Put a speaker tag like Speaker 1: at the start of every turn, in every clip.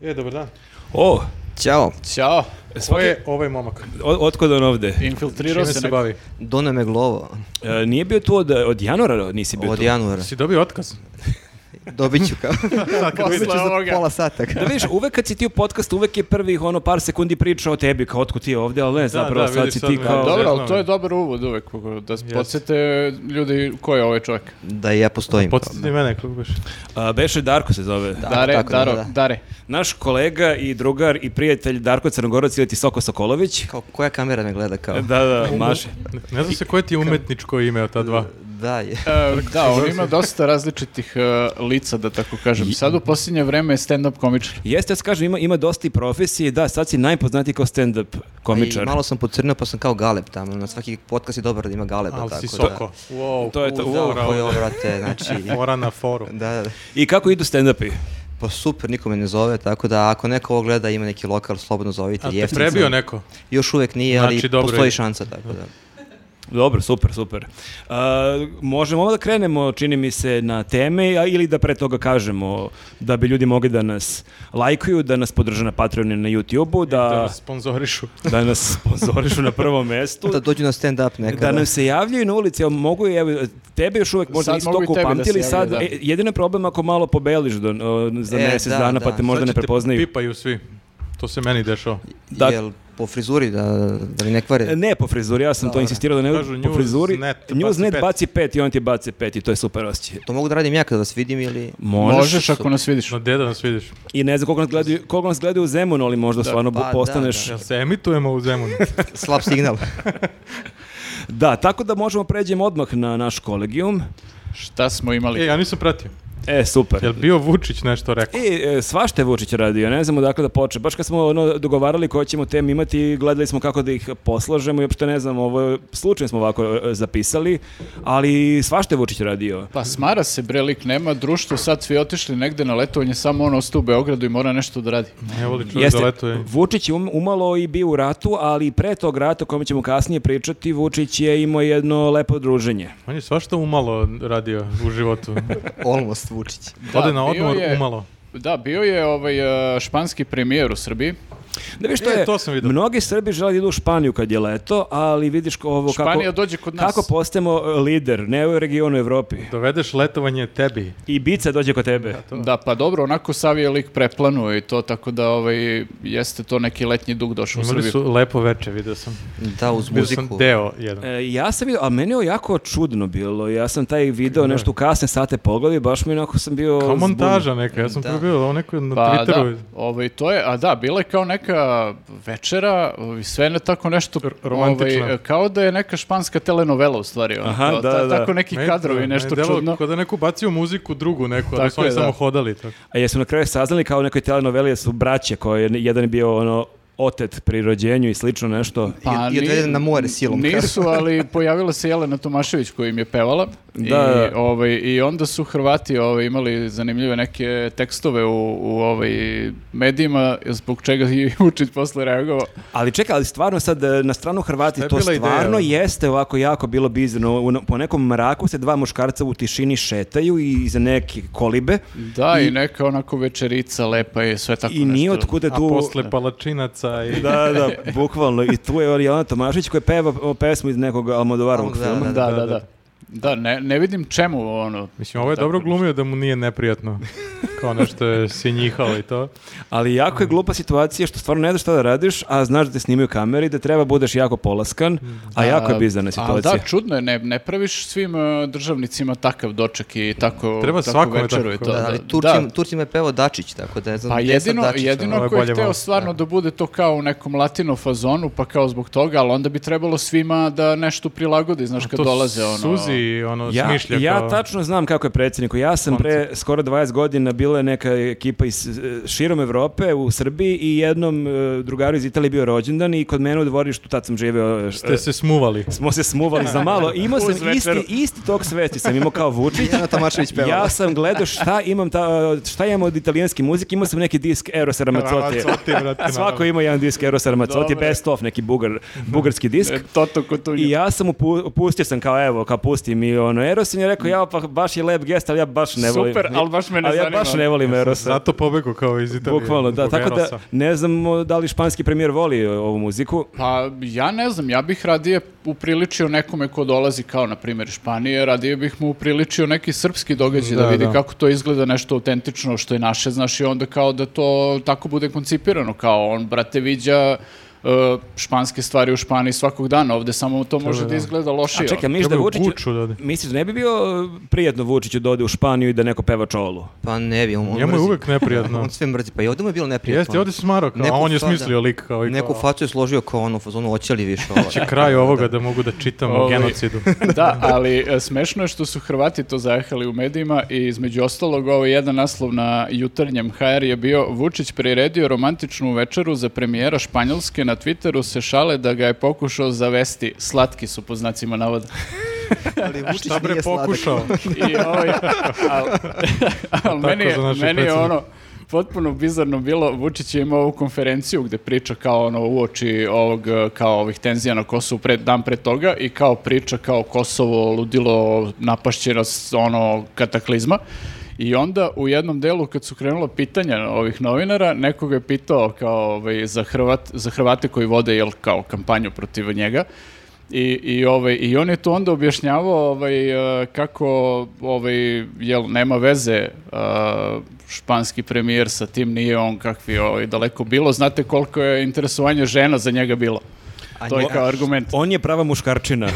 Speaker 1: E, dobar dan.
Speaker 2: O,
Speaker 3: Ćao,
Speaker 1: Ćao. Ko
Speaker 2: Svaki-
Speaker 1: je ovaj momak?
Speaker 2: o- otkud on ovde?
Speaker 1: Čime
Speaker 4: Infiltrirao se
Speaker 1: se
Speaker 4: neko.
Speaker 1: bavi?
Speaker 3: Dona me glovo.
Speaker 2: E, nije bio tu od, od januara, nisi bio
Speaker 3: Od
Speaker 2: tu?
Speaker 3: januara.
Speaker 1: Si dobio otkaz?
Speaker 3: Dobit ću kao. Dobit ću za
Speaker 4: ovoga.
Speaker 3: pola sata.
Speaker 2: Da vidiš, uvek kad si ti u podcastu, uvek je prvih ono par sekundi priča o tebi, kao otkud ti je ovde, ali ne, zapravo
Speaker 1: da,
Speaker 2: sad
Speaker 1: vidi,
Speaker 2: si
Speaker 1: sad
Speaker 2: ti
Speaker 1: me-
Speaker 2: kao...
Speaker 1: Dobro.
Speaker 4: Dobro, ali to je dobar uvod uvek, kako da yes. podsjete ljudi ko je ovaj čovjek.
Speaker 3: Da i ja postojim.
Speaker 1: Podsjeti mene, kako baš.
Speaker 2: A, Beše Darko se zove.
Speaker 3: Da,
Speaker 4: Dare,
Speaker 3: tako,
Speaker 4: Daro,
Speaker 3: da, da.
Speaker 4: Dare.
Speaker 1: E,
Speaker 2: Naš kolega i drugar i prijatelj Darko Crnogorac ili ti Soko Sokolović.
Speaker 3: Kao, koja kamera me gleda kao?
Speaker 2: Da, da, Maše.
Speaker 1: Ne, ne znam se koje ti je umetničko ime od ta dva.
Speaker 3: Da je.
Speaker 4: E, da, on ima dosta različitih e, lica, da tako kažem. Sad u posljednje vreme je stand-up komičar.
Speaker 2: Jeste, ja se kažem, ima, ima dosta i profesije, da, sad si najpoznatiji kao stand-up komičar.
Speaker 3: I malo sam pocrnio pa sam kao galeb tamo. Na svaki podcast je dobar da ima galeba.
Speaker 1: Ali
Speaker 3: tako
Speaker 1: si
Speaker 3: da.
Speaker 1: soko. Wow.
Speaker 2: To je to.
Speaker 3: U,
Speaker 2: Wow.
Speaker 3: da, ovo je ovo, brate, znači...
Speaker 1: Mora na foru.
Speaker 3: Da, da, da.
Speaker 2: I kako idu stand-upi?
Speaker 3: Pa super, niko me ne zove, tako da ako neko ovo gleda ima neki lokal, slobodno zovite.
Speaker 1: A te
Speaker 3: jeftin sam.
Speaker 1: prebio neko?
Speaker 3: Još uvek nije, ali
Speaker 1: Znači, dobro
Speaker 3: postoji
Speaker 1: je.
Speaker 3: šansa, tako da.
Speaker 2: Dobro, super, super. A, možemo odmah da krenemo, čini mi se, na teme a, ili da pre toga kažemo da bi ljudi mogli da nas lajkuju, da nas podrže na Patreonu i na YouTubeu,
Speaker 1: Da
Speaker 2: da,
Speaker 1: vas sponzorišu.
Speaker 2: da nas sponzorišu na prvom mestu.
Speaker 3: Da dođu na stand-up nekada.
Speaker 2: Da nam se javljaju na ulici, evo mogu i, evo, tebe još uvek možda
Speaker 4: Sad
Speaker 2: nisu
Speaker 4: mogu i
Speaker 2: toliko
Speaker 4: tebi da se
Speaker 2: upamtili,
Speaker 4: javljaju,
Speaker 2: sad
Speaker 4: da.
Speaker 2: e, jedino je problem ako malo pobeliš do, o, za
Speaker 3: E,
Speaker 2: mjesec
Speaker 3: da,
Speaker 2: dana pa
Speaker 3: da.
Speaker 2: te možda
Speaker 1: Sad
Speaker 2: ne
Speaker 1: će te
Speaker 2: prepoznaju.
Speaker 1: Pipaju svi. To se meni dešava.
Speaker 2: da-
Speaker 3: Jel po frizuri, da, da mi ne kvare?
Speaker 2: E, Ne po frizuri, ja sam to insistirao da ne
Speaker 1: Kažu,
Speaker 2: po frizuri.
Speaker 1: Newsnet baci
Speaker 2: Newsnet
Speaker 1: pet.
Speaker 2: baci pet i on ti baci pet i to je super osjećaj.
Speaker 3: To mogu da radim ja kada vas vidim ili...
Speaker 2: Možeš,
Speaker 4: Možeš, ako nas vidiš.
Speaker 1: Na deda nas vidiš.
Speaker 2: I ne znam koliko nas gledaju, koliko nas gledaju u Zemunu, ali možda stvarno
Speaker 3: pa,
Speaker 2: postaneš... Da,
Speaker 1: Jel se emitujemo u Zemunu?
Speaker 3: Slab signal.
Speaker 2: tako da možemo pređemo odmah na naš kolegijum.
Speaker 4: Šta smo imali?
Speaker 1: e, ja nisam pratio.
Speaker 2: E, super.
Speaker 1: Jel bio Vučić nešto rekao?
Speaker 2: E, e, svašta je Vučić radio, ne znam odakle da počne. Baš kad smo ono, dogovarali koje ćemo teme imati, gledali smo kako da ih poslažemo i uopšte ne znam, ovo, je- slučajno smo ovako e, zapisali, ali svašta je Vučić radio.
Speaker 4: Pa smara se, bre, lik, nema društvo, sad svi otišli negde na letovanje, samo on ostao u Beogradu i mora nešto da radi.
Speaker 1: Evo li čovjek
Speaker 2: Jeste,
Speaker 1: da letuje.
Speaker 2: Vučić je um- umalo i bio u ratu, ali pre tog rata o kome ćemo kasnije pričati, Vučić je imao jedno lepo druženje.
Speaker 1: On je svašta umalo radio u životu.
Speaker 3: Almost Vučić.
Speaker 1: Ode na
Speaker 4: bio
Speaker 1: odmor
Speaker 4: je-
Speaker 1: umalo.
Speaker 4: Da, bio je ovaj e, španski premijer u Srbiji.
Speaker 2: Da vidiš što
Speaker 1: E,
Speaker 2: je,
Speaker 1: to sam vidio.
Speaker 2: mnogi Srbi žele da idu u Španiju kad je leto, ali vidiš ko- ovo kako...
Speaker 4: Španija dođe kod nas.
Speaker 2: Kako postajemo e, lider, ne u regionu Evropi.
Speaker 1: Dovedeš letovanje tebi.
Speaker 2: I Bica dođe kod tebe.
Speaker 4: Da, pa dobro, onako Sav je lik preplanuo i to, tako da ovaj, jeste to neki letnji dug došao u
Speaker 1: Imali
Speaker 4: Srbiju.
Speaker 1: su lepo veče, vidio sam.
Speaker 3: Da, uz
Speaker 1: Bio sam
Speaker 3: muziku.
Speaker 1: deo jedan.
Speaker 2: E, ja sam vidio, a meni je jako čudno bilo. Ja sam taj video nešto u kasne sate pogledao i baš mi onako sam bio...
Speaker 1: Kao
Speaker 2: zbunjen.
Speaker 1: montaža neka, ja sam
Speaker 3: Da.
Speaker 1: probio ovo neko na
Speaker 4: Pa
Speaker 1: Twitteru.
Speaker 4: da, ovaj, to je, a da, bila je kao neka večera, ovaj, sve ne tako nešto,
Speaker 1: R- romantična.
Speaker 4: ovaj, kao da je neka španska telenovela u stvari, ono,
Speaker 2: Aha,
Speaker 4: kao
Speaker 2: da,
Speaker 4: ta-
Speaker 2: da.
Speaker 4: tako neki
Speaker 1: Me-
Speaker 4: kadrovi,
Speaker 1: me
Speaker 4: nešto
Speaker 1: delalo
Speaker 4: čudno.
Speaker 1: Kao da je neko bacio muziku drugu neku,
Speaker 4: Tako
Speaker 1: ali su oni
Speaker 4: je, da.
Speaker 1: samo hodali. Tako.
Speaker 2: A jesu na kraju saznali kao u nekoj telenoveli da su braće koji je jedan je bio ono otet pri rođenju i slično nešto.
Speaker 3: I- i odveden
Speaker 4: ni-
Speaker 3: na more silom.
Speaker 4: Nisu, ali pojavila se Jelena Tomašević koja im je pevala.
Speaker 2: Da.
Speaker 4: I, ovaj, I onda su Hrvati ovaj, imali zanimljive neke tekstove u, u ovaj, medijima, zbog čega i Vučić posle reagovao.
Speaker 2: Ali čekaj, ali stvarno sad e, na stranu Hrvati
Speaker 1: Šta je
Speaker 2: to
Speaker 1: bila ideja?
Speaker 2: stvarno jeste ovako jako bilo bizarno. U- Po nekom mraku se dva muškarca u tišini šetaju i iza neke kolibe
Speaker 4: Da, i, neka onako večerica lepa i sve tako
Speaker 2: i
Speaker 4: nešto.
Speaker 2: nije otkuda
Speaker 1: A
Speaker 2: tu...
Speaker 1: posle palačinaca i...
Speaker 2: Da, da, bukvalno. I tu je Jelena Tomašić koja peva o, pesmu iz nekog Almodovarovog
Speaker 3: Al- da,
Speaker 2: filma.
Speaker 4: Da, da, da. da. ne, ne vidim čemu ono.
Speaker 1: Mislim, ovo je dobro glumio da mu nije neprijatno. Kao nešto je sinjihao i to.
Speaker 2: Ali jako je glupa situacija što stvarno ne znaš šta da radiš, a znaš da te snimaju kamere i da treba budeš jako polaskan, a jako je bizarna
Speaker 4: Ali
Speaker 2: situacija.
Speaker 4: da, čudno je, ne, ne praviš svim e, državnicima takav doček i tako,
Speaker 1: Treba
Speaker 4: tako
Speaker 1: svakome
Speaker 4: večeru i
Speaker 1: tako.
Speaker 4: to.
Speaker 3: Da,
Speaker 4: da.
Speaker 3: ali
Speaker 4: Da.
Speaker 3: Turcima, Turcima je pevao Dačić, tako da ne znam
Speaker 4: Pa
Speaker 3: gde je sad
Speaker 4: jedino,
Speaker 3: Dačić,
Speaker 4: jedino
Speaker 1: ono je
Speaker 4: ako je
Speaker 1: bolje
Speaker 4: hteo
Speaker 1: malo.
Speaker 4: stvarno da bude to kao u nekom latino fazonu, pa kao zbog toga, ali onda bi trebalo svima da nešto prilagodi, znaš, kad
Speaker 1: to
Speaker 4: dolaze ono...
Speaker 1: Suzi, ono,
Speaker 2: Ja,
Speaker 1: smišlja
Speaker 2: ja
Speaker 1: kao...
Speaker 2: tačno znam kako je predsjedniku. Ja sam pre skoro 20 godina bila je neka ekipa iz e, širom Evrope u Srbiji i jednom e, drugaru iz Italije bio rođendan i kod mene u dvorištu tad sam živeo e,
Speaker 1: Ste se smuvali.
Speaker 2: smo se smuvali za malo. Imao sam
Speaker 4: Uz večeru.
Speaker 2: isti, isti tog svesti, sam imao kao Vučić.
Speaker 3: Jelena Tomašević pevala.
Speaker 2: Ja sam gledao šta imam, ta, šta imam od italijanske muzike, imao sam neki disk Erosa Ramazzotti.
Speaker 1: Ramazzotti, brate,
Speaker 2: Svako
Speaker 1: naravno.
Speaker 2: ima jedan disk Erosa Ramazzotti,
Speaker 4: Dobre.
Speaker 2: best of, neki bugar, bugarski disk.
Speaker 4: E, Toto Kotunju.
Speaker 2: I ja sam upu, pustio sam kao evo, kao pusti mi ono Erosin je rekao ja pa baš je lep gest, ali ja baš ne volim.
Speaker 4: Super, ali baš me ne
Speaker 2: Ali ja
Speaker 4: zanima,
Speaker 2: baš
Speaker 4: ono.
Speaker 2: ne volim Erosa.
Speaker 1: Zato pobegu kao iz Italije.
Speaker 2: Bukvalno, da.
Speaker 1: zbog
Speaker 2: Tako da
Speaker 1: Erosa.
Speaker 2: ne znam o, da li španski premijer voli o, ovu muziku.
Speaker 4: Pa ja ne znam, ja bih radije upriličio nekome ko dolazi kao, na primjer, iz Španije, radije bih mu upriličio neki srpski događaj da,
Speaker 1: Da,
Speaker 4: vidi
Speaker 1: da.
Speaker 4: kako to izgleda nešto autentično što je naše, znaš, i onda kao da to tako bude koncipirano, kao on, brate, viđa e, španske stvari u Španiji svakog dana, ovde samo to može da
Speaker 1: da.
Speaker 4: izgleda
Speaker 2: A
Speaker 4: lošije.
Speaker 2: čekaj, misliš da
Speaker 1: Trebaju
Speaker 2: Vučić...
Speaker 1: Guču da ode.
Speaker 2: Misliš da ne bi bio e, prijetno Vučiću da ode u Španiju i da neko peva čolu?
Speaker 3: Pa ne bi, on, on
Speaker 1: Njemu je
Speaker 3: mrzi.
Speaker 1: uvek neprijatno.
Speaker 3: On sve mrzi, pa i ovdje mu je bilo neprijatno.
Speaker 1: Jeste, ovdje Pa- se smarao kao,
Speaker 3: Neku
Speaker 1: a on je
Speaker 3: fa- da.
Speaker 1: smislio lik kao i
Speaker 3: Neku
Speaker 1: kao,
Speaker 3: facu je složio kao ono, u fazonu oćeli više ovo.
Speaker 1: će kraj ovoga da mogu da čitam o
Speaker 4: Ovaj.
Speaker 1: genocidu.
Speaker 4: da, ali e, smešno je što su Hrvati to zajahali u medijima i između ostalog ovo je jedan naslov na jutarnjem HR je bio Vučić priredio romantičnu večeru za premijera Španjolske na Twitteru se šale da ga je pokušao zavesti slatki su po znacima navoda.
Speaker 3: Ali Vučić
Speaker 1: Šta bre
Speaker 3: nije sladak.
Speaker 1: pokušao?
Speaker 4: I ovaj, al, al meni, je,
Speaker 1: za našeg
Speaker 4: meni je
Speaker 1: predsjednika.
Speaker 4: ono, potpuno bizarno bilo, Vučić je imao ovu konferenciju gde priča kao ono uoči ovog, eh, kao ovih tenzija na Kosovu pre, dan pre toga i kao priča kao Kosovo ludilo napašćenost ono kataklizma. I onda u jednom delu kad su krenula pitanja ovih novinara, nekoga je pitao kao ovaj, za, Hrvat, za Hrvate koji vode jel, kao kampanju protiv njega. I, i, ovaj, I on je to onda objašnjavao ovaj, eh, kako ovaj, jel, nema veze eh, španski premijer sa tim, nije on kakvi ovaj, daleko bilo. Znate koliko je interesovanje žena za njega bilo.
Speaker 3: A
Speaker 4: To je
Speaker 3: nje-
Speaker 4: kao argument.
Speaker 2: On je prava muškarčina.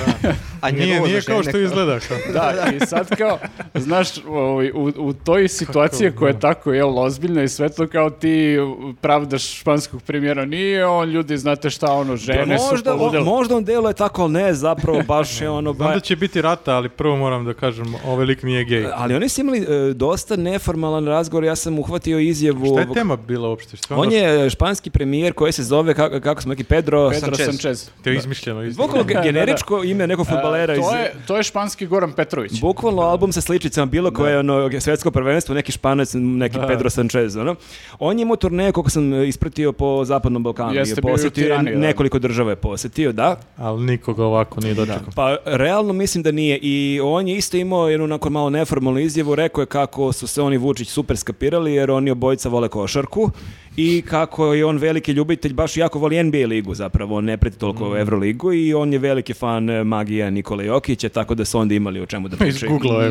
Speaker 3: A
Speaker 1: Nije,
Speaker 3: njegovo
Speaker 1: nije
Speaker 3: za žene
Speaker 1: kao što izgleda. Kao.
Speaker 4: Da, i sad kao, znaš, ovaj, u, u toj situaciji koja je tako, jel, ozbiljna i sve to kao ti pravdaš španskog premijera, nije on, ljudi, znate šta, ono, žene su
Speaker 2: Pa možda, on,
Speaker 4: poludele.
Speaker 2: možda on deluje tako, ali ne, zapravo baš je ono...
Speaker 1: Znam
Speaker 2: ba-
Speaker 1: da će biti rata, ali prvo moram da kažem, ovaj lik nije gej.
Speaker 2: Ali oni su imali e, dosta neformalan razgovor, ja sam uhvatio izjavu...
Speaker 1: Šta je
Speaker 2: ovog-
Speaker 1: tema bila uopšte? Šta ono
Speaker 2: On je e, španski premijer koji se zove, kako, kako smo rekli, Pedro...
Speaker 4: Pedro
Speaker 3: Sanchez.
Speaker 4: Sanchez.
Speaker 1: Te je izmišljeno. izmišljeno.
Speaker 2: Bukvalno ge- generičko ime nekog futbalera
Speaker 4: A,
Speaker 2: iz...
Speaker 4: E, to, je, to je španski Goran Petrović.
Speaker 2: Bukvalno album sa sličicama, bilo koje ono, svetsko prvenstvo, neki španac, neki Pedro Sanchez, ono. On je imao turneje, koliko sam e, ispratio po Zapadnom Balkanu.
Speaker 4: Jeste,
Speaker 2: je
Speaker 4: bio je u
Speaker 2: posjetio je
Speaker 4: Tirani, da.
Speaker 2: nekoliko država je posjetio, da.
Speaker 1: Ali nikoga ovako nije dočekao.
Speaker 2: Pa, realno mislim da nije. I on je isto imao jednu onako malo neformalnu izjavu, rekao je kako su se oni Vučić super skapirali, jer oni obojica vole košarku i kako je on veliki ljubitelj, baš jako voli NBA ligu zapravo, on ne preti toliko Evroligu i on je veliki fan e, magija Nikole Jokića, tako da su onda imali o čemu da pričaju.
Speaker 1: Izgooglao je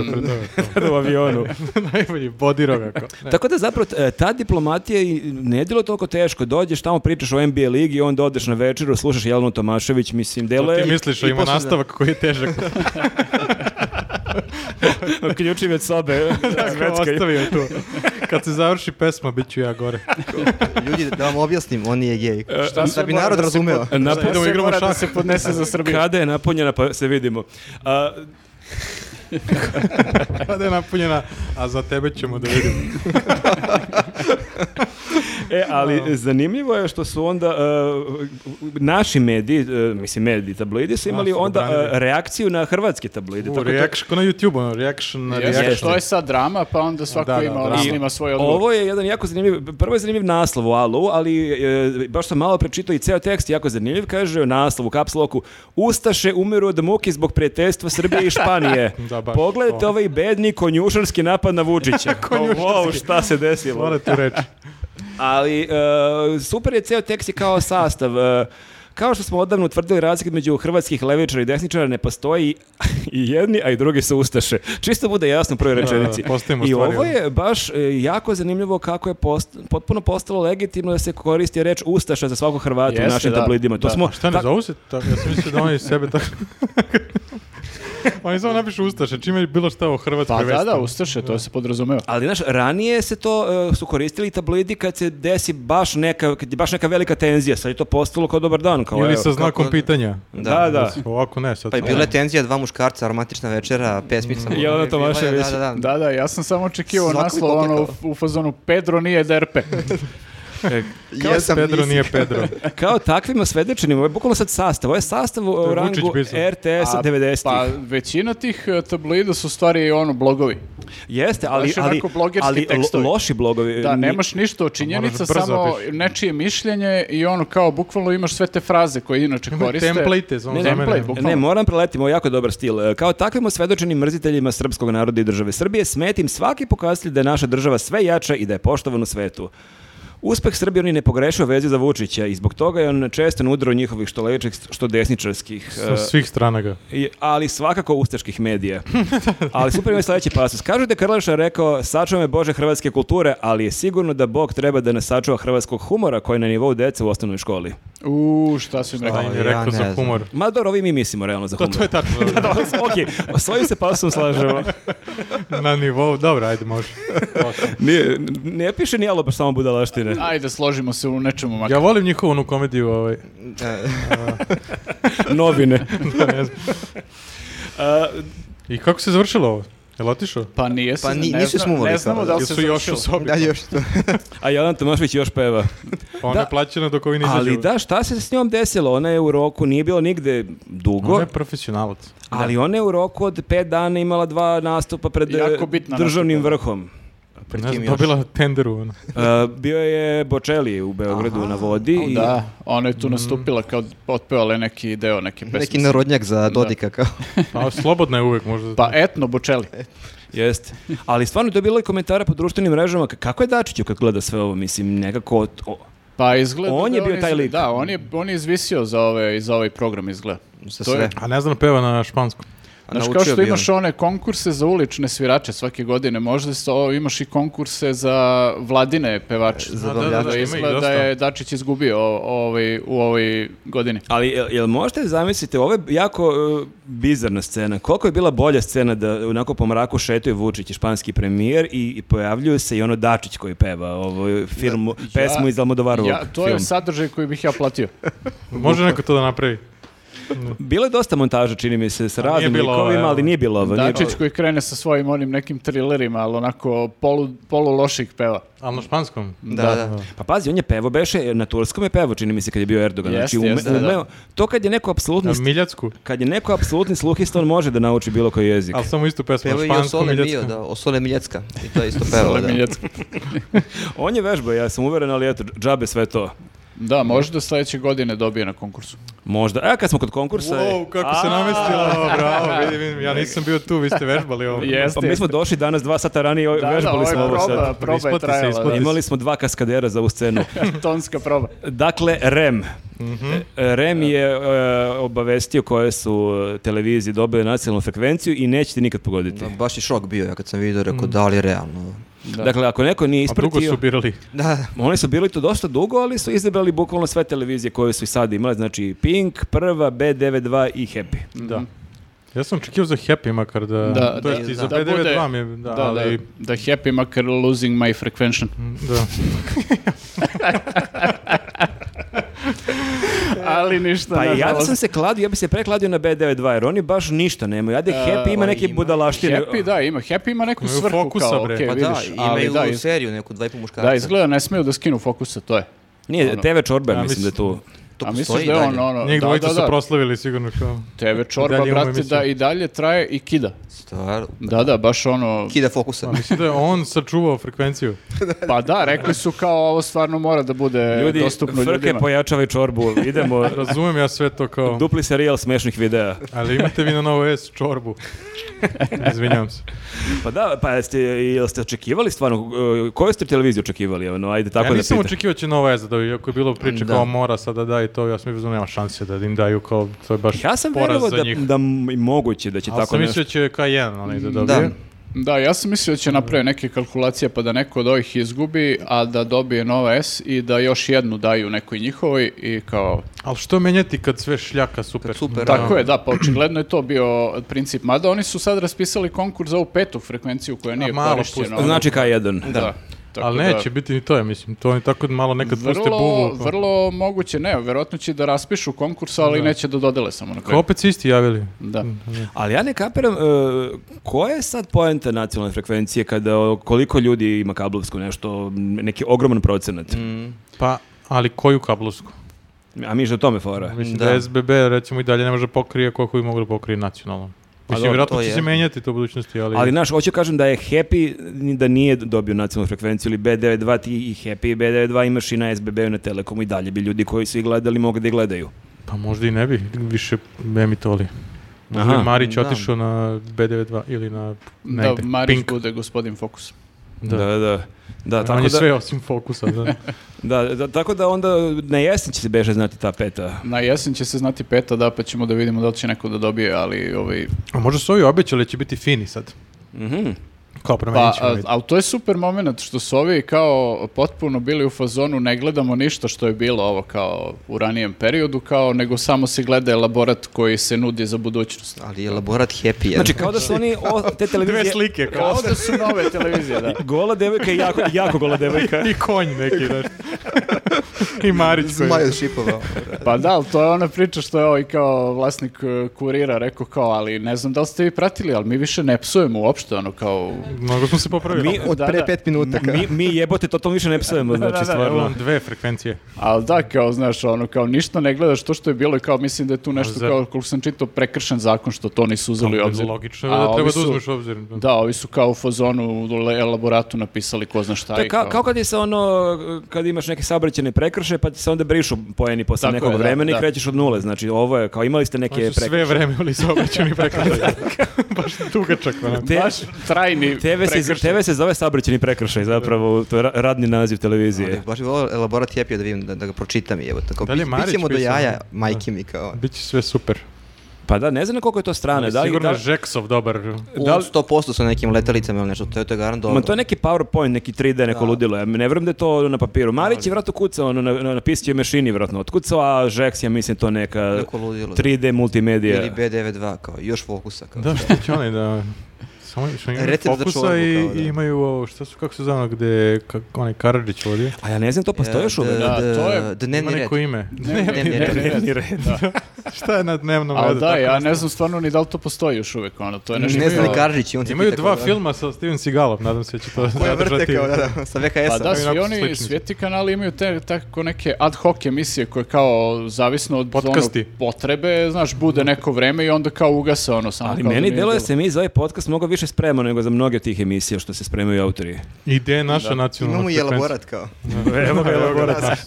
Speaker 1: pred ove to.
Speaker 2: u avionu.
Speaker 1: Najbolji bodiro ga kao.
Speaker 2: Tako da zapravo t- e, ta diplomatija i ne djelo toliko teško. Dođeš tamo, pričaš o NBA ligi, onda odeš na večeru, slušaš Jelenu Tomašević, mislim, delo
Speaker 1: Ti
Speaker 2: je
Speaker 1: misliš da
Speaker 3: i
Speaker 1: ima
Speaker 3: posle-
Speaker 1: nastavak koji je težak.
Speaker 2: ključim od sobe.
Speaker 1: Tako,
Speaker 2: zveckaj.
Speaker 1: ostavio tu. Kad se završi pesma, bit ću ja gore.
Speaker 3: Ljudi, da vam objasnim, on nije gej.
Speaker 4: Šta
Speaker 3: Da
Speaker 4: sve
Speaker 3: bi
Speaker 4: mora
Speaker 3: narod
Speaker 4: da se
Speaker 3: razumeo.
Speaker 4: pod-
Speaker 2: Na-
Speaker 4: šta
Speaker 1: idemo,
Speaker 4: sve
Speaker 1: igramo
Speaker 4: mora da
Speaker 1: šah.
Speaker 4: se podnese za Srbiju.
Speaker 2: Kada je napunjena, pa se vidimo. A,
Speaker 1: Kada je napunjena, a za tebe ćemo da vidimo.
Speaker 2: e, ali zanimljivo je što su onda e, naši mediji, e, mislim mediji, tabloidi su imali
Speaker 1: Nas su
Speaker 2: onda
Speaker 1: obranili.
Speaker 2: e, reakciju na hrvatske tabloide.
Speaker 1: U,
Speaker 2: tako da-
Speaker 1: reaction, kao na YouTube, ono, reaction na
Speaker 4: Jeste,
Speaker 1: reaction.
Speaker 4: to je sad drama, pa onda svako
Speaker 1: Da, da,
Speaker 4: ima,
Speaker 1: drama.
Speaker 4: snima svoj odgovor.
Speaker 2: Ovo je jedan jako zanimljiv, prvo je zanimljiv naslov u Alu, ali e, baš sam malo prečitao i ceo tekst je jako zanimljiv, kaže u naslovu, u kapsloku, Ustaše umiru od muke zbog prijateljstva Srbije i Španije.
Speaker 1: Da, baš
Speaker 2: Pogledajte
Speaker 1: to.
Speaker 2: ovaj bedni konjušarski napad na Vučića. Wow, šta se desilo.
Speaker 1: Mora tu reći.
Speaker 2: Ali e, super je ceo tekst i kao sastav. e, kao što smo odavno utvrdili razlike između hrvatskih levičara i desničara ne postoji i jedni, a i drugi su ustaše. Čisto bude jasno u prvoj rečenici.
Speaker 1: da, postavimo
Speaker 2: I
Speaker 1: stvari, ono.
Speaker 2: ovo je baš e, jako zanimljivo kako je post- potpuno postalo legitimno da se koristi reč ustaša za svakog Hrvata u
Speaker 4: Jeste,
Speaker 2: našim
Speaker 4: da.
Speaker 2: tabloidima. To
Speaker 4: Da.
Speaker 2: smo
Speaker 1: Šta ne
Speaker 2: tak-
Speaker 1: zovu se tako? Ja sam mislio da oni sebe tako... oni samo napišu Ustaše, čime je bilo šta o Hrvatskoj
Speaker 4: Pa da, da,
Speaker 1: vesti.
Speaker 4: Ustaše, to se podrazumeva.
Speaker 2: Ali znaš, ranije se to e, su koristili tabloidi kad se desi baš neka, kad je baš neka velika tenzija. Sad je to postalo kao dobar dan. Kao,
Speaker 1: Ili
Speaker 2: evo.
Speaker 1: sa znakom
Speaker 3: kako-
Speaker 1: pitanja.
Speaker 2: ovaj, Da, da.
Speaker 1: Ovako ne, sad.
Speaker 3: Pa je bila je tenzija, dva muškarca, aromatična večera, pesmica.
Speaker 2: Jelena
Speaker 3: Bila je-
Speaker 2: Tomašević.
Speaker 3: Da, da, da.
Speaker 4: Da, da, ja sam samo očekivao
Speaker 3: Svako bi
Speaker 4: naslov ono,
Speaker 3: poklekao.
Speaker 4: u, u fazonu Pedro nije DRP.
Speaker 2: E,
Speaker 3: Jesam,
Speaker 1: Pedro
Speaker 3: nisi.
Speaker 1: nije Pedro.
Speaker 2: Kao takvima svedočenima, ovo je bukvalno sad sastav, ovo je sastav u
Speaker 1: je
Speaker 2: rangu
Speaker 1: Vučić pisao.
Speaker 2: RTS-a 90-ih.
Speaker 4: Pa većina tih e, tabloida su u stvari ono blogovi.
Speaker 2: Jeste, ali,
Speaker 4: Baš
Speaker 2: ali,
Speaker 4: onako ono blogerski
Speaker 2: ali lo-
Speaker 4: tekstovi.
Speaker 2: loši blogovi.
Speaker 4: Da,
Speaker 2: Ni-
Speaker 4: nemaš ništa od
Speaker 1: moraš
Speaker 4: činjenica,
Speaker 1: brzo
Speaker 4: samo
Speaker 1: opiš.
Speaker 4: nečije mišljenje i ono kao bukvalno imaš sve te fraze koje inače koriste.
Speaker 1: Template,
Speaker 2: Ne,
Speaker 1: znam
Speaker 2: ne,
Speaker 1: za mene.
Speaker 4: template,
Speaker 2: Ne,
Speaker 4: bukvalno.
Speaker 2: moram preletiti, ovo je jako dobar stil. E, Kao takvim osvedočenim mrziteljima srpskog naroda i države Srbije smetim svaki pokazatelj da je naša država sve jača i da je poštovan u svetu. Uspeh Srbije oni ne pogrešio vezi za Vučića i zbog toga je on često na udaru njihovih što levičkih, što desničarskih.
Speaker 1: Sa
Speaker 2: e,
Speaker 1: svih strana ga.
Speaker 2: I- ali svakako ustaških medija. ali super ima sledeći pasus. Kažu da je Krleša rekao, sačuva me Bože hrvatske kulture, ali je sigurno da Bog treba da nas sačuva hrvatskog humora koji je na nivou dece u osnovnoj školi.
Speaker 4: U, šta su im
Speaker 1: Da,
Speaker 4: rekli?
Speaker 1: im
Speaker 3: ja
Speaker 1: je Pa, rekao
Speaker 3: ne
Speaker 1: za
Speaker 3: znam.
Speaker 1: humor.
Speaker 2: Ma dobro, ovi mi mislimo realno za
Speaker 1: To,
Speaker 2: humor.
Speaker 1: to je tačno. da.
Speaker 2: Da, ok, svojim se pasom slažemo.
Speaker 1: Na nivou, dobro, ajde, može.
Speaker 2: Nije- ne piše ni alo, baš samo budalaštine.
Speaker 4: Ajde, složimo se u nečemu makar.
Speaker 1: Ja volim njihovu onu komediju, ovaj.
Speaker 3: E,
Speaker 2: Novine.
Speaker 1: Da, ne znam.
Speaker 2: A,
Speaker 1: I kako se završilo ovo? Jel otišao?
Speaker 4: Pa nije se,
Speaker 3: Pa ni-
Speaker 4: ne,
Speaker 3: nisu
Speaker 4: zna-
Speaker 3: smuvali
Speaker 4: ne znamo
Speaker 3: kao-
Speaker 4: da li se
Speaker 1: Jesu još u
Speaker 4: završilo.
Speaker 1: sobi?
Speaker 3: dalje još to.
Speaker 2: a Jovan Tomašvić još peva.
Speaker 1: Pa ona
Speaker 2: Da.
Speaker 1: je plaćena dok ovi ne izađu.
Speaker 2: Ali da, šta se s njom desilo? Ona je u roku, nije bila nigde dugo,
Speaker 1: Ona je profesionalac.
Speaker 2: ali ona je u roku od pet dana imala dva nastupa pred e,
Speaker 4: Jako bitna
Speaker 2: državnim vrhom.
Speaker 3: Pred
Speaker 1: Ne
Speaker 3: kim
Speaker 1: znam,
Speaker 3: još?
Speaker 1: dobila tenderu. ono. Ona.
Speaker 2: E, bio je Bočeli u Beogradu na vodi. i-
Speaker 4: Da, ona je tu nastupila kao otpevala je neki deo neke pesme.
Speaker 3: Neki narodnjak za Dodika kao.
Speaker 1: Pa slobodna je uvek možda.
Speaker 4: Pa etno bučeli.
Speaker 2: Jeste. Ali stvarno to je bilo i komentara po društvenim mrežama. k- Kako je Dačiću kad gleda sve ovo? Mislim, nekako... to-
Speaker 4: Pa izgleda
Speaker 2: On
Speaker 4: da
Speaker 2: je bio
Speaker 4: iz-
Speaker 2: taj lik.
Speaker 4: Da, on je, on je izvisio za, ove, za ovaj program izgleda.
Speaker 3: Za
Speaker 4: To je-
Speaker 3: sve.
Speaker 1: A ne znam, peva na španskom.
Speaker 4: Znaš, kao
Speaker 3: Naučio
Speaker 4: što
Speaker 3: bi
Speaker 4: imaš
Speaker 3: on.
Speaker 4: one konkurse za ulične svirače svake godine, možda se ovo imaš i konkurse za vladine pevače.
Speaker 1: Da,
Speaker 3: da, da,
Speaker 1: ima ih
Speaker 4: izgleda da
Speaker 1: dosta.
Speaker 4: je Dačić izgubio o- ovaj, u ovoj godini.
Speaker 2: Ali jel, jel možete zamisliti, ovo je jako e, bizarna scena. Koliko je bila bolja scena da onako po mraku šetuje Vučić i španski premijer i, i pojavljuju se i ono Dačić koji peva ovu filmu, pesmu iz Almodovarovog
Speaker 4: Ja, to je
Speaker 2: filma.
Speaker 4: sadržaj koji bih ja platio.
Speaker 1: Može neko to da napravi.
Speaker 2: Bilo je dosta montaža, čini mi se, sa
Speaker 1: nije
Speaker 2: raznim
Speaker 1: bilo ovo,
Speaker 2: likovima,
Speaker 1: evo.
Speaker 2: ali nije bilo ovo. nije
Speaker 4: Dačić koji krene sa svojim onim nekim trilerima, ali onako polu, polu loših peva.
Speaker 1: Ali na španskom.
Speaker 3: Da, da.
Speaker 2: Pa pazi, on je pevo, beše, na turskom je pevo, čini mi se, kad je bio Erdogan. znači,
Speaker 4: Jeste,
Speaker 2: ume-
Speaker 4: jeste, da, da.
Speaker 2: umeo- to kad je neko apsolutni,
Speaker 1: Na
Speaker 2: st-
Speaker 1: Miljacku.
Speaker 2: kad je neko apsolutni sluhista, on može da nauči bilo koji jezik.
Speaker 1: Ali samo istu pesmu.
Speaker 3: Peva
Speaker 1: na
Speaker 3: i o
Speaker 1: španskom,
Speaker 3: Sole Mio,
Speaker 1: miljackom.
Speaker 3: da, o Sole Miljacka. I to je isto peva, da.
Speaker 4: Miljec.
Speaker 2: On je vežba, ja sam uveren, ali eto, džabe sve to.
Speaker 4: Da, možda sledeće godine dobije na konkursu.
Speaker 2: Možda. E, kad smo kod konkursa...
Speaker 1: Wow, kako se
Speaker 2: A,
Speaker 1: namestilo, bravo, vidim, vidim, ja nisam bio tu, vi ste vežbali ovo.
Speaker 4: Jeste.
Speaker 2: Pa mi smo došli danas dva sata ranije,
Speaker 4: Da, da,
Speaker 2: vežbali
Speaker 4: ovo je
Speaker 2: smo ovo
Speaker 4: proba,
Speaker 2: sad.
Speaker 4: proba je
Speaker 1: Isplati se,
Speaker 4: trajala.
Speaker 1: isplati
Speaker 4: da.
Speaker 2: Imali smo dva kaskadera za ovu scenu.
Speaker 4: Tonska proba.
Speaker 2: Dakle, REM.
Speaker 4: Mhm.
Speaker 2: E, REM je e, obavestio koje su e, televizije dobile nacionalnu frekvenciju i nećete nikad pogoditi.
Speaker 3: Da, Baš je šok bio ja kad sam vidio, rekao da li je realno.
Speaker 4: Da.
Speaker 2: Dakle, ako neko nije
Speaker 1: A dugo
Speaker 2: ispratio,
Speaker 1: su birali.
Speaker 3: Da, da.
Speaker 2: oni su bili to dosta dugo, ali su izabrali bukvalno sve televizije koje su i sad imale, znači Pink, Prva, B92 i Happy.
Speaker 4: Mhm.
Speaker 1: Da. Ja sam očekio za Happy makar da...
Speaker 4: Da,
Speaker 1: to
Speaker 4: da,
Speaker 1: jest i
Speaker 3: da.
Speaker 1: za
Speaker 4: Da
Speaker 1: B92
Speaker 4: bude-
Speaker 1: mi je... Da,
Speaker 4: da,
Speaker 1: ali...
Speaker 4: da, da happy makar losing my frequention.
Speaker 1: da.
Speaker 4: Ali ništa.
Speaker 2: Pa i ja da
Speaker 4: nažalost.
Speaker 2: sam se kladio, ja bi se prekladio na B92, jer oni baš ništa nemaju. Ajde, Happy ima
Speaker 3: oni
Speaker 2: neke
Speaker 3: imaju
Speaker 2: budalaštine.
Speaker 4: E, Happy, da, ima. Happy ima neku
Speaker 1: Imaju
Speaker 4: svrhu
Speaker 1: fokusa,
Speaker 4: kao,
Speaker 1: bre.
Speaker 4: okej,
Speaker 3: Pa da,
Speaker 4: E, vidiš. ali
Speaker 3: imaju
Speaker 4: da, iz-
Speaker 3: seriju neku, dva i po muškarca.
Speaker 4: da, izgleda ne smiju da skinu fokusa, to je.
Speaker 2: Nije,
Speaker 4: Ono.
Speaker 2: TV Čorba, ja
Speaker 1: Ja
Speaker 2: mislim da je tu.
Speaker 3: To
Speaker 4: A
Speaker 3: postoji
Speaker 4: misliš da je on
Speaker 3: dalje.
Speaker 4: ono...
Speaker 1: Njih
Speaker 4: da,
Speaker 1: dvojica
Speaker 4: da,
Speaker 1: su
Speaker 4: da.
Speaker 1: proslavili sigurno kao...
Speaker 4: TV
Speaker 1: I
Speaker 4: čorba,
Speaker 1: dalje imamo
Speaker 4: brate,
Speaker 1: emisiju.
Speaker 4: da i dalje traje i kida.
Speaker 3: Stvarno.
Speaker 4: Da, da, baš ono...
Speaker 3: Kida fokusa.
Speaker 1: Mislim da je on sačuvao frekvenciju.
Speaker 4: Pa da, rekli su kao ovo stvarno mora da bude
Speaker 2: Ljudi,
Speaker 4: dostupno
Speaker 2: frke
Speaker 4: ljudima.
Speaker 2: pojačavaj čorbu, idemo.
Speaker 1: Razumem ja sve to kao...
Speaker 2: Dupli serijal smešnih videa.
Speaker 1: Ali imate vi na Novo S čorbu. Izvinjavam se.
Speaker 2: Pa da, pa jeste, jel ste očekivali stvarno, e, koju ste televiziju očekivali, ono, ajde tako
Speaker 1: ja
Speaker 2: da
Speaker 1: nisam
Speaker 2: pitam.
Speaker 1: očekivao će Novo S da dobiju, iako je bilo priče
Speaker 3: Da.
Speaker 1: kao mora sada da i to, ja sam mislio da nema šanse da im daju kao... To je baš
Speaker 2: Ja sam
Speaker 1: poraz
Speaker 2: vjerovao
Speaker 1: za
Speaker 2: da,
Speaker 1: njih.
Speaker 2: da m- i moguće da će
Speaker 1: Ali
Speaker 2: tako
Speaker 1: sam
Speaker 2: nešto.
Speaker 1: mislio će K1 onaj da
Speaker 3: Da.
Speaker 1: dobije.
Speaker 4: Da, ja sam mislio da će napraviti neke kalkulacije pa da neko od ovih izgubi, a da dobije nova S i da još jednu daju nekoj njihovoj i kao...
Speaker 1: Ali što menjati kad sve šljaka super?
Speaker 3: Super.
Speaker 4: Tako je, da, pa očigledno je to bio princip. Mada oni su sad raspisali konkurs za ovu petu frekvenciju koja nije
Speaker 1: malo
Speaker 4: korišćena. ono.
Speaker 1: pusti. Znači,
Speaker 2: Znači K1.
Speaker 4: da. Tako
Speaker 1: Ali
Speaker 4: da-
Speaker 1: neće biti ni to, ja mislim. To oni tako malo nekad puste
Speaker 4: Vrlo,
Speaker 1: buvu. pa-
Speaker 4: vrlo moguće, ne, verovatno će da raspišu konkurs, ali neće da dodele samo na
Speaker 1: Kao
Speaker 4: kraju.
Speaker 1: opet se isti javili.
Speaker 4: Da.
Speaker 2: Ali ja ne kapiram, e, koja je sad poenta nacionalne frekvencije kada o, koliko ljudi ima kablovsku nešto, m, neki ogroman procenat?
Speaker 3: Mm,
Speaker 1: Pa, ali koju kablovsku? Mm.
Speaker 2: A mi je o tome fora.
Speaker 1: Mislim da.
Speaker 3: Da.
Speaker 1: SBB recimo i dalje ne može pokrije koliko bi mogli da pokrije nacionalno.
Speaker 3: Pa
Speaker 1: Mislim,
Speaker 3: dobro,
Speaker 1: vjerojatno
Speaker 3: to
Speaker 1: će
Speaker 3: je.
Speaker 1: se menjati to u budućnosti, ali...
Speaker 2: Ali naš, hoću kažem da je Happy ni- da nije dobio nacionalnu frekvenciju ili B92 ti i Happy i B92 imaš i na SBB-u i na Telekomu i dalje bi ljudi koji su ih gledali mogli da ih gledaju.
Speaker 1: Pa možda i ne bi više emitovali. Možda
Speaker 2: Aha.
Speaker 1: bi Marić
Speaker 3: Da.
Speaker 1: otišao na B92 ili na
Speaker 4: Da,
Speaker 1: negde.
Speaker 4: Marić
Speaker 1: Pink.
Speaker 4: bude gospodin Fokus.
Speaker 1: Da.
Speaker 2: da. da. Da,
Speaker 1: On
Speaker 2: tako
Speaker 1: je
Speaker 2: da,
Speaker 1: sve osim fokusa. Da.
Speaker 2: da, da, tako da onda na jesen će se beže znati ta peta.
Speaker 4: Na jesen će se znati peta, da, pa ćemo da vidimo da li će neko da dobije, ali ovaj,
Speaker 1: A možda su ovi obećali da će biti fini sad.
Speaker 2: Mhm.
Speaker 1: Kao
Speaker 4: Pa,
Speaker 1: promenit ćemo.
Speaker 4: a-
Speaker 1: vidjeti.
Speaker 4: ali to je super moment što su ovi kao potpuno bili u fazonu ne gledamo ništa što je bilo ovo kao u ranijem periodu, kao nego samo se gleda elaborat koji se nudi za budućnost.
Speaker 3: Ali je elaborat happy. je.
Speaker 2: Znači kao da su oni o, te
Speaker 1: Dve
Speaker 2: televizije...
Speaker 1: slike kao.
Speaker 4: Kao da su nove televizije, da.
Speaker 2: Gola devojka i jako, jako gola devojka.
Speaker 1: I konj neki, znaš. I Marić koji...
Speaker 3: Zmaj od šipova.
Speaker 4: Pa da, ali to je ona priča što je ovaj kao vlasnik e, kurira rekao kao, ali ne znam da li ste vi pratili, ali mi više ne psujemo uopšte, ono kao...
Speaker 1: Mnogo smo se popravili.
Speaker 2: Mi-
Speaker 5: Od
Speaker 4: Da,
Speaker 5: pre
Speaker 4: da.
Speaker 5: pet minuta. ka-
Speaker 2: Mi, mi jebote, to, to više ne psujemo, znači,
Speaker 1: Evo
Speaker 2: stvarno.
Speaker 1: vam dve frekvencije.
Speaker 4: Ali da, kao, znaš, ono, kao ništa ne gledaš to što je bilo i kao mislim da je tu nešto
Speaker 1: Za-
Speaker 4: kao, koliko sam čitao, prekršen zakon što to nisu uzeli u obzir.
Speaker 1: Logično
Speaker 4: A
Speaker 1: je da
Speaker 4: ovi
Speaker 1: treba da
Speaker 4: su-
Speaker 1: uzmeš u obzir.
Speaker 4: Da, ovi su kao u fazonu u le- elaboratu napisali ko zna šta.
Speaker 2: To
Speaker 4: i
Speaker 2: je kao, kao kad je se ono, kad imaš neke saobraćene prekrše, pa ti se onda brišu poeni posle
Speaker 4: Tako
Speaker 2: nekog
Speaker 4: je, da,
Speaker 2: vremena
Speaker 4: da.
Speaker 2: i krećeš od nule. Znači, ovo je, kao imali ste neke
Speaker 1: Oni su
Speaker 2: prekrše.
Speaker 1: sve vreme bili saobraćeni prekršaj. Baš dugačak. ono.
Speaker 2: Te-
Speaker 4: Baš trajni
Speaker 2: TV se,
Speaker 4: prekršaj.
Speaker 2: TV se zove saobraćeni prekršaj, zapravo, to je ra- radni naziv televizije.
Speaker 3: Baš bi volao elaborat happy da vidim, da, da ga pročitam. Evo, tako,
Speaker 1: Da li je Marić
Speaker 3: pićemo do
Speaker 1: pisao?
Speaker 3: jaja majke mi kao.
Speaker 1: Biće sve super.
Speaker 2: Pa da, ne znam na koliko je to strane. Da li,
Speaker 1: Sigurno
Speaker 2: da,
Speaker 1: je Žeksov dobar.
Speaker 2: Da
Speaker 3: Da
Speaker 2: li-
Speaker 3: 100% sa nekim letalicama ili nešto, to je to je garant dobro.
Speaker 2: Ma to je neki PowerPoint, neki 3D, neko ludilo. Ja ne vjerujem da je to ono na papiru. Marić je vratno kucao, ono, na, na, na pisaćoj mašini vratno otkucao, a Žeks, ja mislim, to neka
Speaker 3: Neko ludilo, da.
Speaker 2: 3D multimedija.
Speaker 3: Ili B92 kao, još fokusa kao.
Speaker 1: Da, što će oni da... Samo što imaju
Speaker 3: Recept za
Speaker 1: fokusa
Speaker 3: čorbu,
Speaker 1: i,
Speaker 3: kao da.
Speaker 1: i imaju ovo, šta su, kako se zove ono gde, kak, onaj Karadžić vodio?
Speaker 2: A Pa ja ne znam, to postoji još uvek?
Speaker 4: Da, to je-
Speaker 1: Ima
Speaker 3: Dnevni red.
Speaker 1: neko ime.
Speaker 3: Dnevni
Speaker 4: ne,
Speaker 3: red.
Speaker 4: ne, ne, ne.
Speaker 1: šta je na dnevnom
Speaker 4: Ali
Speaker 1: redu?
Speaker 4: da,
Speaker 1: tako
Speaker 4: ja
Speaker 1: nešto?
Speaker 4: ne znam stvarno ni da li to postoji još uvek, ono, to je nešto...
Speaker 3: Ne znam
Speaker 4: kao-
Speaker 3: ni Karadžić, on
Speaker 1: Znači,
Speaker 3: ti
Speaker 1: Imaju
Speaker 3: pita
Speaker 1: dva
Speaker 3: kao,
Speaker 1: filma sa Steven Seagalom, nadam se da će to
Speaker 3: Koje
Speaker 1: zadržati.
Speaker 3: vrte kao, da, da, sa
Speaker 4: Pa
Speaker 3: VHS-a.
Speaker 4: da,
Speaker 1: Onako
Speaker 4: svi
Speaker 1: su
Speaker 4: oni,
Speaker 1: slični.
Speaker 4: svi ti kanali imaju te tako neke ad hoc emisije koje kao, zavisno od ono,
Speaker 1: Podcasti.
Speaker 4: potrebe, znaš, bude neko vreme i onda kao ugase ono samo.
Speaker 2: Ali
Speaker 4: kao da
Speaker 2: meni
Speaker 4: nije
Speaker 2: delo je
Speaker 4: bilo.
Speaker 2: se mi za ovaj podcast mnogo više spremamo nego za mnoge od tih emisija što se spremaju autori.
Speaker 1: I gde je naša nacionalna
Speaker 3: Imamo i
Speaker 1: frekvencija?
Speaker 3: elaborat kao.
Speaker 2: Evo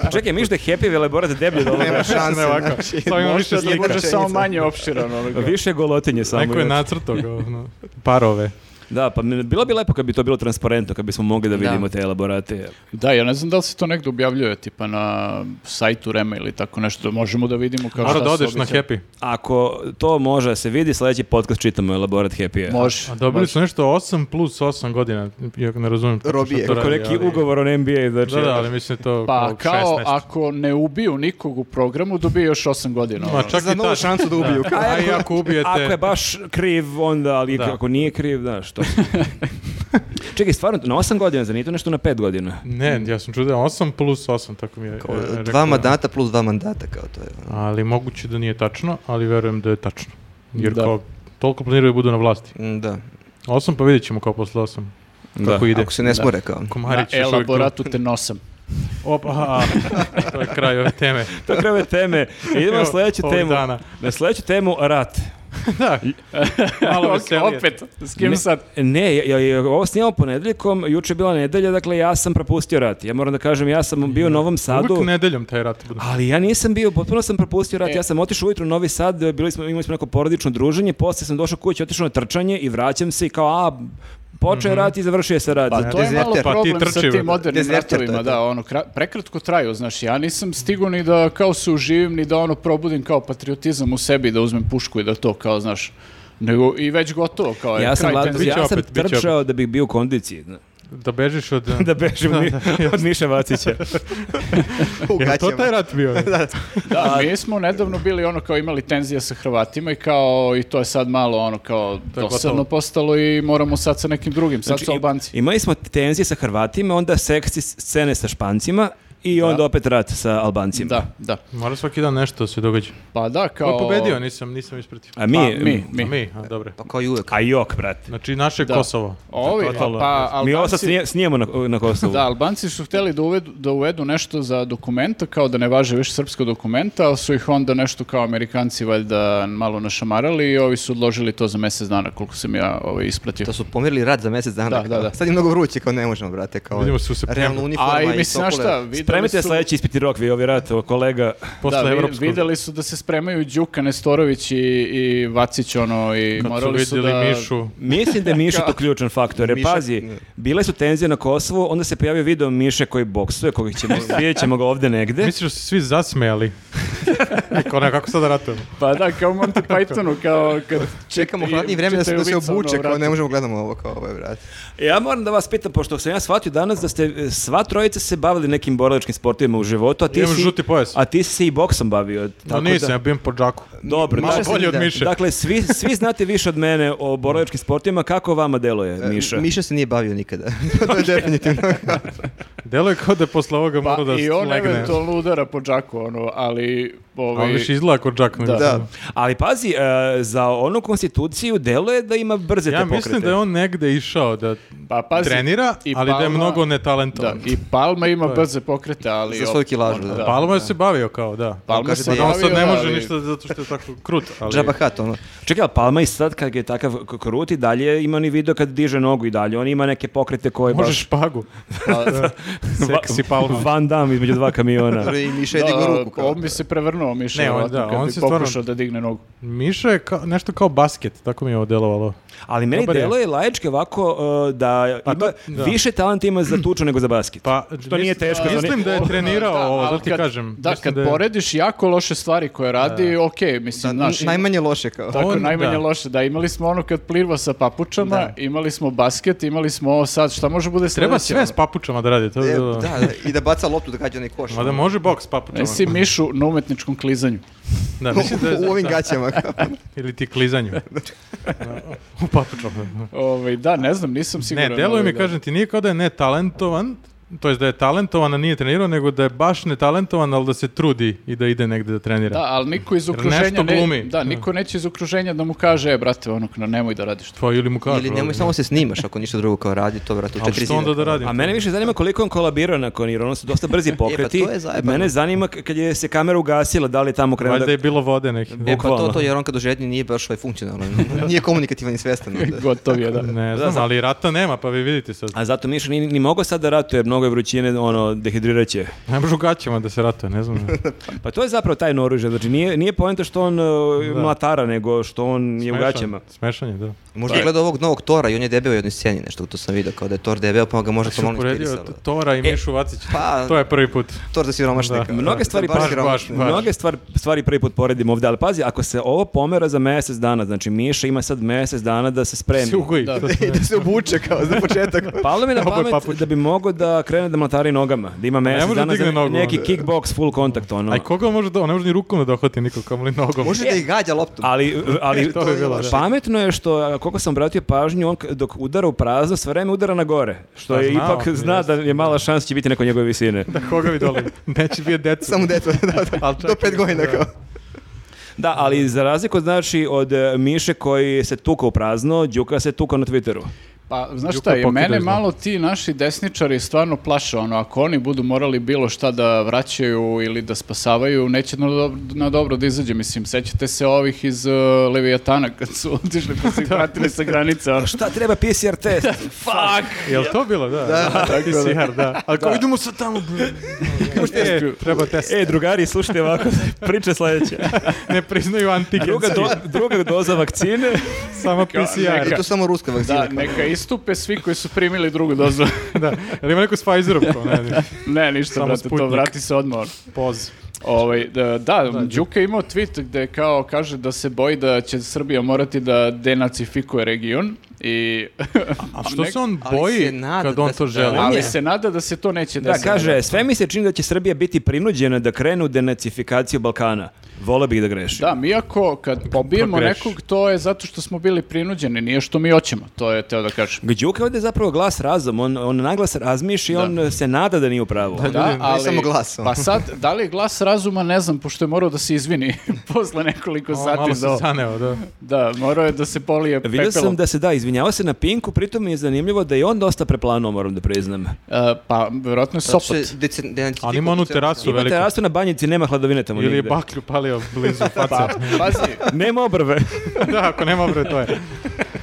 Speaker 2: Pa čekaj, miš da je Happy Veleborad deblje od ovoga.
Speaker 3: Nema šanse.
Speaker 1: Ne, ovako,
Speaker 3: znači,
Speaker 1: samo ima više
Speaker 4: Možda da
Speaker 1: slika.
Speaker 4: bude
Speaker 3: rečenica.
Speaker 4: samo manje opširano. ono, kao.
Speaker 2: Više golotinje samo.
Speaker 1: Neko je
Speaker 2: još.
Speaker 1: nacrtao kao, ono, parove.
Speaker 2: Da, pa mi- bilo bi lepo kad bi to bilo transparentno, kad bismo mogli da vidimo te elaborate.
Speaker 4: Da, ja ne znam da li se to negdje objavljuje, tipa na sajtu Rema ili tako nešto, možemo da vidimo kao
Speaker 1: Mora
Speaker 4: šta
Speaker 1: da
Speaker 4: se
Speaker 1: odeš na
Speaker 4: obećava.
Speaker 1: Happy.
Speaker 2: Ako to može da se vidi, sljedeći podcast čitamo elaborat Happy.
Speaker 4: Može.
Speaker 1: A dobili
Speaker 4: može.
Speaker 1: su nešto 8 plus 8 godina, iako ne razumijem. tačno
Speaker 3: Robije.
Speaker 1: šta to
Speaker 2: Ako
Speaker 1: radi,
Speaker 2: neki
Speaker 1: ali-
Speaker 2: ugovor on NBA, znači...
Speaker 1: Da, da, ali mislim da je to
Speaker 4: Pa
Speaker 1: kao,
Speaker 4: kao
Speaker 1: 16.
Speaker 4: ako ne ubiju nikog u programu, dobije još 8 godina.
Speaker 1: Ma
Speaker 4: ono.
Speaker 1: čak
Speaker 3: Za
Speaker 1: i
Speaker 3: novu
Speaker 1: ta
Speaker 3: šansu da ubiju. kao.
Speaker 1: A i ako ubijete...
Speaker 2: Ako je baš kriv, onda, ali
Speaker 1: Da.
Speaker 2: ako nije kriv, da, što? Čekaj, stvarno, na 8 godina, zar nije to nešto na 5 godina?
Speaker 1: Ne, ja sam čuo da je 8 plus 8, tako mi je
Speaker 3: Kao,
Speaker 1: e, rekao.
Speaker 3: Dva mandata plus dva mandata kao to je.
Speaker 1: Ali moguće da nije tačno, ali verujem da je tačno. Jer
Speaker 4: Da.
Speaker 1: kao, toliko planiraju da budu na vlasti.
Speaker 3: Mm, Da.
Speaker 1: 8 pa vidjet ćemo kao posle 8. Kako ide.
Speaker 3: Ako se ne smore kao.
Speaker 1: Komarić
Speaker 4: na
Speaker 1: još uvijek tu.
Speaker 4: elaboratu te nosam.
Speaker 1: Opa, a, to je kraj ove teme.
Speaker 2: To je kraj ove teme. Idemo na
Speaker 1: Evo,
Speaker 2: sljedeću
Speaker 1: ovih
Speaker 2: temu.
Speaker 1: dana.
Speaker 2: Na sljedeću temu, rat.
Speaker 1: Da, malo veselije.
Speaker 4: Opet, s kim
Speaker 2: Ne.
Speaker 4: sad?
Speaker 2: Ne, ja, ja, ja, ovo snimamo ponedeljkom, juče je bila nedelja, dakle ja sam propustio rat. Ja moram da kažem, ja sam bio u Novom Sadu.
Speaker 1: Uvijek nedeljom taj rat bude.
Speaker 2: Ali ja nisam bio, potpuno sam propustio rat.
Speaker 4: E.
Speaker 2: Ja sam otišao ujutro u Novi Sad, bili smo, imali smo neko porodično druženje, poslije sam došao kući, otišao na trčanje i vraćam se i kao, a, počeo je rat i završio se rat.
Speaker 4: Pa to je malo
Speaker 3: Dezerter.
Speaker 1: Pa ti
Speaker 4: problem sa
Speaker 1: trči,
Speaker 4: tim modernim
Speaker 3: Dezerter, to je
Speaker 4: ratovima,
Speaker 3: to.
Speaker 4: da, ono, kra- prekratko traju, znaš, ja nisam stigao ni da kao se uživim, ni da ono probudim kao patriotizam u sebi, da uzmem pušku i da to kao, znaš, nego i već gotovo, kao je
Speaker 2: ja sam,
Speaker 4: kraj
Speaker 2: la-
Speaker 4: tenzije.
Speaker 1: Biće
Speaker 2: ja sam
Speaker 1: opet, biće
Speaker 2: trčao da bih bio u kondiciji. zna.
Speaker 1: Da bežiš od...
Speaker 2: da bežim ni- od Miše Vacića.
Speaker 3: U
Speaker 1: Je to
Speaker 3: gaćama.
Speaker 1: taj rat bio?
Speaker 4: Da, mi smo nedavno bili ono kao imali tenzija sa Hrvatima i kao i to je sad malo ono kao
Speaker 1: je gotovo. Znači,
Speaker 4: dosadno postalo i moramo sad sa nekim drugim, sad su
Speaker 2: im-
Speaker 4: Albanci.
Speaker 2: Znači, Imali smo tenzije sa Hrvatima, onda seksi scene sa Špancima i onda opet rat sa Albancima.
Speaker 4: Da, da.
Speaker 1: Mora svaki dan nešto se događa.
Speaker 4: Pa da,
Speaker 1: Ko je
Speaker 4: kao...
Speaker 1: pobedio? Nisam, nisam ispratio.
Speaker 2: A mi,
Speaker 4: Pa, mi,
Speaker 1: Mi.
Speaker 4: mi.
Speaker 1: mi? A, dobre.
Speaker 3: Pa kao i uvek.
Speaker 2: A jok, brate.
Speaker 1: Znači, naše
Speaker 4: Da.
Speaker 1: Kosovo.
Speaker 4: Ovi,
Speaker 2: Totalno.
Speaker 4: pa
Speaker 2: mi ovo sad
Speaker 4: Albanci-
Speaker 2: snije- snijemo na, na Kosovu.
Speaker 4: Da, Albanci su hteli da uvedu, da uvedu nešto za dokumenta, kao da ne važe više srpska dokumenta, ali su ih onda nešto kao Amerikanci valjda malo našamarali i ovi su odložili to za mjesec dana, koliko sam ja ovaj, isplatio.
Speaker 3: To su pomerili rad za mjesec dana.
Speaker 4: Da, da, da.
Speaker 3: Sad je mnogo vruće, kao ne možemo, brate. Kao,
Speaker 1: Vidimo se u septembru.
Speaker 3: Realno uniforma
Speaker 4: A i
Speaker 3: i
Speaker 4: mislim, znaš
Speaker 3: sokole.
Speaker 4: šta, videli
Speaker 2: Spremite
Speaker 4: su-
Speaker 2: sljedeći ispiti rok, vi ovi rat, o, kolega.
Speaker 1: Posle
Speaker 4: da, vi-
Speaker 1: evropskog.
Speaker 4: videli su da se spremaju Đuka Nestorović i, i Vacić, ono, i
Speaker 1: Kad su
Speaker 4: morali su
Speaker 1: vidjeli
Speaker 4: da...
Speaker 1: Mišu.
Speaker 2: Mislim da je Miša to ključan faktor, jer
Speaker 3: Miša-
Speaker 2: pazi, bile su tenzije na Kosovu, onda se pojavio video Miše koji boksuje, kojeg ćemo, vidjet ćemo ga ovdje negde.
Speaker 1: Misliš da su se svi zasmejali? Kao ne, kako sad ratujemo?
Speaker 4: Pa da, kao Monty Pythonu, kao kad...
Speaker 3: Čekamo
Speaker 4: čitaju-
Speaker 3: hladnije vreme da se, da se
Speaker 4: čitaju vic, ono,
Speaker 3: obuče, kao
Speaker 4: vrati.
Speaker 3: ne možemo gledamo ovo, kao ovaj ovo, brate.
Speaker 2: Ja moram da vas pitam, pošto sam ja shvatio danas da ste e, sva trojica se bavili nekim borilačkim sportovima u životu, a ti
Speaker 1: Imam
Speaker 2: si...
Speaker 1: žuti pojas.
Speaker 2: A ti si se i boksom bavio.
Speaker 1: No
Speaker 2: tako
Speaker 1: nisam,
Speaker 2: da-
Speaker 1: ja bijem po džaku.
Speaker 2: Dobro,
Speaker 3: Malo
Speaker 1: Malo
Speaker 2: da,
Speaker 3: Miša se
Speaker 1: bolje
Speaker 3: nije
Speaker 1: od
Speaker 3: da-
Speaker 1: Miše.
Speaker 2: dakle, svi, svi znate više od mene o borilačkim sportovima. Kako vama deluje, Miša?
Speaker 3: E, Miša se nije bavio nikada. to je definitivno.
Speaker 1: Delo je kao da je posle ovoga
Speaker 4: Pa
Speaker 1: mora da
Speaker 4: i on
Speaker 1: legne.
Speaker 4: eventualno udara po džaku, ono, ali...
Speaker 1: A on
Speaker 4: Ovaj,
Speaker 1: više izgleda kao džak. nego
Speaker 4: Da.
Speaker 1: samo.
Speaker 2: Ali pazi, e, za onu konstituciju deluje da ima brze te
Speaker 1: Ja
Speaker 2: pokrete.
Speaker 1: mislim da je on negde išao da
Speaker 4: Pa pazi,
Speaker 1: trenira,
Speaker 4: i
Speaker 1: ali da je
Speaker 4: Palma-
Speaker 1: mnogo
Speaker 4: Da,
Speaker 1: netalentovan.
Speaker 4: i Palma ima brze pokrete, ali...
Speaker 3: Za svoju
Speaker 4: op-
Speaker 3: kilažu,
Speaker 4: on-
Speaker 3: da.
Speaker 1: Palma je se bavio kao, pa da.
Speaker 4: Palma
Speaker 3: Kaže
Speaker 4: Pa se
Speaker 3: da je-
Speaker 1: On sad ne
Speaker 4: javio,
Speaker 1: može
Speaker 4: ali-
Speaker 1: ništa zato što je tako krut, ali...
Speaker 3: Džaba hat, ono.
Speaker 2: Čekaj, ali Palma i sad kad je takav k- krut i dalje ima ni video kad diže nogu i dalje. On ima neke pokrete koje
Speaker 1: Može
Speaker 2: baš...
Speaker 1: špagu.
Speaker 4: Pa-
Speaker 1: Seksi
Speaker 2: Va-
Speaker 1: Palma.
Speaker 2: Van Damme između dva kamiona.
Speaker 3: Dobro, I Miša je digao
Speaker 4: Da,
Speaker 3: ruku, kao.
Speaker 4: on bi se prevrnuo Miša,
Speaker 1: Ne, on-
Speaker 4: verovatno,
Speaker 1: da,
Speaker 4: kad
Speaker 1: on
Speaker 4: bi
Speaker 1: se stvarno-
Speaker 4: pokušao da digne nogu.
Speaker 1: Miša je kao, nešto kao basket, tako mi je ovo delovalo.
Speaker 2: Ali meni
Speaker 1: Dobar je.
Speaker 2: deluje laički ovako uh, da
Speaker 1: Pa
Speaker 2: ima
Speaker 1: to- da.
Speaker 2: više talenta ima za tuču nego za basket.
Speaker 1: Pa,
Speaker 2: Što nije teško, to
Speaker 1: Mislim
Speaker 2: nije-
Speaker 1: da je trenirao
Speaker 4: Da,
Speaker 1: ovo,
Speaker 4: ali
Speaker 1: da ti
Speaker 4: kad-
Speaker 1: kažem.
Speaker 4: Da,
Speaker 1: Mislim
Speaker 4: kad
Speaker 1: da je-
Speaker 4: porediš jako loše stvari koje radi, okej,
Speaker 3: Da,
Speaker 4: mislim, znaš, ima-
Speaker 3: najmanje loše, kao.
Speaker 4: Tako,
Speaker 1: On,
Speaker 4: najmanje
Speaker 1: da.
Speaker 4: loše. Da, imali smo ono kad plirva sa papučama, imali smo basket, imali smo ovo sad. Šta može bude sledeće?
Speaker 1: Treba sve
Speaker 4: ono?
Speaker 1: s papučama da radi, to
Speaker 3: E,
Speaker 1: je bilo...
Speaker 3: da, da, i da baca loptu da gađa onaj koš.
Speaker 1: Mada
Speaker 3: ono.
Speaker 1: može boks s papučama.
Speaker 4: Nesi mišu na umetničkom klizanju.
Speaker 1: Da, mislim da je...
Speaker 3: u ovim
Speaker 1: da.
Speaker 3: gaćama. kao.
Speaker 1: Ili ti klizanju. Da, u papučama.
Speaker 4: Ovaj, da, ne znam, nisam
Speaker 1: Ne,
Speaker 4: siguran.
Speaker 1: deluje
Speaker 4: ovaj,
Speaker 1: mi,
Speaker 4: da.
Speaker 1: kažem ti, nije kao da je netalentovan, to jest da je talentovan, a nije trenirao, nego da je baš netalentovan, ali da se trudi i da ide negde da trenira.
Speaker 4: Da, ali niko iz
Speaker 1: Jer
Speaker 4: okruženja
Speaker 1: nešto glumi.
Speaker 4: ne, da, niko neće iz okruženja da mu kaže, e, brate, ono, no, nemoj da radiš to.
Speaker 1: Pa ili mu kažu.
Speaker 3: Ili nemoj samo ono?" se snimaš ako ništa drugo kao radi, to brate u
Speaker 1: Ali
Speaker 3: četiri
Speaker 1: što onda
Speaker 3: zida.
Speaker 1: da radim?
Speaker 2: A mene više zanima koliko je on kolabirao nakon jer ono su dosta brzi pokreti.
Speaker 3: E, pa to je zajebano.
Speaker 2: mene zanima k- kad je se kamera ugasila, da li je tamo krenuo
Speaker 1: Valjda
Speaker 2: da...
Speaker 1: je bilo vode neke.
Speaker 3: E pa to,
Speaker 2: Bukvalno.
Speaker 3: to jer on kad u žednji nije baš ovaj funkcionalno. Nije komunikativan i svestan. onda.
Speaker 4: Gotov je, da.
Speaker 1: Ne znam, ali rata nema, pa vi vidite sad.
Speaker 2: A zato Miša ni, ni mogao sad da ratuje, mnogo je vrućine, ono, dehidrirat će.
Speaker 1: Ne može u gaćama da se ratuje, ne znam.
Speaker 2: Pa to je zapravo tajno oružje, znači nije, nije poenta što on uh, mlatara, nego što on je u
Speaker 1: Smešan-
Speaker 2: gaćama.
Speaker 1: Smešan Pa je, da.
Speaker 3: Možda gleda ovog novog Tora i on je debeo u jednoj sceni, nešto to sam vidio, kao da je Tor debeo, pa ga možda to malo
Speaker 1: Uporedio
Speaker 3: inspirisalo.
Speaker 1: Tora i Mišu Vacića.
Speaker 3: pa-
Speaker 1: E, To je prvi put.
Speaker 3: Tor za siromašnika.
Speaker 1: Da.
Speaker 2: Mnoge stvari,
Speaker 3: baš
Speaker 2: pazi,
Speaker 1: siromašni. baš.
Speaker 2: mnoge stvar, stvari prvi put poredimo ovdje, ali pazi, ako se ovo pomera za mjesec dana, znači Miša ima sad mjesec dana E, da se spremi.
Speaker 1: Se ugoji.
Speaker 4: Da.
Speaker 3: I da se obuče kao za početak.
Speaker 2: Palo mi na
Speaker 1: Ovo je
Speaker 2: pamet
Speaker 1: papuč. Pa
Speaker 2: da bi mogao da krene da mlatari nogama, da ima mjesec
Speaker 1: može da
Speaker 2: dana za
Speaker 1: digne nogu,
Speaker 2: neki
Speaker 1: onda.
Speaker 2: kickbox full kontakt, ono.
Speaker 1: Aj koga može da, on ne može ni rukom da dohvati nikog, kamoli nogom.
Speaker 3: Može da i gađa loptu.
Speaker 2: Ali, ali
Speaker 1: To bi bilo, da.
Speaker 2: pametno je što, a, koliko sam obratio pažnju, on k- dok udara u prazno, sve vreme udara na gore. Što
Speaker 1: Pa
Speaker 2: je
Speaker 1: znao,
Speaker 2: ipak zna da je mala šansa će biti neko njegove visine.
Speaker 1: Da koga vi doli? Neće biti deca.
Speaker 3: Samo deto, da, da,
Speaker 1: Ali
Speaker 3: do
Speaker 1: čekaj,
Speaker 3: pet godina
Speaker 1: da.
Speaker 3: kao.
Speaker 2: Da, ali za razliku znači od e, Miše koji se tuka u prazno, Đuka se tuka na Twitteru.
Speaker 4: Pa, znaš
Speaker 1: Đuka
Speaker 4: šta, je,
Speaker 1: pokidao
Speaker 4: mene
Speaker 1: je znao.
Speaker 4: malo ti naši desničari stvarno plaše, ono, ako oni budu morali bilo šta da vraćaju ili da spasavaju, neće na dobro, na dobro da izađe, mislim, sećate se ovih iz uh, Leviatana kad su otišli pa su ih vratili sa granice,
Speaker 1: Pa
Speaker 4: ono,
Speaker 2: Šta treba PCR test?
Speaker 4: fuck!
Speaker 1: Jel to bilo, da? Da,
Speaker 4: tako da.
Speaker 1: PCR, da. Ali kao idemo sad tamo, bre. E, treba test.
Speaker 2: e, drugari, slušajte ovako, priče sledeće.
Speaker 1: Ne priznaju antigen.
Speaker 2: Druga, do- druga doza vakcine.
Speaker 1: Samo PCR.
Speaker 3: I to samo ruska vakcina.
Speaker 4: Da,
Speaker 3: kao.
Speaker 4: neka istupe svi koji su primili drugu dozu.
Speaker 1: Da. Jel ima neko s Pfizerom? Kao, ne, ne.
Speaker 4: ne, ništa,
Speaker 1: Samo
Speaker 4: brate, to
Speaker 1: Sputnik.
Speaker 4: vrati se odmah. ono.
Speaker 1: Poz.
Speaker 4: Ovaj, da, da, Đuka je imao tweet gde kao kaže da se boji da će Srbija morati da denacifikuje region I,
Speaker 1: A što
Speaker 4: nek-
Speaker 1: se on
Speaker 3: ali
Speaker 1: boji
Speaker 3: se nada
Speaker 1: kad on
Speaker 3: da-
Speaker 1: to želi?
Speaker 3: da-
Speaker 4: ali
Speaker 3: je.
Speaker 4: se nada da se to neće
Speaker 2: Da,
Speaker 4: desiti.
Speaker 2: kaže, sve mi se čini da će Srbija biti prinuđena da krenu denacifikaciju Balkana. Vole bih da grešim.
Speaker 4: Da, mi ako kad pobijemo
Speaker 1: Progreš.
Speaker 4: nekog, to je zato što smo bili prinuđeni, nije što mi hoćemo, to je teo da kažem.
Speaker 2: Gđuka ovdje je zapravo glas razum, on, on naglas razmišlja i on se nada da nije u pravu.
Speaker 3: ne samo glas, ono.
Speaker 4: Pa sad, da li je glas razuma, ne znam, pošto je morao da se izvini posle nekoliko
Speaker 1: O,
Speaker 4: sati
Speaker 1: Ono malo
Speaker 4: za
Speaker 1: se
Speaker 4: ovo.
Speaker 1: saneo, da.
Speaker 4: Da, morao je da se polije
Speaker 2: Vidio
Speaker 4: pepelom.
Speaker 2: sam da se da, izvinjava se na Pinku, pritom mi je zanimljivo da je on dosta preplanuo, moram da priznam.
Speaker 4: E, pa, vjerojatno je
Speaker 3: Zato što je
Speaker 4: Sopot.
Speaker 3: Znači, decen- denaci-
Speaker 1: Ali ima onu terasu
Speaker 2: Ima
Speaker 1: veliku.
Speaker 2: terasu na banjici, nema hladovine tamo
Speaker 1: Ili je
Speaker 2: nigde.
Speaker 1: baklju palio blizu
Speaker 4: Pa,
Speaker 1: faca.
Speaker 4: pazi,
Speaker 2: Nema obrve.
Speaker 1: da, ako nema bre, to je.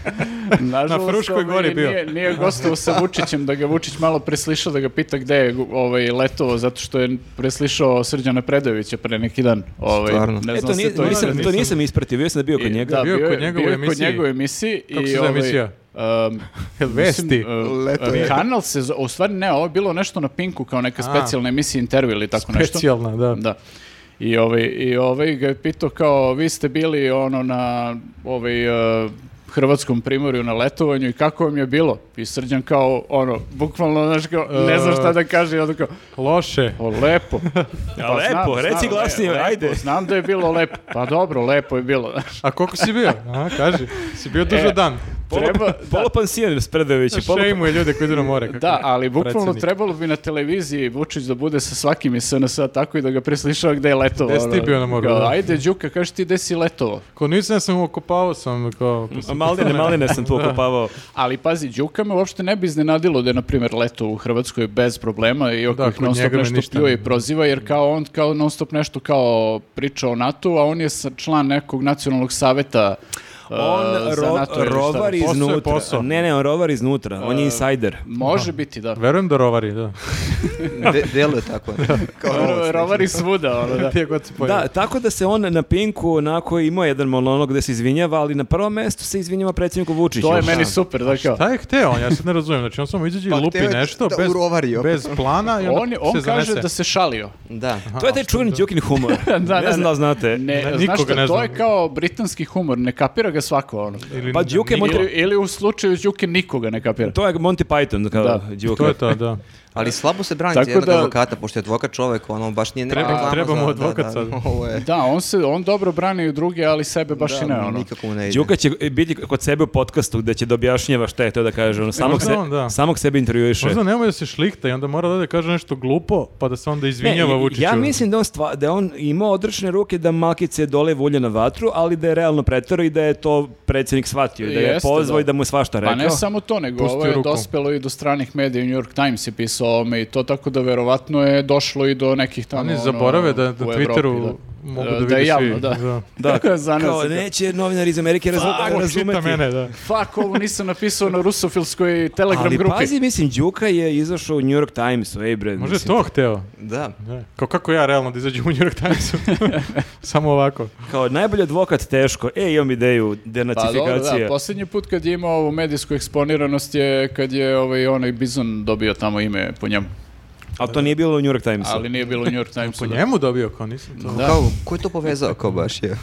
Speaker 4: nažalost,
Speaker 1: Na Fruškoj
Speaker 4: ovaj,
Speaker 1: gori bio.
Speaker 4: Nije, nije gostovao sa Vučićem, da ga Vučić malo preslišao, da ga pita gde je ovaj, letovo, zato što je preslišao Srđana Predojevića pre neki dan. Ovaj,
Speaker 3: Stvarno.
Speaker 4: Ne
Speaker 2: E,
Speaker 4: znam
Speaker 2: to,
Speaker 4: se
Speaker 2: nije,
Speaker 4: to
Speaker 2: to, nisam,
Speaker 1: izgleda,
Speaker 2: to
Speaker 1: nisam-
Speaker 2: nisam ispratio, bio sam da je bio kod
Speaker 4: I-
Speaker 2: njega.
Speaker 4: Da,
Speaker 1: Bio je
Speaker 4: bio
Speaker 1: kod
Speaker 4: je
Speaker 1: njega
Speaker 4: bio
Speaker 1: u
Speaker 4: je kod
Speaker 1: emisiji.
Speaker 4: njega u emisiji.
Speaker 1: Kako
Speaker 4: i,
Speaker 1: se zove
Speaker 4: ovaj,
Speaker 1: emisija?
Speaker 4: um,
Speaker 1: Jel Vesti.
Speaker 4: mislim, uh,
Speaker 3: Leto je.
Speaker 4: Kanal se, zo- u stvari ne, ovo je bilo nešto na Pinku kao neka
Speaker 1: A.
Speaker 4: specijalna emisija intervju ili tako nešto.
Speaker 1: Specijalna, Ono da.
Speaker 4: Da. I ovaj, I ovaj ga je pitao kao, vi ste bili ono na ovaj, e, hrvatskom primorju na letovanju i kako vam je bilo? I Srđan kao, ono, bukvalno, znaš, kao, ne znam šta da kaže, i onda kao,
Speaker 1: Loše.
Speaker 4: o, lepo. Pa
Speaker 2: lepo, reci
Speaker 4: le-
Speaker 2: glasnije,
Speaker 4: lepo,
Speaker 2: ajde.
Speaker 4: Znam da je bilo lepo. Pa dobro, lepo je bilo. znaš.
Speaker 1: A koliko si bio? Aha, kaži. Si bio duže
Speaker 4: E,
Speaker 1: dan.
Speaker 4: Treba, da,
Speaker 2: Polopansijan s Predojevića, polu-
Speaker 1: Šejmuje ljude koji idu na more. kako
Speaker 4: Da, ali bukvalno
Speaker 1: predsjednik.
Speaker 4: trebalo bi na televiziji Vučić da bude sa svakim iz SNS-a tako i da ga preslišava gde je letovo.
Speaker 1: Gde si ti
Speaker 4: ono.
Speaker 1: bio na moru,
Speaker 4: Kao,
Speaker 1: da.
Speaker 4: Ajde, Đuka, kaži ti gde si letovo.
Speaker 1: Ko nisam, ja sam okopao sam. Kao,
Speaker 2: A Maline, maline sam tu okopavao.
Speaker 4: Ali pazi, Đuka me uopšte ne bi iznenadilo da je, na primjer, leto u Hrvatskoj bez problema i oko
Speaker 1: Da,
Speaker 4: ih
Speaker 1: kod
Speaker 4: non stop
Speaker 1: Dakle, njega me
Speaker 4: nešto
Speaker 1: ništa
Speaker 4: pljuje
Speaker 1: ne-
Speaker 4: i proziva, jer kao on kao non stop nešto kao priča o NATO, a on je sa- član nekog nacionalnog saveta uh,
Speaker 2: On
Speaker 4: za
Speaker 2: ro-
Speaker 4: NATO ili šta
Speaker 2: rovar
Speaker 4: već.
Speaker 1: Posao je
Speaker 2: iznutra.
Speaker 1: posao.
Speaker 2: Ne, ne, on rovar iznutra. On je insider.
Speaker 4: Može biti, da.
Speaker 1: Verujem da rovari, da.
Speaker 3: De- deluje tako. ono. Kao
Speaker 4: Ro-
Speaker 3: novac.
Speaker 4: Rovari svuda, ono da.
Speaker 1: Gdje god se pojavi.
Speaker 2: Da, tako da se on na Pinku onako imao jedan monolog gde se izvinjava, ali na prvom mestu se izvinjava predsjedniku Vučiću.
Speaker 4: To je meni super, da kao.
Speaker 1: Šta je hteo on? Ja sad ne razumijem. Znači on samo izađe i
Speaker 3: Pa
Speaker 1: lupi
Speaker 3: hteo je
Speaker 1: nešto
Speaker 3: da
Speaker 1: bez,
Speaker 3: urovari opet.
Speaker 1: bez plana i onda
Speaker 4: On, je- on
Speaker 1: se
Speaker 4: kaže
Speaker 1: zanese.
Speaker 4: da se šalio.
Speaker 3: Da.
Speaker 2: To je taj čuveni Đukin humor.
Speaker 4: Da,
Speaker 2: ne znam
Speaker 4: da, da.
Speaker 2: da li znate.
Speaker 4: Ne,
Speaker 1: Ne,
Speaker 4: znaš
Speaker 1: nikoga
Speaker 4: šta,
Speaker 1: ne
Speaker 4: to
Speaker 1: znam.
Speaker 4: je kao britanski humor, ne kapira ga svako ono.
Speaker 1: Ili-
Speaker 2: Pa Đuke mu-
Speaker 4: Ili, ili u slučaju Đuke nikoga ne kapira.
Speaker 2: To je Monty Python, kao
Speaker 4: Da.
Speaker 2: Đuka.
Speaker 1: To je to, da.
Speaker 3: Ali slabo se brani
Speaker 4: Tako
Speaker 3: za jednog
Speaker 4: da-
Speaker 3: advokata, pošto je advokat čovek, ono, baš nije neka
Speaker 1: Treba-
Speaker 3: reklama
Speaker 1: treba mu
Speaker 3: za-
Speaker 1: advokat
Speaker 3: da, da,
Speaker 1: sad.
Speaker 3: ovo je-
Speaker 4: Da, on se on dobro brani i druge, ali sebe baš i ne
Speaker 3: Da,
Speaker 4: ono.
Speaker 3: nikako mu ne ide.
Speaker 2: Đuka će biti kod sebe u podcastu gde će da objašnjava šta je to da kaže. Ono, samog,
Speaker 1: možda
Speaker 2: se,
Speaker 1: on, da.
Speaker 2: samog sebe intervjuiše.
Speaker 1: Možda nemoj da se šlikta i onda mora da ode kaže nešto glupo, pa da se onda izvinjava
Speaker 2: Ne,
Speaker 1: Vučiću.
Speaker 2: Ja mislim da on, stva, da je on imao odrešene ruke da makice dole vulje na vatru, ali da je realno pretero i da je to predsjednik shvatio, da je
Speaker 4: Jeste,
Speaker 2: pozvao
Speaker 4: da.
Speaker 2: i da mu je svašta rekao.
Speaker 4: Pa ne samo to, nego
Speaker 1: Pustio
Speaker 4: ovo je
Speaker 1: ruku.
Speaker 4: dospelo i do stranih medija, i New York Times je pisao o ovome i to, tako da verovatno je došlo i do nekih tamo...
Speaker 1: Oni
Speaker 4: ono,
Speaker 1: zaborave da na
Speaker 4: u
Speaker 1: Twitteru
Speaker 4: Evropi,
Speaker 1: mogu
Speaker 4: E,
Speaker 1: da
Speaker 4: je
Speaker 1: vide
Speaker 4: javno,
Speaker 1: svi,
Speaker 4: Da, Pa,
Speaker 1: da.
Speaker 4: da. Zaneo
Speaker 2: Kao,
Speaker 4: se ga.
Speaker 2: neće novinar iz Amerike razum,
Speaker 1: Ko
Speaker 2: razumeti.
Speaker 1: Pa, čita mene, da.
Speaker 4: Fuck, ovo nisam napisao na rusofilskoj Telegram
Speaker 2: Ali
Speaker 4: grupi.
Speaker 2: pazi, mislim, Đuka je izašao u New York Times, ej bre.
Speaker 1: Može
Speaker 2: mislim,
Speaker 1: to hteo.
Speaker 3: Da.
Speaker 1: Ne. Kao kako ja realno da izađem u New York Timesu. Samo ovako.
Speaker 2: Kao najbolji advokat teško. E, imam ideju,
Speaker 4: Pa dobro, da,
Speaker 2: denacifikacija.
Speaker 4: posljednji put kad je imao ovu medijsku eksponiranost je kad je ovaj, onaj Bizon dobio tamo ime po njemu,
Speaker 2: Ali to nije bilo u New York Timesu.
Speaker 4: ali nije bilo u New York Timesu.
Speaker 1: Po
Speaker 4: da.
Speaker 1: njemu dobio, kao nisam to.
Speaker 4: Da.
Speaker 3: Kao, ko je to povezao, kao baš je?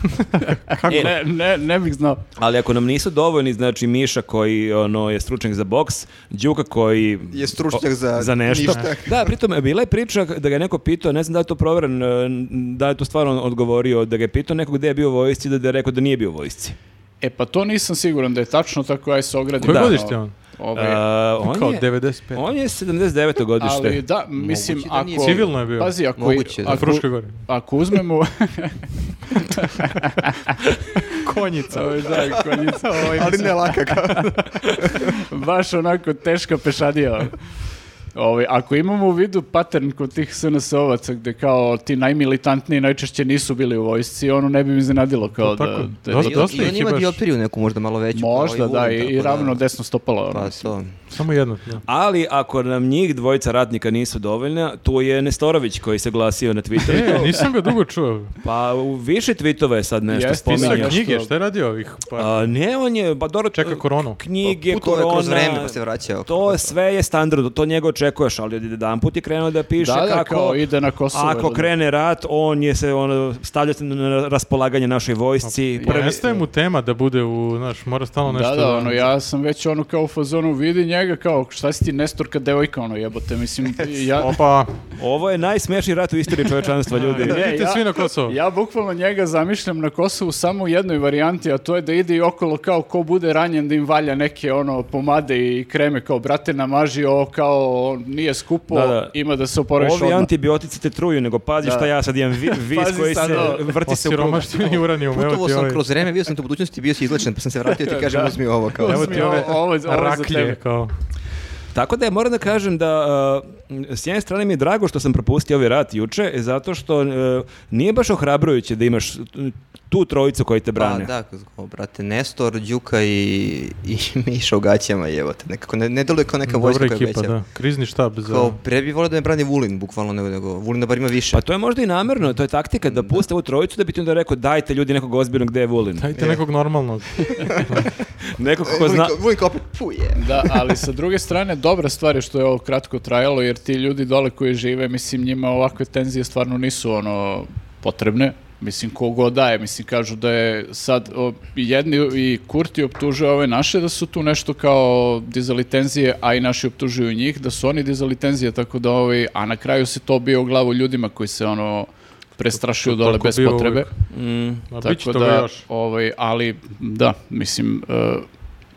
Speaker 4: E, Ne, ne, ne bih znao.
Speaker 2: Ali ako nam nisu dovoljni, znači Miša koji ono, je stručnjak za boks, Đuka koji...
Speaker 3: Je stručnjak za
Speaker 2: nešto.
Speaker 3: ništa.
Speaker 2: Da, pritom bila je priča da ga je neko pitao, ne znam da li je to proveren, e, da je to stvarno odgovorio, da ga je pitao nekog gde je bio u vojsci, da je rekao da nije bio u vojsci.
Speaker 4: E pa to nisam siguran da je tačno tako, aj se ogradim.
Speaker 1: Koje
Speaker 4: Da.
Speaker 1: godište je on?
Speaker 4: Ovaj,
Speaker 2: A,
Speaker 1: Kao
Speaker 2: E, on, je,
Speaker 1: 95.
Speaker 2: on je 79. godište.
Speaker 4: Ali da, mislim,
Speaker 3: da nije
Speaker 4: ako...
Speaker 1: Civilno je bio.
Speaker 4: Pazi, ako,
Speaker 3: Moguće, da.
Speaker 1: Na
Speaker 4: ako,
Speaker 1: Fruškoj gori.
Speaker 4: ako uzmemo...
Speaker 1: Konjica.
Speaker 4: Ovo je Ovaj, da, konjica, ovo je-
Speaker 3: Ali ne laka kao.
Speaker 4: baš onako teška pešadija. Ovaj, ako imamo u vidu pattern kod tih SNS-ovaca gde kao ti najmilitantniji najčešće nisu bili u vojsci, ono ne bi mi iznenadilo kao
Speaker 1: To
Speaker 4: da...
Speaker 1: tako,
Speaker 4: da-
Speaker 1: dosta-
Speaker 3: I on,
Speaker 1: dosta
Speaker 3: i on
Speaker 1: ih je
Speaker 3: ima
Speaker 1: baš-
Speaker 3: dioptriju neku možda malo veću. kao
Speaker 4: Možda,
Speaker 3: Vulin,
Speaker 4: da, i,
Speaker 3: tako
Speaker 4: i
Speaker 3: da.
Speaker 4: ravno desno stopalo. ono.
Speaker 3: Pa to.
Speaker 1: Samo jedno. Da.
Speaker 2: Ali ako nam njih dvojica ratnika nisu dovoljna, tu je Nestorović koji se glasio na Twitteru.
Speaker 1: E, nisam ga dugo čuo.
Speaker 2: pa u više tweetova je sad nešto
Speaker 4: Jeste,
Speaker 1: Pisao je
Speaker 2: spominjao.
Speaker 4: Nešto.
Speaker 1: knjige, šta je radio ovih? Pa,
Speaker 2: A, ne, on je, pa dobro,
Speaker 1: čeka koronu.
Speaker 2: knjige,
Speaker 3: Putovao je
Speaker 2: korona,
Speaker 3: kroz vreme, pa se vraćao.
Speaker 2: to sve je standard, to njegov očekuješ, ali od jedan put je krenuo da piše
Speaker 4: Da, da,
Speaker 2: kako...
Speaker 4: kao ide na Kosovo,
Speaker 2: Ako
Speaker 4: da, da.
Speaker 2: krene rat, on je se ono, stavlja se na raspolaganje našoj vojsci.
Speaker 1: Pa nestaje mu tema da bude u, znaš, mora stalno
Speaker 2: Pa
Speaker 1: nešto...
Speaker 4: Da, da, ono, ja sam već ono kao u fazonu vidi njega kao, šta si ti Nestorka devojka, ono jebote, mislim, ja...
Speaker 1: Opa,
Speaker 2: Ovo je najsmešniji rat u istoriji čovečanstva, ljudi.
Speaker 4: Ne,
Speaker 1: idite
Speaker 4: ja-
Speaker 1: svi na Kosovo.
Speaker 4: Ja bukvalno njega zamišljam na Kosovu samo u jednoj varijanti, a to je da ide i okolo kao ko bude ranjen da im valja neke ono pomade i kreme kao brate namaži ovo kao nije skupo,
Speaker 2: Da, da.
Speaker 4: ima da se oporaviš
Speaker 2: Ovi
Speaker 4: odmah.
Speaker 2: antibiotici te truju, nego pazi
Speaker 4: Da.
Speaker 2: šta ja sad imam vi, vis
Speaker 4: Pazi
Speaker 2: koji
Speaker 4: sad
Speaker 2: se
Speaker 4: ovo.
Speaker 2: vrti se u krug.
Speaker 1: Osiromašteni uranijum, evo
Speaker 3: Putovo
Speaker 1: ti
Speaker 3: sam
Speaker 1: ovaj.
Speaker 3: kroz vreme, bio sam tu u budućnosti, bio si izlečen, pa sam se vratio i ti kažem uzmi ovo kao.
Speaker 1: Evo ti
Speaker 4: Uzmi
Speaker 1: ove
Speaker 4: ovo- ovo je za
Speaker 1: raklje,
Speaker 4: tebe.
Speaker 1: kao.
Speaker 2: Tako da je, moram da kažem da uh, s jedne strane mi je drago što sam propustio ovaj rat juče, zato što uh, nije baš ohrabrujuće da imaš tu trojicu koji te
Speaker 3: Pa
Speaker 2: brane.
Speaker 3: da, kao, brate, Nestor, Đuka i, i Miša u gaćama, jebote, nekako, ne, ne deluje kao neka
Speaker 1: Dobra
Speaker 3: vojska koja je
Speaker 1: ekipa,
Speaker 3: veća.
Speaker 1: da. Krizni štab za...
Speaker 3: Kao, pre bi volio da me brani Vulin, bukvalno, nego, nego Vulin da bar ima više.
Speaker 2: Pa to je možda i namerno, to je taktika da puste ovu trojicu da bi ti onda rekao dajte ljudi nekog ozbiljnog gde je Vulin.
Speaker 1: Dajte nekog normalnog.
Speaker 2: Nekog ko
Speaker 3: Vulin,
Speaker 2: zna...
Speaker 3: kao- Vulin kao opet, puje.
Speaker 4: Da, ali sa druge strane, dobra stvar je što je ovo kratko trajalo, jer ti ljudi dole koji žive, mislim, njima ovakve tenzije stvarno nisu ono potrebne. Mislim, kogo daje, mislim, kažu da je sad, o, i jedni i Kurti optužuju ove naše da su tu nešto kao dizali tenzije, a i naši optužuju njih da su oni dizali tenzije, tako da ovi, a na kraju se to bio u glavu ljudima koji se ono prestrašuju dole
Speaker 1: Tako
Speaker 4: bez
Speaker 1: bio
Speaker 4: potrebe.
Speaker 1: uvijek.
Speaker 2: Mm.
Speaker 1: A bit će
Speaker 4: Tako
Speaker 1: toga
Speaker 4: da,
Speaker 1: još.
Speaker 4: ovaj, ali da, mislim, e,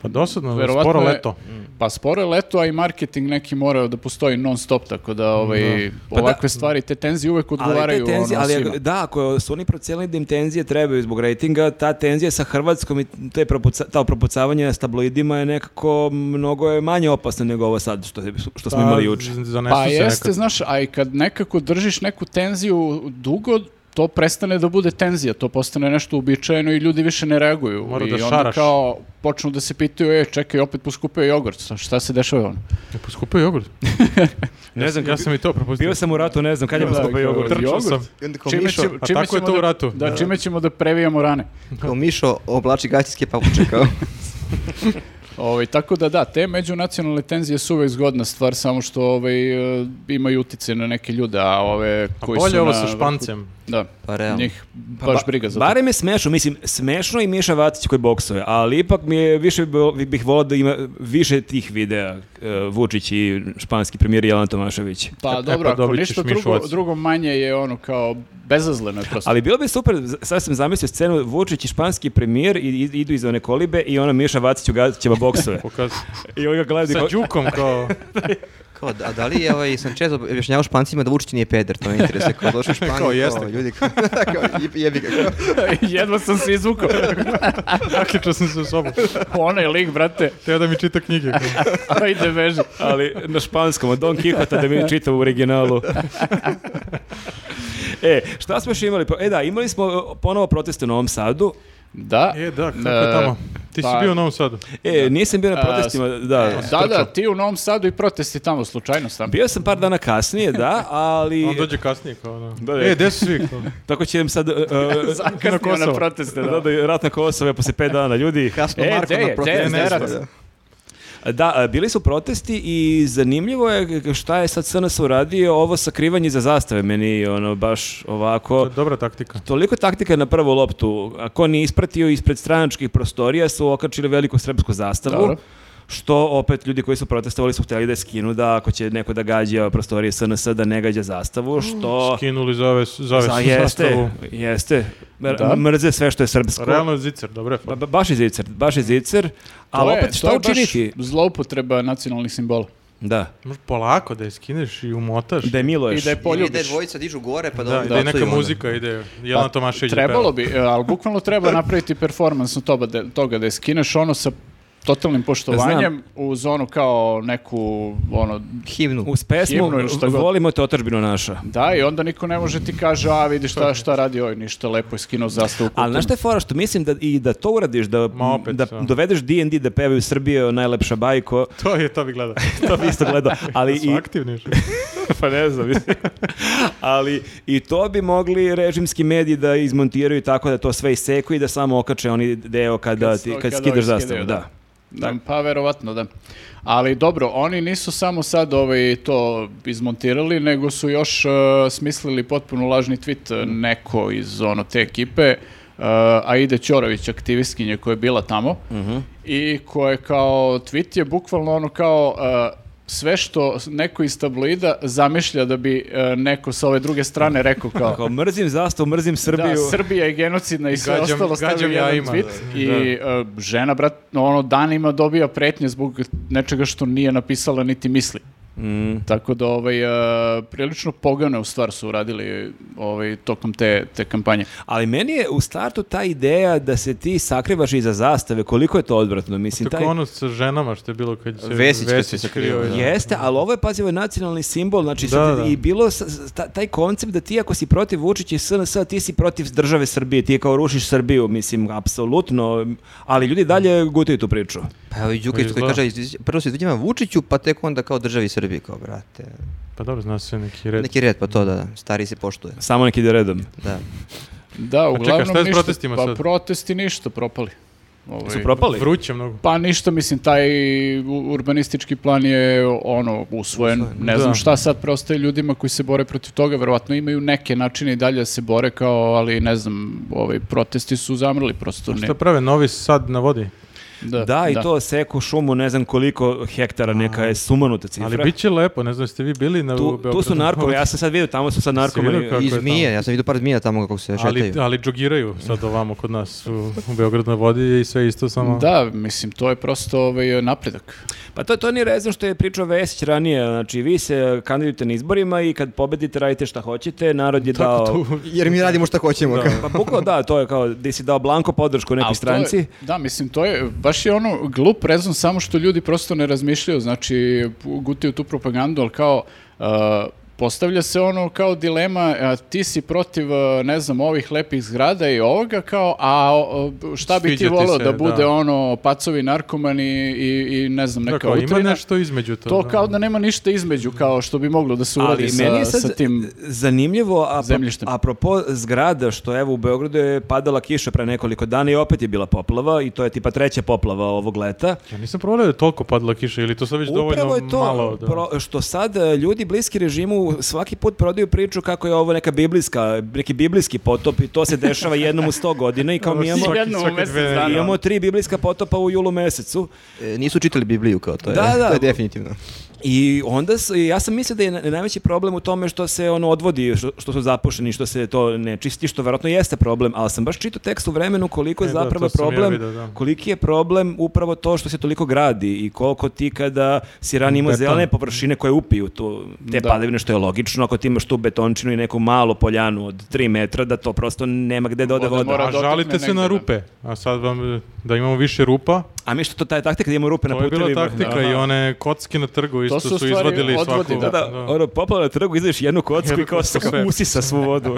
Speaker 1: Pa dosadno,
Speaker 4: Verovatno
Speaker 1: sporo
Speaker 4: je-
Speaker 1: leto.
Speaker 4: Pa sporo je leto, a i marketing neki mora da postoji non stop, tako da ovaj,
Speaker 2: da-
Speaker 4: ovakve stvari, te tenzije uvek
Speaker 2: Ali
Speaker 4: odgovaraju
Speaker 2: te tenzije,
Speaker 4: ono,
Speaker 2: ali
Speaker 4: svima.
Speaker 2: ako- da, ako su oni procijenili da im tenzije trebaju zbog rejtinga, ta tenzija sa Hrvatskom i te propuca, ta propucavanje s tabloidima je nekako mnogo je manje opasno nego ovo sad što, što smo
Speaker 1: Pa,
Speaker 2: imali juče.
Speaker 1: z- zanesu
Speaker 4: Pa
Speaker 1: se
Speaker 4: jeste,
Speaker 1: nekad.
Speaker 4: znaš, a i kad nekako držiš neku tenziju dugo, to prestane da bude tenzija, to postane nešto uobičajeno i ljudi više ne reaguju.
Speaker 1: Mora
Speaker 4: I
Speaker 1: da
Speaker 4: onda
Speaker 1: šaraš.
Speaker 4: kao počnu da se pitaju, e, čekaj, opet poskupio jogurt, šta- šta se dešava ono?
Speaker 1: E, Poskupio jogurt.
Speaker 2: Ne znam,
Speaker 1: Ja
Speaker 2: kad-
Speaker 1: sam i to propustio.
Speaker 2: bio sam u ratu, ne znam, kad je
Speaker 4: Da,
Speaker 2: poskupio
Speaker 4: kao-
Speaker 2: jogurt.
Speaker 1: Trčao
Speaker 4: Jogurt?
Speaker 1: sam.
Speaker 3: I onda kao
Speaker 4: Čime
Speaker 3: Mišo,
Speaker 4: će-
Speaker 1: A
Speaker 4: čime
Speaker 1: pa tako je
Speaker 4: ćemo
Speaker 1: to u
Speaker 4: da-
Speaker 1: ratu.
Speaker 4: Da, čime ćemo da previjamo rane.
Speaker 3: kao Mišo oblači gaćinske papuče kao.
Speaker 4: Ovaj, tako da da, te međunacionalne tenzije su uvek zgodna stvar, samo što ovaj, e, imaju utice na neke ljude, a ove
Speaker 1: A
Speaker 4: koji
Speaker 1: Pa bolje
Speaker 4: su
Speaker 1: ovo
Speaker 4: na
Speaker 1: sa
Speaker 4: vrhu-
Speaker 1: špancem.
Speaker 4: Da,
Speaker 3: Pa realno.
Speaker 4: njih baš
Speaker 2: Ba-
Speaker 4: briga za to.
Speaker 2: Barem je smešno, mislim, smešno je i Miša Vacić koji boksuje, ali ipak mi je više bi- bih volao da ima više tih videa e, Vučić i španski premijer Jelan Tomašević.
Speaker 4: Pa
Speaker 1: E,
Speaker 4: dobro,
Speaker 1: pa
Speaker 4: ako
Speaker 1: dobit ćeš
Speaker 4: ništa
Speaker 1: Mišu
Speaker 4: drugo,
Speaker 1: Vacić.
Speaker 4: drugo manje je ono kao bezazleno je prosto.
Speaker 2: Ali bilo bi super, z- sad sam zamislio scenu, Vučić i španski premijer i, i- idu iz one kolibe i ona Miša Vacić u gaćama boksove.
Speaker 1: Pokaz...
Speaker 2: I on ga gleda i
Speaker 1: Sa
Speaker 2: kao-
Speaker 1: đukom kao...
Speaker 3: Kao, a da li je ovaj, sam često objašnjavao špancima da Vučić nije peder, to me interese, kao došao u Španiju,
Speaker 1: Kao,
Speaker 3: kao,
Speaker 1: jeste.
Speaker 3: ljudi, kao, kao, je- jebi ga, kao.
Speaker 4: Jedva sam se izvukao.
Speaker 1: Zaključao sam se u sobu.
Speaker 4: Onaj lik, brate,
Speaker 1: Teo da mi čita knjige. kao.
Speaker 4: ajde beži.
Speaker 2: ali na španskom, od Don Quixota da mi čitam u originalu. e, šta smo još imali? Pa, E da, imali smo e, ponovo proteste u Novom Sadu.
Speaker 4: Da.
Speaker 1: E, da, kako je
Speaker 4: e,
Speaker 1: tamo? Ti si
Speaker 4: pa-
Speaker 1: bio u Novom Sadu.
Speaker 2: E, nisam bio na
Speaker 4: A, e,
Speaker 2: protestima, da.
Speaker 4: Da, da, ti u Novom Sadu i protesti tamo, slučajno sam.
Speaker 2: Bio sam par dana kasnije, da, ali...
Speaker 1: On dođe kasnije kao ono.
Speaker 2: Da, da.
Speaker 1: E, gde su svi? Kao?
Speaker 2: Tako će im sad... e, e,
Speaker 4: Zakasnio na,
Speaker 1: Kosovo.
Speaker 4: proteste, da.
Speaker 2: da, da, je rat na Kosovo je posle pet dana, ljudi.
Speaker 3: Kasno
Speaker 4: E,
Speaker 3: Marko
Speaker 4: gde je,
Speaker 3: na
Speaker 4: gde je,
Speaker 3: protest.
Speaker 1: gde je rat?
Speaker 3: da.
Speaker 2: Da, e, bili su protesti i zanimljivo je šta je sad SNS uradio, ovo sakrivanje za zastave meni, ono, baš
Speaker 1: To
Speaker 2: ovako...
Speaker 1: je dobra taktika.
Speaker 2: Toliko taktika na prvu loptu. Ako nije ispratio ispred stranačkih prostorija su okačili veliku srpsku zastavu.
Speaker 4: Dobro.
Speaker 2: Što opet ljudi koji su protestovali su htjeli da je skinu da ako će neko da gađa prostorije SNS da ne gađa zastavu, što
Speaker 1: Skinuli zove, zove
Speaker 2: za jeste,
Speaker 1: sastavu.
Speaker 2: jeste. Mer-
Speaker 4: Da.
Speaker 2: Mrze sve što je srpsko.
Speaker 1: Realno je zicer, dobro je. pa-
Speaker 2: Ba- ba- baš je zicer, baš je zicer.
Speaker 4: To
Speaker 2: Ali
Speaker 4: je-
Speaker 2: opet,
Speaker 4: to
Speaker 2: šta
Speaker 4: je baš
Speaker 2: učiniti?
Speaker 4: Zloupotreba nacionalnih simbola.
Speaker 2: Da.
Speaker 1: Možeš polako da je skineš i umotaš.
Speaker 2: Da je Miloš.
Speaker 4: I da je
Speaker 3: Poljubiš. I da
Speaker 4: poljubiš.
Speaker 3: dvojica dižu gore, pa da,
Speaker 1: Da,
Speaker 3: ovi
Speaker 1: da, i neka
Speaker 3: bacuju onda.
Speaker 1: muzika ide.
Speaker 2: Pa
Speaker 1: Jelena Tomašević je
Speaker 4: Pa Trebalo
Speaker 1: pevala.
Speaker 4: bi, e, ali bukvalno treba napraviti performans od toga, da- toga da je skineš ono sa totalnim poštovanjem uz onu kao neku ono
Speaker 3: Himnu.
Speaker 2: Uz pesmu
Speaker 4: Himnu ili šta god.
Speaker 2: volimo te otadžbinu naša.
Speaker 4: da i onda niko ne može ti kaže a vidi šta šta radi ovaj ništa lepo je skinuo zastavu
Speaker 2: Ali znaš šta je fora što mislim da i da to uradiš, da,
Speaker 1: Ma opet,
Speaker 2: da
Speaker 1: da.
Speaker 2: dovedeš D&D da pevaju Srbije najlepša bajko,
Speaker 1: To je, to bi gledao.
Speaker 2: to bi isto gledao, ali
Speaker 1: Su
Speaker 2: i,
Speaker 1: aktivni.
Speaker 2: pa ne znam, mislim. ali i to bi mogli režimski mediji da izmontiraju tako da to sve iseku i da samo okače oni deo kada,
Speaker 4: Kad-
Speaker 2: ti, kad,
Speaker 4: kada
Speaker 2: skidaš
Speaker 4: ovi
Speaker 2: zastavu,
Speaker 4: skidaju,
Speaker 2: da.
Speaker 4: da. Da, pa verovatno da. Ali dobro, oni nisu samo sad ovaj, to izmontirali, nego su još e, smislili potpuno lažni tweet e, neko iz ono, te ekipe, e, Aide Ćorović, aktivistkinje koja je bila tamo, i koja je kao tweet je bukvalno ono kao... e, sve što neko iz tabloida zamišlja da bi e, neko sa ove druge strane rekao kao
Speaker 2: Kao mrzim zastavu, mrzim Srbiju.
Speaker 4: da, Srbija je genocidna i sve
Speaker 1: Gađam-
Speaker 4: ostalo
Speaker 1: gađam
Speaker 4: stavio jedan
Speaker 1: jajima,
Speaker 4: tweet
Speaker 1: da.
Speaker 4: i e, žena, brat, ono, danima dobija pretnje zbog nečega što nije napisala niti misli.
Speaker 2: Mm.
Speaker 4: Tako da, ovaj, e, prilično pogane u stvar su uradili ovaj, tokom te, te kampanje.
Speaker 2: Ali meni je u startu ta ideja da se ti sakrivaš iza zastave, koliko je to odvratno. Mislim,
Speaker 1: Tako
Speaker 2: taj...
Speaker 1: ono sa ženama što je bilo kad se
Speaker 3: Vesić kad se sakrio,
Speaker 1: krio,
Speaker 3: da.
Speaker 1: da.
Speaker 2: Jeste, ali ovo je, pazi, ovo je nacionalni simbol, znači,
Speaker 1: Da,
Speaker 2: sad
Speaker 1: da.
Speaker 2: i bilo s- s- ta- taj koncept da ti ako si protiv Vučića i SNS, ti si protiv države Srbije, ti kao rušiš Srbiju, mislim, apsolutno, ali ljudi dalje gutaju tu priču.
Speaker 3: Pa evo i Đukić koji
Speaker 1: izgleda.
Speaker 3: kaže, iz- prvo se izvinjava Vučiću, pa tek onda kao državi Srbiji, kao brate.
Speaker 1: Pa dobro, zna se neki red.
Speaker 3: Neki red, pa to da, da, stari se poštuje.
Speaker 2: Samo neki ide redom.
Speaker 3: Da.
Speaker 4: Da,
Speaker 1: čekaj,
Speaker 4: uglavnom
Speaker 1: šta je s
Speaker 4: ništa-
Speaker 1: protestima
Speaker 4: pa
Speaker 1: sad?
Speaker 4: protesti ništa, propali. Ovaj,
Speaker 2: Su propali?
Speaker 1: Vruće mnogo.
Speaker 4: Pa ništa, mislim, taj u- urbanistički plan je ono usvojen. Ne znam
Speaker 1: Da.
Speaker 4: šta sad preostaje ljudima koji se bore protiv toga, verovatno imaju neke načine i dalje da se bore kao, ali ne znam, ovaj, protesti su zamrli prosto. Ne,
Speaker 1: Šta prave, novi sad na vodi?
Speaker 4: da,
Speaker 2: Da, i
Speaker 4: da.
Speaker 2: to seku šumu, ne znam koliko hektara, neka je sumanuta cifra.
Speaker 1: Ali bit će lepo, ne znam, ste vi bili na u
Speaker 2: tu, tu
Speaker 1: Beogradu
Speaker 2: su
Speaker 1: na
Speaker 2: narkovi,
Speaker 1: vodi?
Speaker 2: ja sam sad vidio, tamo su sad narkomani.
Speaker 1: vidio kako-
Speaker 3: I
Speaker 1: je tamo?
Speaker 3: zmije, ja sam vidio par zmija tamo kako se
Speaker 1: Ali,
Speaker 3: šetaju.
Speaker 1: ali džogiraju sad ovamo kod nas u, u Beogradu na vodi i sve isto samo...
Speaker 4: Da, mislim, to je prosto ovaj, napredak.
Speaker 2: Pa to, to nije rezon što je pričao Vesić ranije, znači vi se kandidujete na izborima i kad pobedite radite šta hoćete, narod je dao...
Speaker 3: Jer mi radimo šta hoćemo. kao.
Speaker 2: Pa bukvalo da, to je kao da si dao blanko podršku nekoj
Speaker 4: Al to je-
Speaker 2: stranci.
Speaker 4: da, mislim, to je, baš je ono glup rezon, samo što ljudi prosto ne razmišljaju, znači, gutaju tu propagandu, ali kao, uh, postavlja se ono kao dilema, a, ti si protiv, uh, ne znam, ovih lepih zgrada i ovoga, kao, a o, o, šta bi
Speaker 1: Sviđa
Speaker 4: ti
Speaker 1: ti
Speaker 4: voleo
Speaker 1: se,
Speaker 4: da bude
Speaker 1: da.
Speaker 4: ono pacovi, narkomani i, i ne znam, neka
Speaker 1: Dakle, ima
Speaker 4: utrina.
Speaker 1: nešto između to.
Speaker 4: To
Speaker 1: da.
Speaker 4: kao da nema ništa između, kao što bi moglo da se uradi sa, sa tim.
Speaker 2: zanimljivo, a,
Speaker 4: zemljištem.
Speaker 2: apropo zgrada, što evo u Beogradu je padala kiša pre nekoliko dana i opet je bila poplava i to je tipa treća poplava ovog leta.
Speaker 1: Ja nisam provalio da je toliko padla kiša ili to sad već
Speaker 2: Upravo
Speaker 1: Znači, dovoljno
Speaker 2: je to
Speaker 1: malo. Da.
Speaker 2: pro- što sad e, ljudi bliski režimu svaki put prodaju priču kako je ovo neka biblijska, neki biblijski potop i to se dešava jednom u sto godina i kao mi imamo,
Speaker 1: Svaki-
Speaker 4: Jednom u
Speaker 1: svaki
Speaker 4: mesec
Speaker 1: dve-
Speaker 4: dana.
Speaker 2: imamo tri biblijska potopa u julu mesecu.
Speaker 3: E, Nisu čitali Bibliju kao to je.
Speaker 2: Da, da.
Speaker 3: To je definitivno.
Speaker 2: I onda, s- ja sam mislio da je na- najveći problem u tome što se ono odvodi, što, što su zapušeni, što se to ne čisti, što verovatno jeste problem, ali sam baš čitao tekst u vremenu koliko je
Speaker 1: E, da,
Speaker 2: zapravo
Speaker 1: to sam ja
Speaker 2: problem,
Speaker 1: vidio, da.
Speaker 2: koliki je problem upravo to što se toliko gradi i koliko ti kada si ranije imao
Speaker 1: Beton.
Speaker 2: zelene površine koje upiju tu, te
Speaker 4: Da.
Speaker 2: padavine, što je logično, ako ti imaš tu betončinu i neku malu poljanu od 3 metra, da to prosto nema gde da ode
Speaker 4: Voda
Speaker 2: voda.
Speaker 4: mora-
Speaker 1: A
Speaker 4: dotakne
Speaker 1: žalite se na
Speaker 4: negde, da.
Speaker 1: rupe. A sad vam, e, da imamo više rupa,
Speaker 2: A mi što to taj taktika da imamo rupe na
Speaker 1: to je bila
Speaker 2: putevima.
Speaker 1: taktika i one kocke na trgu isto
Speaker 4: su
Speaker 1: su,
Speaker 4: u stvari
Speaker 1: izvadili
Speaker 4: odvodi,
Speaker 1: svaku.
Speaker 2: Da, da, ono, popala na trgu, izdeš jednu kocku i
Speaker 1: Jednu
Speaker 2: kao
Speaker 1: kocku
Speaker 2: tako
Speaker 1: sve.
Speaker 2: usisa svu vodu.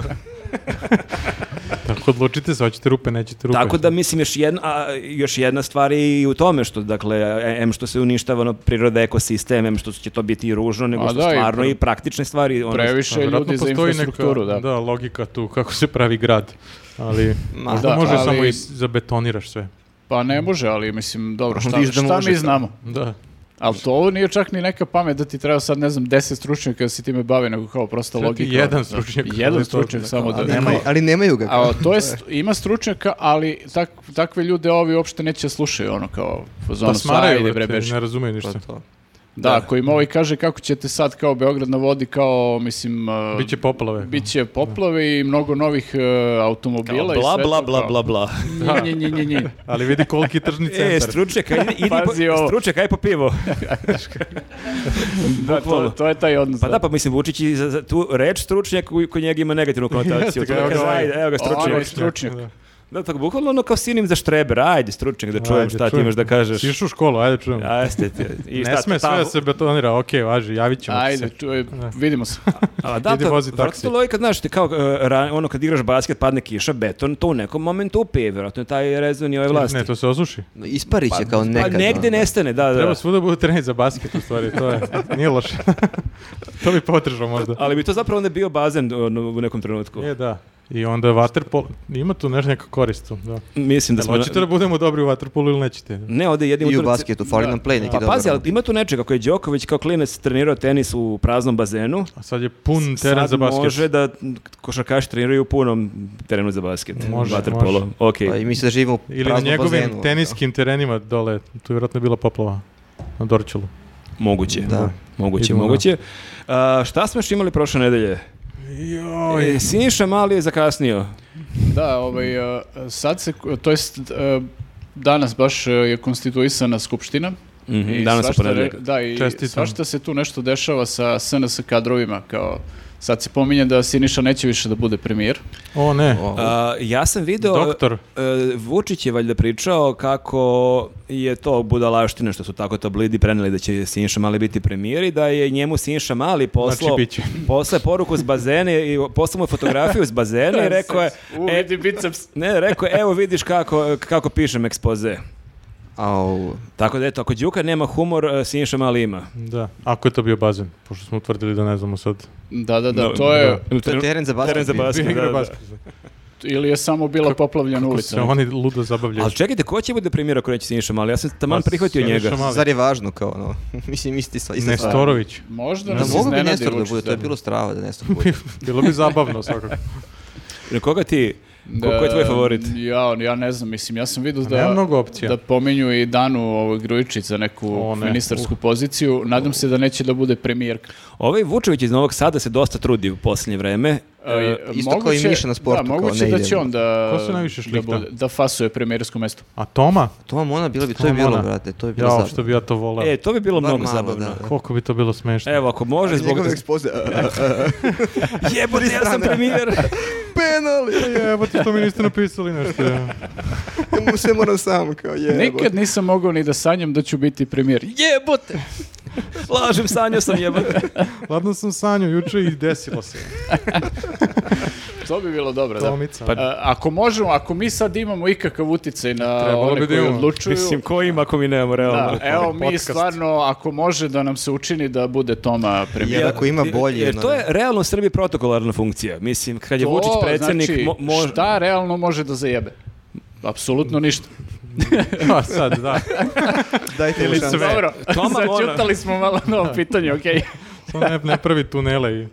Speaker 1: Tako odlučite se, hoćete rupe, nećete rupe.
Speaker 2: Tako da mislim još jedna, a, još jedna stvar je i u tome što dakle e- em što se uništava ono priroda ekosistem, em što će to biti i ružno, nego
Speaker 4: A
Speaker 2: što
Speaker 4: da, i
Speaker 2: stvarno
Speaker 4: pre-
Speaker 2: i praktične stvari ono
Speaker 4: Previše
Speaker 1: A, vjerojatno
Speaker 4: ljudi za
Speaker 1: postoji
Speaker 4: infrastrukturu,
Speaker 1: neka,
Speaker 4: da.
Speaker 1: da. logika tu, kako se pravi grad. Ali
Speaker 3: Ma,
Speaker 1: možda
Speaker 4: da,
Speaker 1: može
Speaker 4: ali-
Speaker 1: samo i s- zabetoniraš sve.
Speaker 4: Pa ne može, ali mislim, dobro, šta,
Speaker 3: Viš da
Speaker 4: šta
Speaker 3: može,
Speaker 4: mi
Speaker 3: kao.
Speaker 4: znamo?
Speaker 1: Da.
Speaker 4: Ali to ovo nije čak ni neka pamet da ti treba sad, ne znam, deset stručnjaka da se time bave, nego kao prosta
Speaker 1: Sad ti
Speaker 4: logika.
Speaker 1: jedan stručnjak.
Speaker 4: Jedan
Speaker 1: To-
Speaker 4: stručnjak samo da
Speaker 3: Ali
Speaker 4: nemaju.
Speaker 3: nemaju, ali nemaju ga.
Speaker 4: A
Speaker 3: kao.
Speaker 4: to je, st- ima stručnjaka, ali tak, takve ljude ovi uopšte neće slušaju, ono kao,
Speaker 1: Pa
Speaker 4: fazonu,
Speaker 1: smaraju,
Speaker 4: ajde bre,
Speaker 1: brate,
Speaker 4: beži.
Speaker 1: ne razumeju ništa.
Speaker 3: Pa to.
Speaker 4: Da, ako im ovaj kaže kako ćete sad kao Beograd na vodi, kao, mislim, uh,
Speaker 1: Biće poplave.
Speaker 4: biće poplave i mnogo novih uh, automobila i
Speaker 2: bla
Speaker 4: sve
Speaker 2: bla
Speaker 4: to
Speaker 2: bla
Speaker 4: kao,
Speaker 2: bla bla.
Speaker 4: nji, nji, nji, nji, nji.
Speaker 1: Ali vidi koliki je tržni
Speaker 2: E,
Speaker 1: centar.
Speaker 2: stručnjak, ajde, idi po,
Speaker 4: Pazi ovo.
Speaker 2: stručnjak, ajde po pivo.
Speaker 4: Da, to,
Speaker 2: Bukvalno.
Speaker 4: to je taj odnos.
Speaker 2: Pa
Speaker 4: da.
Speaker 2: da, pa mislim, Vučić i za, za tu reč stručnjak koji kod njega ima negativnu konotaciju.
Speaker 1: Jeste ga,
Speaker 2: to da
Speaker 1: evo
Speaker 2: kaže,
Speaker 1: ga ovaj.
Speaker 2: ajde, evo ga
Speaker 4: Ovo je
Speaker 2: stručnjak.
Speaker 4: stručnjak.
Speaker 1: Da.
Speaker 2: Da, tako, bukvalno ono kao sinonim za štreber, ajde stručnjak da čujem
Speaker 1: Ajde,
Speaker 2: šta ti
Speaker 1: čujem.
Speaker 2: imaš da kažeš.
Speaker 1: Si išao u školu, ajde čujem.
Speaker 2: A, jeste ti. I šta,
Speaker 1: ne sme sve
Speaker 2: ta-
Speaker 1: da se betonira, okej, važi, javit ćemo ti
Speaker 4: Ajde,
Speaker 1: se.
Speaker 4: čuj, vidimo se.
Speaker 2: A da,
Speaker 1: Idi
Speaker 2: to,
Speaker 1: vozi
Speaker 2: verovatno
Speaker 1: taksi.
Speaker 2: logika, znaš, ti kao, e, ra- ono kad igraš basket, padne kiša, beton, to u nekom momentu upije, vjerojatno je taj rezon i ove vlasti.
Speaker 1: Ne, to se osuši.
Speaker 3: Isparit će kao nekad.
Speaker 2: Pa negde
Speaker 3: ono.
Speaker 2: nestane, da, da.
Speaker 1: Treba svuda bude trener za basket, u stvari, to je, nije loše. to bi potrežao možda.
Speaker 2: Ali bi to zapravo onda bio bazen ono, u nekom trenutku.
Speaker 1: Je, da. I onda vaterpol, ima tu nešto neka korist tu, da.
Speaker 2: Mislim da
Speaker 1: Jel
Speaker 2: smo... na-
Speaker 1: hoćete da budemo dobri u vaterpolu ili nećete?
Speaker 2: Ne, ovde jedin
Speaker 3: I u
Speaker 2: utorak-
Speaker 3: basketu, fali nam play neki
Speaker 2: Pa
Speaker 3: dobar.
Speaker 2: pazi, ali ima tu nečega ako je Đoković kao klinac trenirao tenis u praznom bazenu.
Speaker 1: A sad je pun teren
Speaker 2: sad
Speaker 1: za basket.
Speaker 2: može da košarkaši treniraju u punom terenu za basket.
Speaker 1: Može,
Speaker 2: Vaterpolo.
Speaker 1: može.
Speaker 2: Okej.
Speaker 3: Pa I mi se da živimo u
Speaker 1: Ili na
Speaker 3: praznom
Speaker 1: njegovim
Speaker 3: bazenu, ono,
Speaker 1: teniskim terenima dole, tu je vjerojatno bila poplava na Dorčelu.
Speaker 2: Moguće.
Speaker 3: Da.
Speaker 2: Moguće,
Speaker 1: Idemo na-
Speaker 2: moguće. A, šta smo još imali prošle nedelje? E, Siniša Mali je zakasnio.
Speaker 4: Da, ovaj, e, sad se, to jest, e, danas baš e, je konstituisana skupština.
Speaker 2: Mhm,
Speaker 4: I
Speaker 2: danas je
Speaker 4: svašta re-
Speaker 2: ponedeljak.
Speaker 4: Da, i
Speaker 1: Čestitam.
Speaker 4: svašta se tu nešto dešava sa SNS kadrovima, kao sad se pominje da Siniša neće više da bude premijer.
Speaker 1: O ne,
Speaker 2: A, ja sam video...
Speaker 1: doktor.
Speaker 2: e, Vučić je valjda pričao kako je to budalaština što su tako tablidi preneli da će Siniša Mali biti premijer i da je njemu Siniša Mali poslao,
Speaker 1: Znači, bit će.
Speaker 2: poslao je poruku s bazene i poslao mu je fotografiju s bazena i rekao je,
Speaker 4: U,
Speaker 2: e,
Speaker 4: vidi biceps.
Speaker 2: ne, rekao je, evo vidiš kako, kako pišem ekspoze.
Speaker 3: Au,
Speaker 2: Tako da eto, ako Đuka nema humor, e, Siniša Mali ima.
Speaker 1: Da, ako je to bio bazen, pošto smo utvrdili da ne znamo sad.
Speaker 4: Da, da, da, to je,
Speaker 3: to je teren za basket.
Speaker 2: Teren za
Speaker 3: bio.
Speaker 2: basket.
Speaker 1: Bio igra
Speaker 2: da, da.
Speaker 1: basket.
Speaker 4: ili je samo bila poplavljena
Speaker 1: Kako
Speaker 4: ulica.
Speaker 1: se oni ludo zabavljaju.
Speaker 2: Ali čekajte, ko će bude premijer ako neće Siniša Mali? Ja sam taman
Speaker 1: Pa,
Speaker 2: prihvatio
Speaker 1: Siniša
Speaker 2: njega.
Speaker 1: Mali.
Speaker 3: Zar je važno kao ono? Mislim, isti stvar. ista stvar.
Speaker 1: Nestorović.
Speaker 4: Možda
Speaker 3: Da
Speaker 4: nas
Speaker 3: mogu bi
Speaker 4: iznenadi
Speaker 3: Nestor da
Speaker 4: Vučić,
Speaker 3: bude, to je
Speaker 4: da.
Speaker 3: bilo strava da Nestor bude.
Speaker 1: Bilo bi zabavno svakako.
Speaker 2: Na Koga ti? Ko, ko je tvoj favorit?
Speaker 4: Ja, ja ne znam, mislim, ja sam vidio da...
Speaker 1: nema mnogo opcija.
Speaker 4: Da pominju i Danu ovog Grujičić za neku
Speaker 1: O, ne.
Speaker 4: ministarsku poziciju. Nadam se da neće da bude premijerka.
Speaker 2: Ovaj Vučević iz Novog Sada se dosta trudi u posljednje vreme.
Speaker 4: E,
Speaker 3: isto kao i
Speaker 4: moguće-
Speaker 3: Miša na sportu,
Speaker 4: Da,
Speaker 3: kao
Speaker 4: moguće
Speaker 3: ne
Speaker 4: da
Speaker 3: ide.
Speaker 4: će on da,
Speaker 1: Ko se najviše
Speaker 4: da,
Speaker 1: šlihta?
Speaker 4: bude, da fasuje premijersko mesto.
Speaker 1: A Toma?
Speaker 3: To vam ona bila bi, to je bilo,
Speaker 1: Toma,
Speaker 3: brate, to je bilo
Speaker 1: Jao, što
Speaker 3: zabavno.
Speaker 1: bi ja to voleo.
Speaker 2: E, to bi bilo
Speaker 3: Bar
Speaker 2: mnogo
Speaker 3: malo,
Speaker 2: zabavno.
Speaker 3: da.
Speaker 1: Koliko bi to bilo smešno.
Speaker 2: Evo, ako može, zbog...
Speaker 3: Njegove ekspoze, a, a,
Speaker 2: Jebote, ja sam premijer!
Speaker 3: penal,
Speaker 1: Evo ti što mi niste napisali nešto. ja.
Speaker 3: mu se moram sam, kao je.
Speaker 4: Nikad nisam mogao ni da sanjam da ću biti premijer.
Speaker 2: Jebote! Lažem, sanjao sam jebote.
Speaker 1: Ladno sam sanju juče i desilo se.
Speaker 4: To bi bilo dobro, da.
Speaker 1: Tomica.
Speaker 2: Pa-
Speaker 4: E, ako možemo, ako mi sad imamo ikakav uticaj na
Speaker 1: Trebalo bi
Speaker 4: one
Speaker 1: da
Speaker 4: koji
Speaker 1: imamo.
Speaker 4: odlučuju,
Speaker 2: Mislim, ko ima ako mi nemamo, realno?
Speaker 4: da, evo mi
Speaker 1: Podcast.
Speaker 4: stvarno, ako može da nam se učini da bude Toma premijer.
Speaker 3: Jer ako ima bolji,
Speaker 2: e, Jer
Speaker 3: ono,
Speaker 2: to je realno u Srbiji protokolarna funkcija. Mislim, kad je
Speaker 4: To,
Speaker 2: Vučić predsjednik,
Speaker 4: znači,
Speaker 2: mo- može...
Speaker 4: šta realno može da zajebe? Apsolutno ništa.
Speaker 1: A Pa sad, da.
Speaker 3: dajte mu
Speaker 1: Ili
Speaker 3: šansu.
Speaker 1: sve.
Speaker 4: Dobro,
Speaker 2: Toma mora.
Speaker 4: začutali smo malo na ovo pitanje, okej.
Speaker 1: Samo ne, ne pravi tunele i...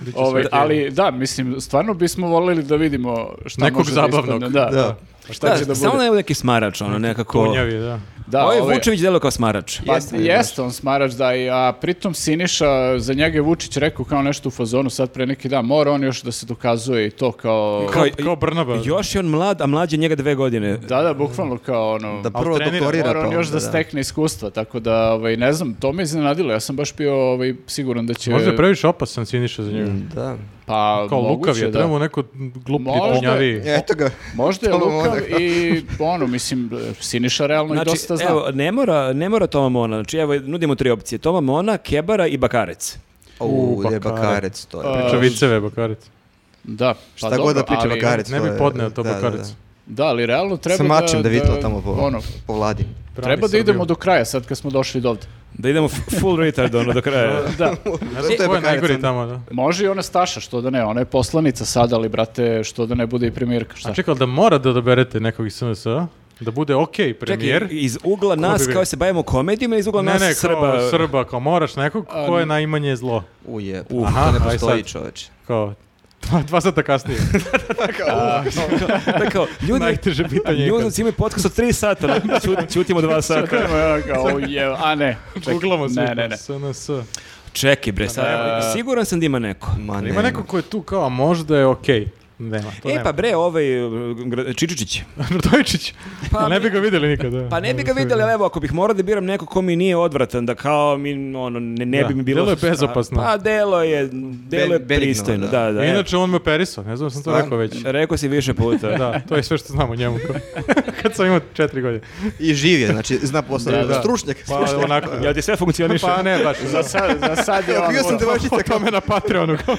Speaker 1: bit će
Speaker 4: Ovaj,
Speaker 1: sve okej.
Speaker 4: ali da, mislim, stvarno bismo voljeli da vidimo šta
Speaker 1: Nekog
Speaker 4: može da ispadne,
Speaker 1: zabavnog.
Speaker 4: Da,
Speaker 3: Da.
Speaker 4: Šta
Speaker 2: Da,
Speaker 4: će da
Speaker 2: samo
Speaker 4: bude?
Speaker 2: ne neki smarač, ono, nekako...
Speaker 1: Tunjavi, da.
Speaker 4: Da,
Speaker 2: Ovo je
Speaker 4: ovaj-
Speaker 2: Vučević delo kao smarač.
Speaker 4: Pa
Speaker 3: Jeste,
Speaker 4: jeste, on smarač da i, a pritom Siniša, za njega je Vučić rekao kao nešto u fazonu sad pre neki dan, mora on još da se dokazuje i to kao...
Speaker 1: Kao- kao Brnaba.
Speaker 2: Još je on mlad, a mlađe njega dve godine.
Speaker 4: Da, da, bukvalno kao ono...
Speaker 3: Da prvo
Speaker 1: trenira,
Speaker 3: doktorira,
Speaker 4: Mora
Speaker 3: pa
Speaker 4: on još
Speaker 3: onda,
Speaker 4: da stekne iskustva, tako da, ovaj, ne znam, to me iznenadilo, ja sam baš bio ovaj, siguran da će...
Speaker 1: Možda je previše opasan Siniša za njega.
Speaker 3: Da.
Speaker 4: Mm, Pa,
Speaker 1: Kao lukav
Speaker 4: moguće,
Speaker 1: je,
Speaker 4: da.
Speaker 1: treba mu neko gluplji
Speaker 4: Možda- E,
Speaker 1: tunjavi.
Speaker 3: E, Eto ga.
Speaker 4: Možda je
Speaker 3: To mu
Speaker 4: lukav
Speaker 3: onda kao-
Speaker 4: i, ono, mislim, Siniša realno i Ono dosta zna.
Speaker 2: Znači, evo, ne mora, ne mora Toma Mona. Znači, evo, nudimo tri opcije. Toma Mona, Kebara i Bakarec.
Speaker 3: U,
Speaker 1: Bakare.
Speaker 3: je bakarec, to je.
Speaker 1: Priča viceve, Bakaric.
Speaker 4: Da, pa
Speaker 3: Šta
Speaker 4: dobro,
Speaker 3: god da priča
Speaker 4: ali-
Speaker 3: bakarec, to
Speaker 1: Ne bi
Speaker 3: je-
Speaker 1: podneo to
Speaker 3: da, da,
Speaker 1: Bakaric.
Speaker 3: da.
Speaker 4: Da, ali realno treba
Speaker 3: Sa mačem da vi to tamo po,
Speaker 4: ono,
Speaker 3: po vladi.
Speaker 4: treba da idemo do kraja sad kad smo došli do ovde.
Speaker 2: Da idemo f- full retard ono do kraja.
Speaker 4: Da. ono.
Speaker 1: Ne
Speaker 3: to
Speaker 1: znam
Speaker 3: je ono-
Speaker 1: ko je
Speaker 3: Bakaric,
Speaker 1: najgori
Speaker 3: onda.
Speaker 1: tamo, da.
Speaker 4: Može i ona Staša, što da ne, ona je poslanica sada, ali brate, što da ne bude i premijerka, šta?
Speaker 1: A čekaj, ali da mora da odaberete nekog iz SNS-a? Da bude okej premijer?
Speaker 2: Čekaj, iz ugla nas
Speaker 1: bi bio?
Speaker 2: kao se bavimo komedijima, iz ugla
Speaker 1: Ne,
Speaker 2: nas
Speaker 1: ne,
Speaker 2: Srba.
Speaker 1: kao Srba, kao moraš nekog ko je najmanje zlo.
Speaker 3: U je,
Speaker 1: Aha,
Speaker 3: to ne
Speaker 1: aj
Speaker 3: postoji
Speaker 1: sad.
Speaker 3: čoveče.
Speaker 1: Kao, dva, dva sata kasnije.
Speaker 2: Da, kao, ljudi,
Speaker 1: Najteže pitanje. je kad-
Speaker 2: Njuznici imaju podcast od tri sata, čut, čutimo dva sata.
Speaker 4: Evo ga, o, je, a ne.
Speaker 1: Guglamo se.
Speaker 4: Ne, ne, ne.
Speaker 1: SNS.
Speaker 2: Čekaj bre, sad,
Speaker 4: E,
Speaker 2: siguran sam da ima neko.
Speaker 3: Ma ne.
Speaker 1: Ima neko ko je tu kao, a možda je okej. Nema, to
Speaker 2: E
Speaker 1: nema.
Speaker 2: pa bre, ovaj e, gra- Čičičić.
Speaker 1: Radojčić.
Speaker 2: Pa-
Speaker 1: ne bi ga videli nikada.
Speaker 2: Pa ne bi ga vidjeli, ali evo, ako bih morao da biram neko ko mi nije odvratan, da kao mi, ono, ne, ne
Speaker 1: Da,
Speaker 2: bi mi bilo...
Speaker 1: delo je
Speaker 2: šta-
Speaker 1: bezopasno. E,
Speaker 2: Pa delo je, delo je
Speaker 3: Be- benigno,
Speaker 2: pristojno, da, da. evo.
Speaker 1: Inače, on me operisao, ne znam da sam to
Speaker 3: Stvarno?
Speaker 1: rekao već.
Speaker 2: Rekao si više puta.
Speaker 1: Da, to je sve što znam o njemu. Kad sam imao četiri godine.
Speaker 3: I živ je, znači zna posao.
Speaker 1: Da, da.
Speaker 3: Stručnjak,
Speaker 1: Pa
Speaker 3: stručnjak.
Speaker 1: onako.
Speaker 2: Jel ti sve funkcioniše?
Speaker 1: Pa ne, baš.
Speaker 4: Za sad, za sad je
Speaker 3: Evo,
Speaker 4: on...
Speaker 3: bio sam
Speaker 4: ono-
Speaker 3: devojčica
Speaker 1: O
Speaker 3: kao
Speaker 1: tome na Patreonu. kao-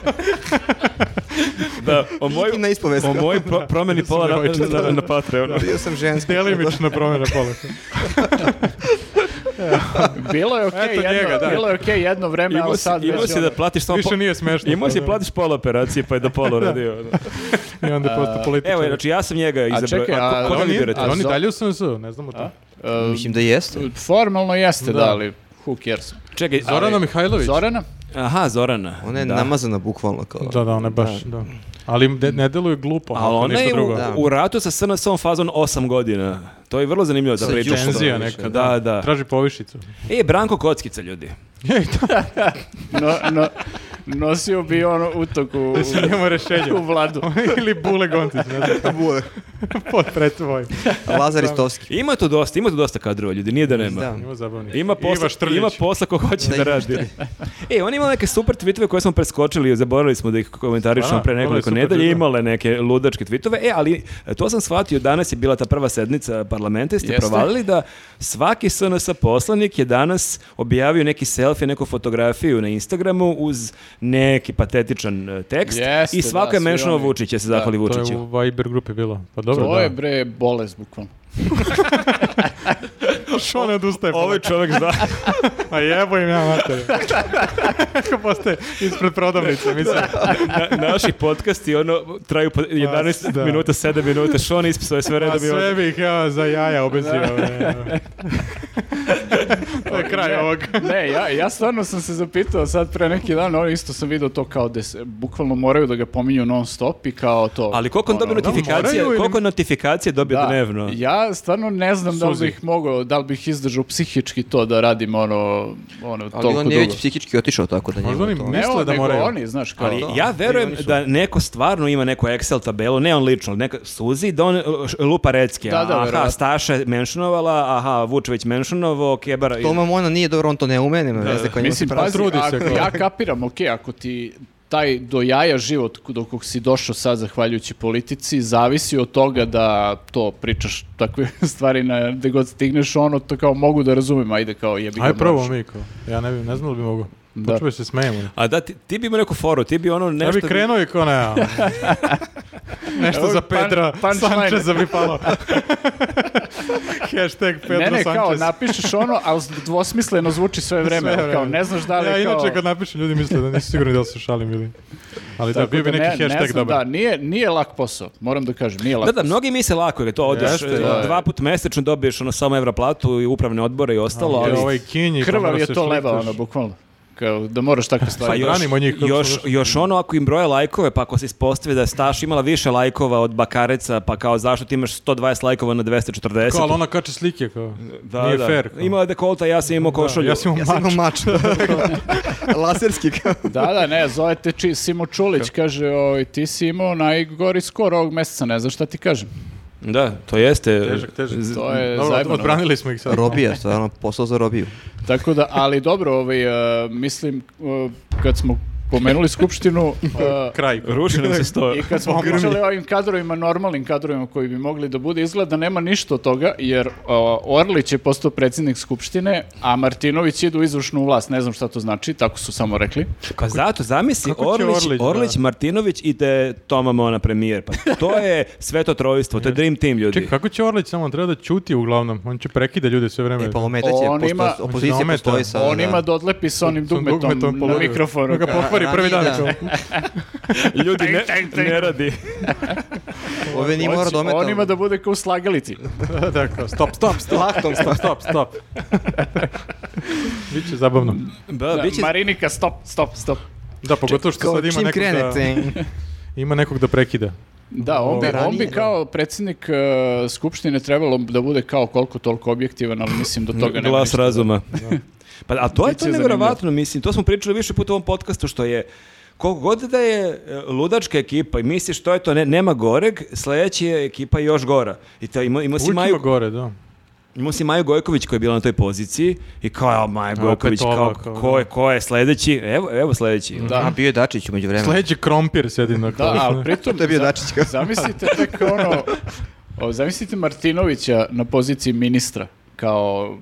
Speaker 2: da, o moj,
Speaker 3: i na ispovest.
Speaker 2: o moj pro- promeni pola na, ono. na, na Patreonu.
Speaker 3: Bio sam ženski.
Speaker 1: Delimično promjena pola.
Speaker 4: Bilo je okej
Speaker 1: Eto
Speaker 4: jedno,
Speaker 1: njega, da.
Speaker 4: bilo je okej jedno vreme,
Speaker 2: Imao
Speaker 4: ali
Speaker 2: si,
Speaker 4: sad
Speaker 2: imao
Speaker 4: već
Speaker 2: si
Speaker 4: ono-
Speaker 2: da platiš samo...
Speaker 1: Više
Speaker 2: po-
Speaker 1: nije smešno. Pa
Speaker 2: Imao si
Speaker 1: Da.
Speaker 2: da platiš pola operacije, pa je do pola uradio. da.
Speaker 1: I onda posto političar.
Speaker 2: Evo, znači ja sam njega izabrao.
Speaker 4: čekaj, a
Speaker 2: ko- koga
Speaker 1: on,
Speaker 2: vi
Speaker 1: je,
Speaker 2: birate?
Speaker 1: on je
Speaker 4: A,
Speaker 1: dalje u SNS-u, ne znam o to.
Speaker 4: Uh,
Speaker 3: Mislim da jeste.
Speaker 4: Formalno jeste, da,
Speaker 1: Da.
Speaker 4: ali who cares.
Speaker 2: Čekaj,
Speaker 1: Zorana
Speaker 2: ali-
Speaker 1: Mihajlović.
Speaker 4: Zorana?
Speaker 2: Aha, Zorana.
Speaker 3: Ona je
Speaker 2: da.
Speaker 3: namazana bukvalno kao...
Speaker 1: Da, da, ona je baš, da. Ali ne, ne deluje glupo,
Speaker 2: Ali ona je u,
Speaker 1: drugo.
Speaker 3: Da.
Speaker 2: u ratu sa SNS-om fazon 8 godina. To je vrlo zanimljivo da
Speaker 3: Sa
Speaker 2: pričaš.
Speaker 3: Đukom.
Speaker 1: Tenzija
Speaker 3: što-
Speaker 1: neka.
Speaker 2: Da, da.
Speaker 1: Traži povišicu.
Speaker 2: E, Branko Kockica, ljudi.
Speaker 1: Ej, da,
Speaker 4: No, no, nosio bi ono utok u,
Speaker 1: se njemu rešenje.
Speaker 4: u vladu.
Speaker 1: Ili Bule Gontić, ne znam.
Speaker 3: Bule.
Speaker 1: Pod pred tvoj.
Speaker 3: Lazar Istovski.
Speaker 2: Ima tu dosta, ima tu dosta kadrova, ljudi, nije da nema.
Speaker 3: Da.
Speaker 1: Ima zabavnih.
Speaker 2: Ima
Speaker 1: Iva
Speaker 2: posla,
Speaker 1: Štrlić.
Speaker 2: ima posla ko hoće da,
Speaker 3: Da, Iva
Speaker 2: radi. e, on ima neke super tweetove koje smo preskočili, zaboravili smo da ih komentarišemo
Speaker 1: Stvarno?
Speaker 2: pre
Speaker 1: Ovo je
Speaker 2: nekoliko
Speaker 1: super
Speaker 2: nedelja,
Speaker 1: video.
Speaker 2: imale neke ludačke tweetove. E, ali e, to sam shvatio, danas je bila ta prva sednica parlamenta, jeste
Speaker 4: Jeste.
Speaker 2: provalili da svaki SNS poslanik je danas objavio neki selfie, neku fotografiju na Instagramu uz neki patetičan e, tekst
Speaker 4: Jeste,
Speaker 2: i svako
Speaker 4: da,
Speaker 2: je
Speaker 4: svi
Speaker 2: menšao
Speaker 4: oni.
Speaker 2: Vučića, se
Speaker 4: Da,
Speaker 2: zahvali
Speaker 1: To
Speaker 2: Vučiću.
Speaker 1: je u Viber grupi bilo. Pa dobro,
Speaker 4: To
Speaker 1: da.
Speaker 4: je bre bolest bukvalno.
Speaker 1: Što ne odustaje?
Speaker 2: Ovaj čovjek zna.
Speaker 1: A jebo im ja mater. Kako postaje ispred prodavnice, mislim.
Speaker 2: Na- naši podcasti ono traju po 11
Speaker 1: da.
Speaker 2: minuta, 7 minuta, što on ispisao je sve
Speaker 1: A
Speaker 2: redom i
Speaker 1: sve
Speaker 2: onda-
Speaker 1: bih ja za jaja obezio. to je kraj ovog.
Speaker 4: Ne, ja, ja stvarno sam se zapitao sad pre neki dan, ono isto sam vidio to kao da se, bukvalno moraju da ga pominju non stop i kao to.
Speaker 2: Ali koliko on dobio
Speaker 4: ono,
Speaker 2: notifikacije,
Speaker 1: moraju ili-
Speaker 2: koliko notifikacije dobio
Speaker 4: Da,
Speaker 2: dnevno?
Speaker 4: Ja stvarno ne znam da li
Speaker 1: Suzi.
Speaker 4: bih mogao, da li bih izdržao psihički to da radim ono, ono
Speaker 3: Ali
Speaker 4: toliko
Speaker 3: on je
Speaker 4: dugo.
Speaker 3: već psihički otišao tako da njemu
Speaker 1: Možda oni
Speaker 3: to-
Speaker 1: misle
Speaker 4: Evo,
Speaker 1: da
Speaker 4: nego
Speaker 1: moraju.
Speaker 4: oni, znaš, kao...
Speaker 2: Ali
Speaker 3: Da,
Speaker 2: ja
Speaker 3: i
Speaker 2: verujem
Speaker 3: oni su-
Speaker 2: da neko stvarno ima neku Excel tabelu, ne on lično, ali neka Suzi, da on e, š- lupa recke.
Speaker 4: Da, da,
Speaker 2: aha,
Speaker 4: verovatno.
Speaker 2: Staša je menšanovala, aha, Vučević menšanovo, Kebara... i-
Speaker 3: Toma Mona nije dobro, on to ne ume, nema veze kao njemu se
Speaker 4: Mislim,
Speaker 3: pravi.
Speaker 4: pazi,
Speaker 1: Trudi se,
Speaker 4: ako,
Speaker 1: kao.
Speaker 4: ja kapiram, ok, ako ti taj do jaja život k- do kog si došao sad zahvaljujući politici zavisi od toga da to pričaš takve stvari na gde god stigneš ono to kao mogu da razumem ajde kao jebi ga
Speaker 1: Aj prvo,
Speaker 4: možeš.
Speaker 1: Miko. Ja ne, bi, ne znam da bi mogu.
Speaker 4: Da.
Speaker 1: Počeo bi se smejemo.
Speaker 2: A da, ti, ti bi imao neku foru, ti bi ono nešto...
Speaker 1: Ja bi krenuo i kao ne, a. Nešto
Speaker 4: Evo,
Speaker 1: za
Speaker 4: pan-
Speaker 1: Pedra
Speaker 4: punchline.
Speaker 1: Sančeza bi palo. Hashtag Pedro
Speaker 4: ne, ne, kao
Speaker 1: Sanchez.
Speaker 4: napišeš ono, ali dvosmisleno zvuči sve vreme, ono,
Speaker 1: Sve
Speaker 4: kao
Speaker 1: vreme.
Speaker 4: ne znaš da li
Speaker 1: ja,
Speaker 4: je kao...
Speaker 1: inače kad napišem ljudi misle da nisu sigurni da li se šalim ili... Ali da,
Speaker 4: Tako
Speaker 1: bio bi
Speaker 4: da
Speaker 1: neki
Speaker 4: ne, ne
Speaker 1: hashtag
Speaker 4: znam,
Speaker 1: dobar.
Speaker 4: Da, nije, nije lak posao, moram da kažem, nije lak
Speaker 2: Da, da, mnogi misle lako je to odeš,
Speaker 1: Jeste,
Speaker 2: e,
Speaker 1: da.
Speaker 2: dva put mesečno dobiješ ono samo evra platu i upravne odbore i ostalo,
Speaker 1: Ali
Speaker 2: ali...
Speaker 1: ovaj kinji, pa
Speaker 4: Krvav
Speaker 1: mora
Speaker 4: je
Speaker 1: se
Speaker 4: to leba,
Speaker 1: šlihtaš.
Speaker 4: ono, bukvalno. Kao, da moraš takve
Speaker 2: Pa
Speaker 4: stvari.
Speaker 2: još,
Speaker 1: branimo njih, kako
Speaker 2: još,
Speaker 1: su došli.
Speaker 2: još ono ako im broje lajkove, pa ako se ispostavi da je Staš imala više lajkova od Bakareca, pa kao zašto ti imaš 120 lajkova na 240?
Speaker 1: Kao, ali ona kače slike, kao.
Speaker 2: Da,
Speaker 1: nije
Speaker 2: da.
Speaker 1: fair. Kao.
Speaker 2: Imala je dekolta, ja sam imao košulju.
Speaker 1: Ja sam
Speaker 3: Ja
Speaker 1: imao
Speaker 3: sam
Speaker 1: mač.
Speaker 3: imao mač. Laserski kao.
Speaker 4: Da, da, ne, zove te či, Simo Čulić, kaže, oj, ti si imao najgori skor ovog meseca, ne znam šta ti kažem.
Speaker 2: Da, to jeste.
Speaker 1: Težak, težak.
Speaker 2: E, Z-
Speaker 4: To je
Speaker 1: Dobro,
Speaker 4: zajebano.
Speaker 1: odbranili smo ih sad.
Speaker 3: Robija, stvarno, posao za robiju.
Speaker 4: Tako da, ali dobro, ovaj, e, mislim, e, kad smo pomenuli Skupštinu, e,
Speaker 1: Kraj.
Speaker 2: Ruši nam se sto.
Speaker 4: I kad smo
Speaker 1: Ogromni.
Speaker 4: pričali o ovim kadrovima, normalnim kadrovima koji bi mogli da bude, izgleda nema ništa od toga, jer o, Orlić je postao predsjednik Skupštine, a Martinović ide u izvršnu vlast. Ne znam šta to znači, tako su samo rekli.
Speaker 2: Pa zato, zamisli,
Speaker 1: kako će
Speaker 2: Orlić, Orlić,
Speaker 1: Orlić, da.
Speaker 2: Martinović i te Toma Mona premijer. Pa to je sveto trojstvo, to je dream team ljudi.
Speaker 1: Čekaj, kako će Orlić samo? On treba da ćuti uglavnom. On će prekida ljude sve vreme.
Speaker 3: E, pa ometaće,
Speaker 4: On
Speaker 3: pošto
Speaker 4: ima-
Speaker 3: opozicija
Speaker 1: Mislim, ometa.
Speaker 3: postoji sada.
Speaker 4: On
Speaker 3: da.
Speaker 4: ima da odlepi sa onim
Speaker 1: Sa
Speaker 4: dugmetom, na
Speaker 1: položio.
Speaker 4: mikrofonu.
Speaker 1: Da ga
Speaker 4: kao.
Speaker 1: pokvari prvi dan.
Speaker 3: Da.
Speaker 1: kao.
Speaker 2: ljudi ne,
Speaker 4: Tank, tank, tank.
Speaker 2: ne radi.
Speaker 3: Ove nije mora
Speaker 4: Hoće-
Speaker 3: da ometa.
Speaker 4: On ima da bude kao u slagalici.
Speaker 1: da, kao, stop, stop, stop.
Speaker 3: Laktom
Speaker 1: stop, stop, stop. Biće zabavno.
Speaker 2: Da,
Speaker 4: Da,
Speaker 2: bit će-
Speaker 4: Marinika, stop, stop, stop.
Speaker 1: Da, pogotovo što
Speaker 3: Kao,
Speaker 1: sad ima
Speaker 3: čim
Speaker 1: nekog,
Speaker 3: krene,
Speaker 1: da,
Speaker 3: ceng.
Speaker 1: ima nekog da prekida.
Speaker 4: Da, on bi,
Speaker 1: Ovo.
Speaker 4: on bi kao predsjednik e, Skupštine trebalo da bude kao koliko toliko objektivan, ali mislim do toga nema
Speaker 2: glas
Speaker 4: ništa.
Speaker 2: razuma. Pa, a to je to
Speaker 4: Biće
Speaker 2: nevjerovatno, mislim, to smo pričali više puta u ovom podcastu, što je koliko god da je e, ludačka ekipa i misliš to je to, ne, nema goreg, sledeća je ekipa još gora. I to ima, ima, si
Speaker 1: Uvijek
Speaker 2: Maju,
Speaker 1: ima gore, da.
Speaker 2: imao si Maju Gojković koja je bila na toj poziciji i kao, evo, Maja Gojković,
Speaker 1: opet
Speaker 2: kao,
Speaker 1: ova, kao,
Speaker 2: ko,
Speaker 1: da.
Speaker 2: je, ko je sledeći? Evo, evo sledeći.
Speaker 3: A
Speaker 4: Da,
Speaker 3: bio je Dačić umeđu vremena.
Speaker 1: Sledeći krompir sedi na
Speaker 4: da,
Speaker 1: kao.
Speaker 4: ali pritom...
Speaker 3: To je bio
Speaker 4: za-
Speaker 3: Dačić kao.
Speaker 4: Zamislite tek ono, o, zamislite Martinovića na poziciji ministra, kao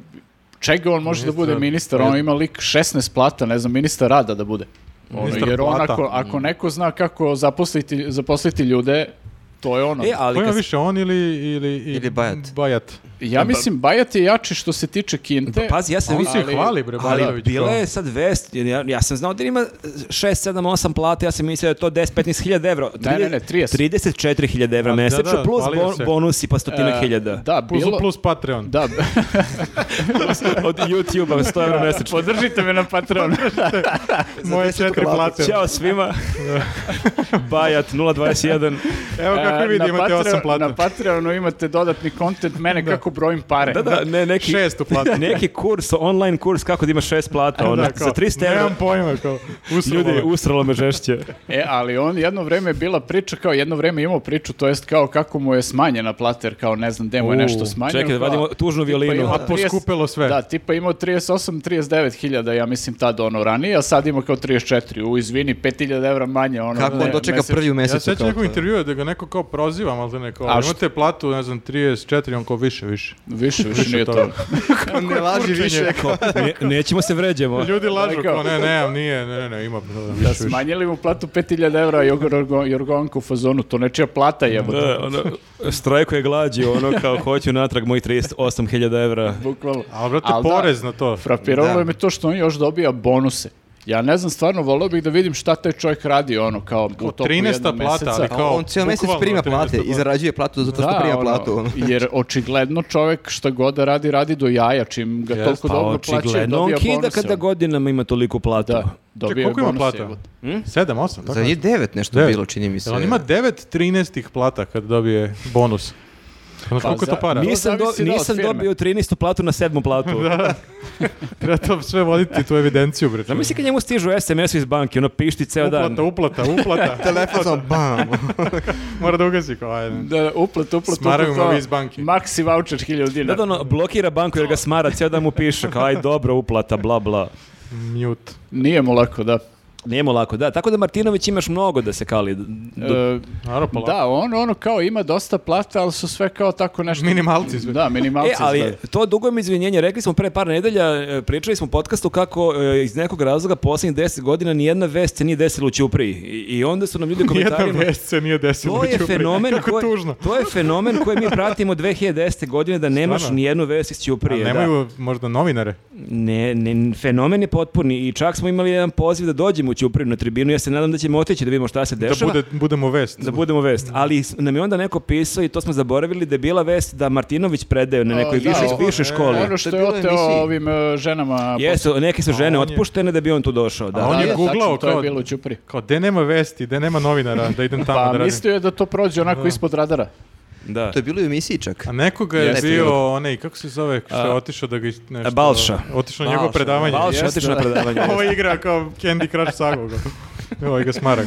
Speaker 4: čega on može da bude ministar, on ima lik 16 plata, ne znam, ministar rada da bude. Ono,
Speaker 1: Ministar
Speaker 4: jer on
Speaker 1: plata.
Speaker 4: ako, ako neko zna kako zaposliti, zaposliti ljude, to je ono.
Speaker 2: E, ali
Speaker 1: Ko ima
Speaker 2: kad,
Speaker 1: više, on ili... Ili, i-
Speaker 3: Ili Bajat.
Speaker 1: Bajat.
Speaker 4: Ja mislim, Bajat je jači što se tiče Kinte.
Speaker 2: Pa, pazi, ja sam
Speaker 1: On
Speaker 2: vidio...
Speaker 1: se
Speaker 4: ali-
Speaker 1: hvali, bre,
Speaker 2: Ali
Speaker 1: Bajatović.
Speaker 2: bila
Speaker 1: kao.
Speaker 2: je sad vest, jer ja, ja sam znao da ima 6, 7, 8 plate, ja sam mislio da je to 10, 15 hiljada evra.
Speaker 4: Ne, ne, ne, 30.
Speaker 2: 34 hiljada evra
Speaker 1: A, da,
Speaker 2: mesečno,
Speaker 1: da,
Speaker 2: plus
Speaker 1: hvalio
Speaker 2: bon-
Speaker 1: se.
Speaker 2: bonusi pa stotinak
Speaker 4: E,
Speaker 2: hiljada.
Speaker 4: Da,
Speaker 1: Plus,
Speaker 4: bilo...
Speaker 1: plus Patreon.
Speaker 4: Da,
Speaker 2: Od YouTube-a 100 evra mesečno.
Speaker 4: podržite me na Patreon.
Speaker 1: Moje četiri plate.
Speaker 2: Ćao svima. Bajat 021.
Speaker 1: Evo kako
Speaker 4: E,
Speaker 1: vidi,
Speaker 4: na
Speaker 1: imate osam
Speaker 4: Patreon-
Speaker 1: plata.
Speaker 4: Na Patreonu imate dodatni kontent, mene kako brojim pare.
Speaker 2: Da, da, ne, neki...
Speaker 1: Šest uplati.
Speaker 2: Neki kurs, online kurs kako da ima šest plata, ono,
Speaker 1: Da, kao,
Speaker 2: za 300 evra.
Speaker 1: Nemam pojma, kao, ovaj, usralo
Speaker 2: Ljudi,
Speaker 1: me.
Speaker 2: usralo me žešće.
Speaker 4: E, ali on jedno vreme je bila priča, kao jedno vreme je imao priču, to jest kao kako mu je smanjena plata, jer kao ne znam gde mu je
Speaker 1: U,
Speaker 4: nešto smanjeno.
Speaker 2: čekaj da
Speaker 4: kao-
Speaker 2: vadimo tužnu
Speaker 4: tipa
Speaker 2: violinu.
Speaker 4: ima
Speaker 1: A
Speaker 4: 30
Speaker 1: poskupelo sve.
Speaker 4: Da, tipa imao 38, 39 hiljada, ja mislim, tad ono ranije, a sad ima kao 34. U, izvini, 5 hiljada evra manje. Ono,
Speaker 3: Kako on
Speaker 4: ne,
Speaker 3: dočeka
Speaker 4: mesečno.
Speaker 3: prvi u
Speaker 1: Ja
Speaker 3: mesecu?
Speaker 1: sećam
Speaker 3: kao
Speaker 1: nekog
Speaker 3: to?
Speaker 1: intervjua da ga neko kao proziva, ali da ne kao,
Speaker 4: A
Speaker 1: imate platu, ne znam, 34, on kao više, više.
Speaker 4: Više, više nije to.
Speaker 1: toga.
Speaker 3: Ne laži više. kao-
Speaker 2: Ne, nećemo se vređamo.
Speaker 1: Ljudi lažu,
Speaker 4: Ajde,
Speaker 1: kao,
Speaker 4: kao.
Speaker 1: ne, ne, nije, ne, ne, ne, ima, da, da,
Speaker 4: Da
Speaker 1: više, više.
Speaker 4: smanjili mu platu 5000 evra, Jorgo- Jorgovanka u fazonu, to nečija plata jebote.
Speaker 2: Da, ono, strajkuje glađi, ono kao hoću natrag mojih 38.000 evra.
Speaker 4: Bukvalno.
Speaker 1: Ali, brate,
Speaker 4: Al da,
Speaker 1: porez na to.
Speaker 4: Frapiralo
Speaker 3: Da.
Speaker 4: me to što on još dobija bonuse. Ja ne znam, stvarno volio bih da vidim šta taj čovjek radi, ono, kao u toku
Speaker 1: 13.
Speaker 4: jednog
Speaker 1: plata,
Speaker 4: meseca.
Speaker 1: ali
Speaker 3: A
Speaker 1: Kao,
Speaker 3: on cijel mjesec
Speaker 1: bukvalno
Speaker 3: prima
Speaker 1: 13
Speaker 3: plate i
Speaker 1: plata.
Speaker 3: zarađuje platu zato što
Speaker 4: Da,
Speaker 3: prima
Speaker 4: ono,
Speaker 3: platu. ono.
Speaker 4: jer očigledno čovjek šta god da radi, radi do jaja, čim ga toliko
Speaker 2: Pa
Speaker 4: dobro plaća,
Speaker 2: očigledno, on
Speaker 4: dobija
Speaker 2: kida
Speaker 4: bonuse. ono.
Speaker 2: kada godinama ima toliko platu.
Speaker 4: Da,
Speaker 1: Čekaj,
Speaker 4: dobija
Speaker 1: koliko ima
Speaker 4: bonuse,
Speaker 1: plata?
Speaker 4: jebote.
Speaker 1: 7, 8, tako
Speaker 3: Za njih
Speaker 1: nešto.
Speaker 3: devet nešto
Speaker 1: Devet.
Speaker 3: bilo, čini mi se.
Speaker 1: Jel on ima 9 13 plata kad dobije bonus. Ono, koliko je to
Speaker 4: za-
Speaker 1: para?
Speaker 4: mi-
Speaker 2: Nisam,
Speaker 4: To
Speaker 2: do,
Speaker 4: zavisi, da, od
Speaker 2: nisam
Speaker 4: firme.
Speaker 2: dobio 13. platu na 7. platu.
Speaker 1: Treba to sve voditi, tu evidenciju, bre.
Speaker 2: Zamisli kad njemu stižu SMS-u iz banke, ono pišti ceo dan.
Speaker 1: Uplata, uplata, uplata.
Speaker 3: Telefonom, bam. ono,
Speaker 1: Mora da ugasi kao, ajde.
Speaker 4: Da, uplat, uplat,
Speaker 1: Smaraju
Speaker 4: uplat,
Speaker 1: me
Speaker 4: ono,
Speaker 1: iz banke.
Speaker 4: Maxi voucher 1000
Speaker 2: Da,
Speaker 4: dinara.
Speaker 2: da, ono, blokira banku jer ga smara, ceo dan mu piše kao aj dobro uplata, bla bla.
Speaker 1: Mute.
Speaker 4: Nije mu lako, da.
Speaker 2: Nije mu lako, da. Tako da Martinović imaš mnogo da se kali. Do-
Speaker 4: E,
Speaker 1: Naravno, polako.
Speaker 4: da, on ono kao ima dosta plata, ali su sve kao tako nešto...
Speaker 1: Minimalci sve.
Speaker 4: Da, minimalci
Speaker 2: E, ali
Speaker 4: izgleda.
Speaker 2: to dugo mi izvinjenje, rekli smo pre par nedelja, e, pričali smo u podcastu kako e, iz nekog razloga poslednjih 10 godina nijedna vest se nije desila u Ćupriji. I, i onda su nam ljudi u
Speaker 1: Nijedna
Speaker 2: komentarima...
Speaker 1: vest se nije desila.
Speaker 2: To je
Speaker 1: u Ćupriji.
Speaker 2: fenomen
Speaker 1: Kako
Speaker 2: koji
Speaker 1: tužno.
Speaker 2: to je fenomen koji mi pratimo 2010. godine da nemaš
Speaker 1: Stvarno?
Speaker 2: ni jednu vest iz
Speaker 1: A
Speaker 2: Ćuprije. da.
Speaker 1: nemaju možda novinare?
Speaker 2: Ne, ne, fenomen je potpuni i čak smo imali jedan poziv da dođemo u Ćupriju na tribinu. Ja se nadam da ćemo otići da vidimo šta se
Speaker 1: Da
Speaker 2: dešava.
Speaker 1: bude, Mm. budemo vest.
Speaker 2: da budemo vest. Ali s- nam je onda neko pisao i to smo zaboravili da je bila vest da Martinović predaje na nekoj
Speaker 4: O, da,
Speaker 2: višoj
Speaker 4: o,
Speaker 2: višoj školi.
Speaker 1: e,
Speaker 4: Ono što
Speaker 3: To je
Speaker 4: je
Speaker 3: bilo u
Speaker 4: oteo
Speaker 3: emisiji.
Speaker 4: ovim e, ženama...
Speaker 2: Jesu, neke su žene
Speaker 1: on je-
Speaker 2: otpuštene da bi on tu došao.
Speaker 1: A
Speaker 2: Da.
Speaker 1: on je
Speaker 4: da, tačno,
Speaker 1: googlao
Speaker 4: Znači, to je
Speaker 1: kao-
Speaker 4: bilo u Ćupriji.
Speaker 1: Kao, gde nema vesti, gde nema novinara, da idem tamo
Speaker 4: Pa
Speaker 1: da radim.
Speaker 4: mislio je da to prođe onako ispod radara.
Speaker 2: da.
Speaker 3: To je bilo i u emisiji čak.
Speaker 1: A nekoga je
Speaker 3: Jeste,
Speaker 1: bio
Speaker 3: bilo.
Speaker 1: onaj, kako se zove, što je otišao da ga is- nešto...
Speaker 2: Balša.
Speaker 1: Otišao na njegovo predavanje. Ovaj-
Speaker 2: Balša je
Speaker 4: jeste,
Speaker 2: otišao na predavanje.
Speaker 1: Ovo igra kao Candy Crush Sago. Ovo ovaj ga smarak.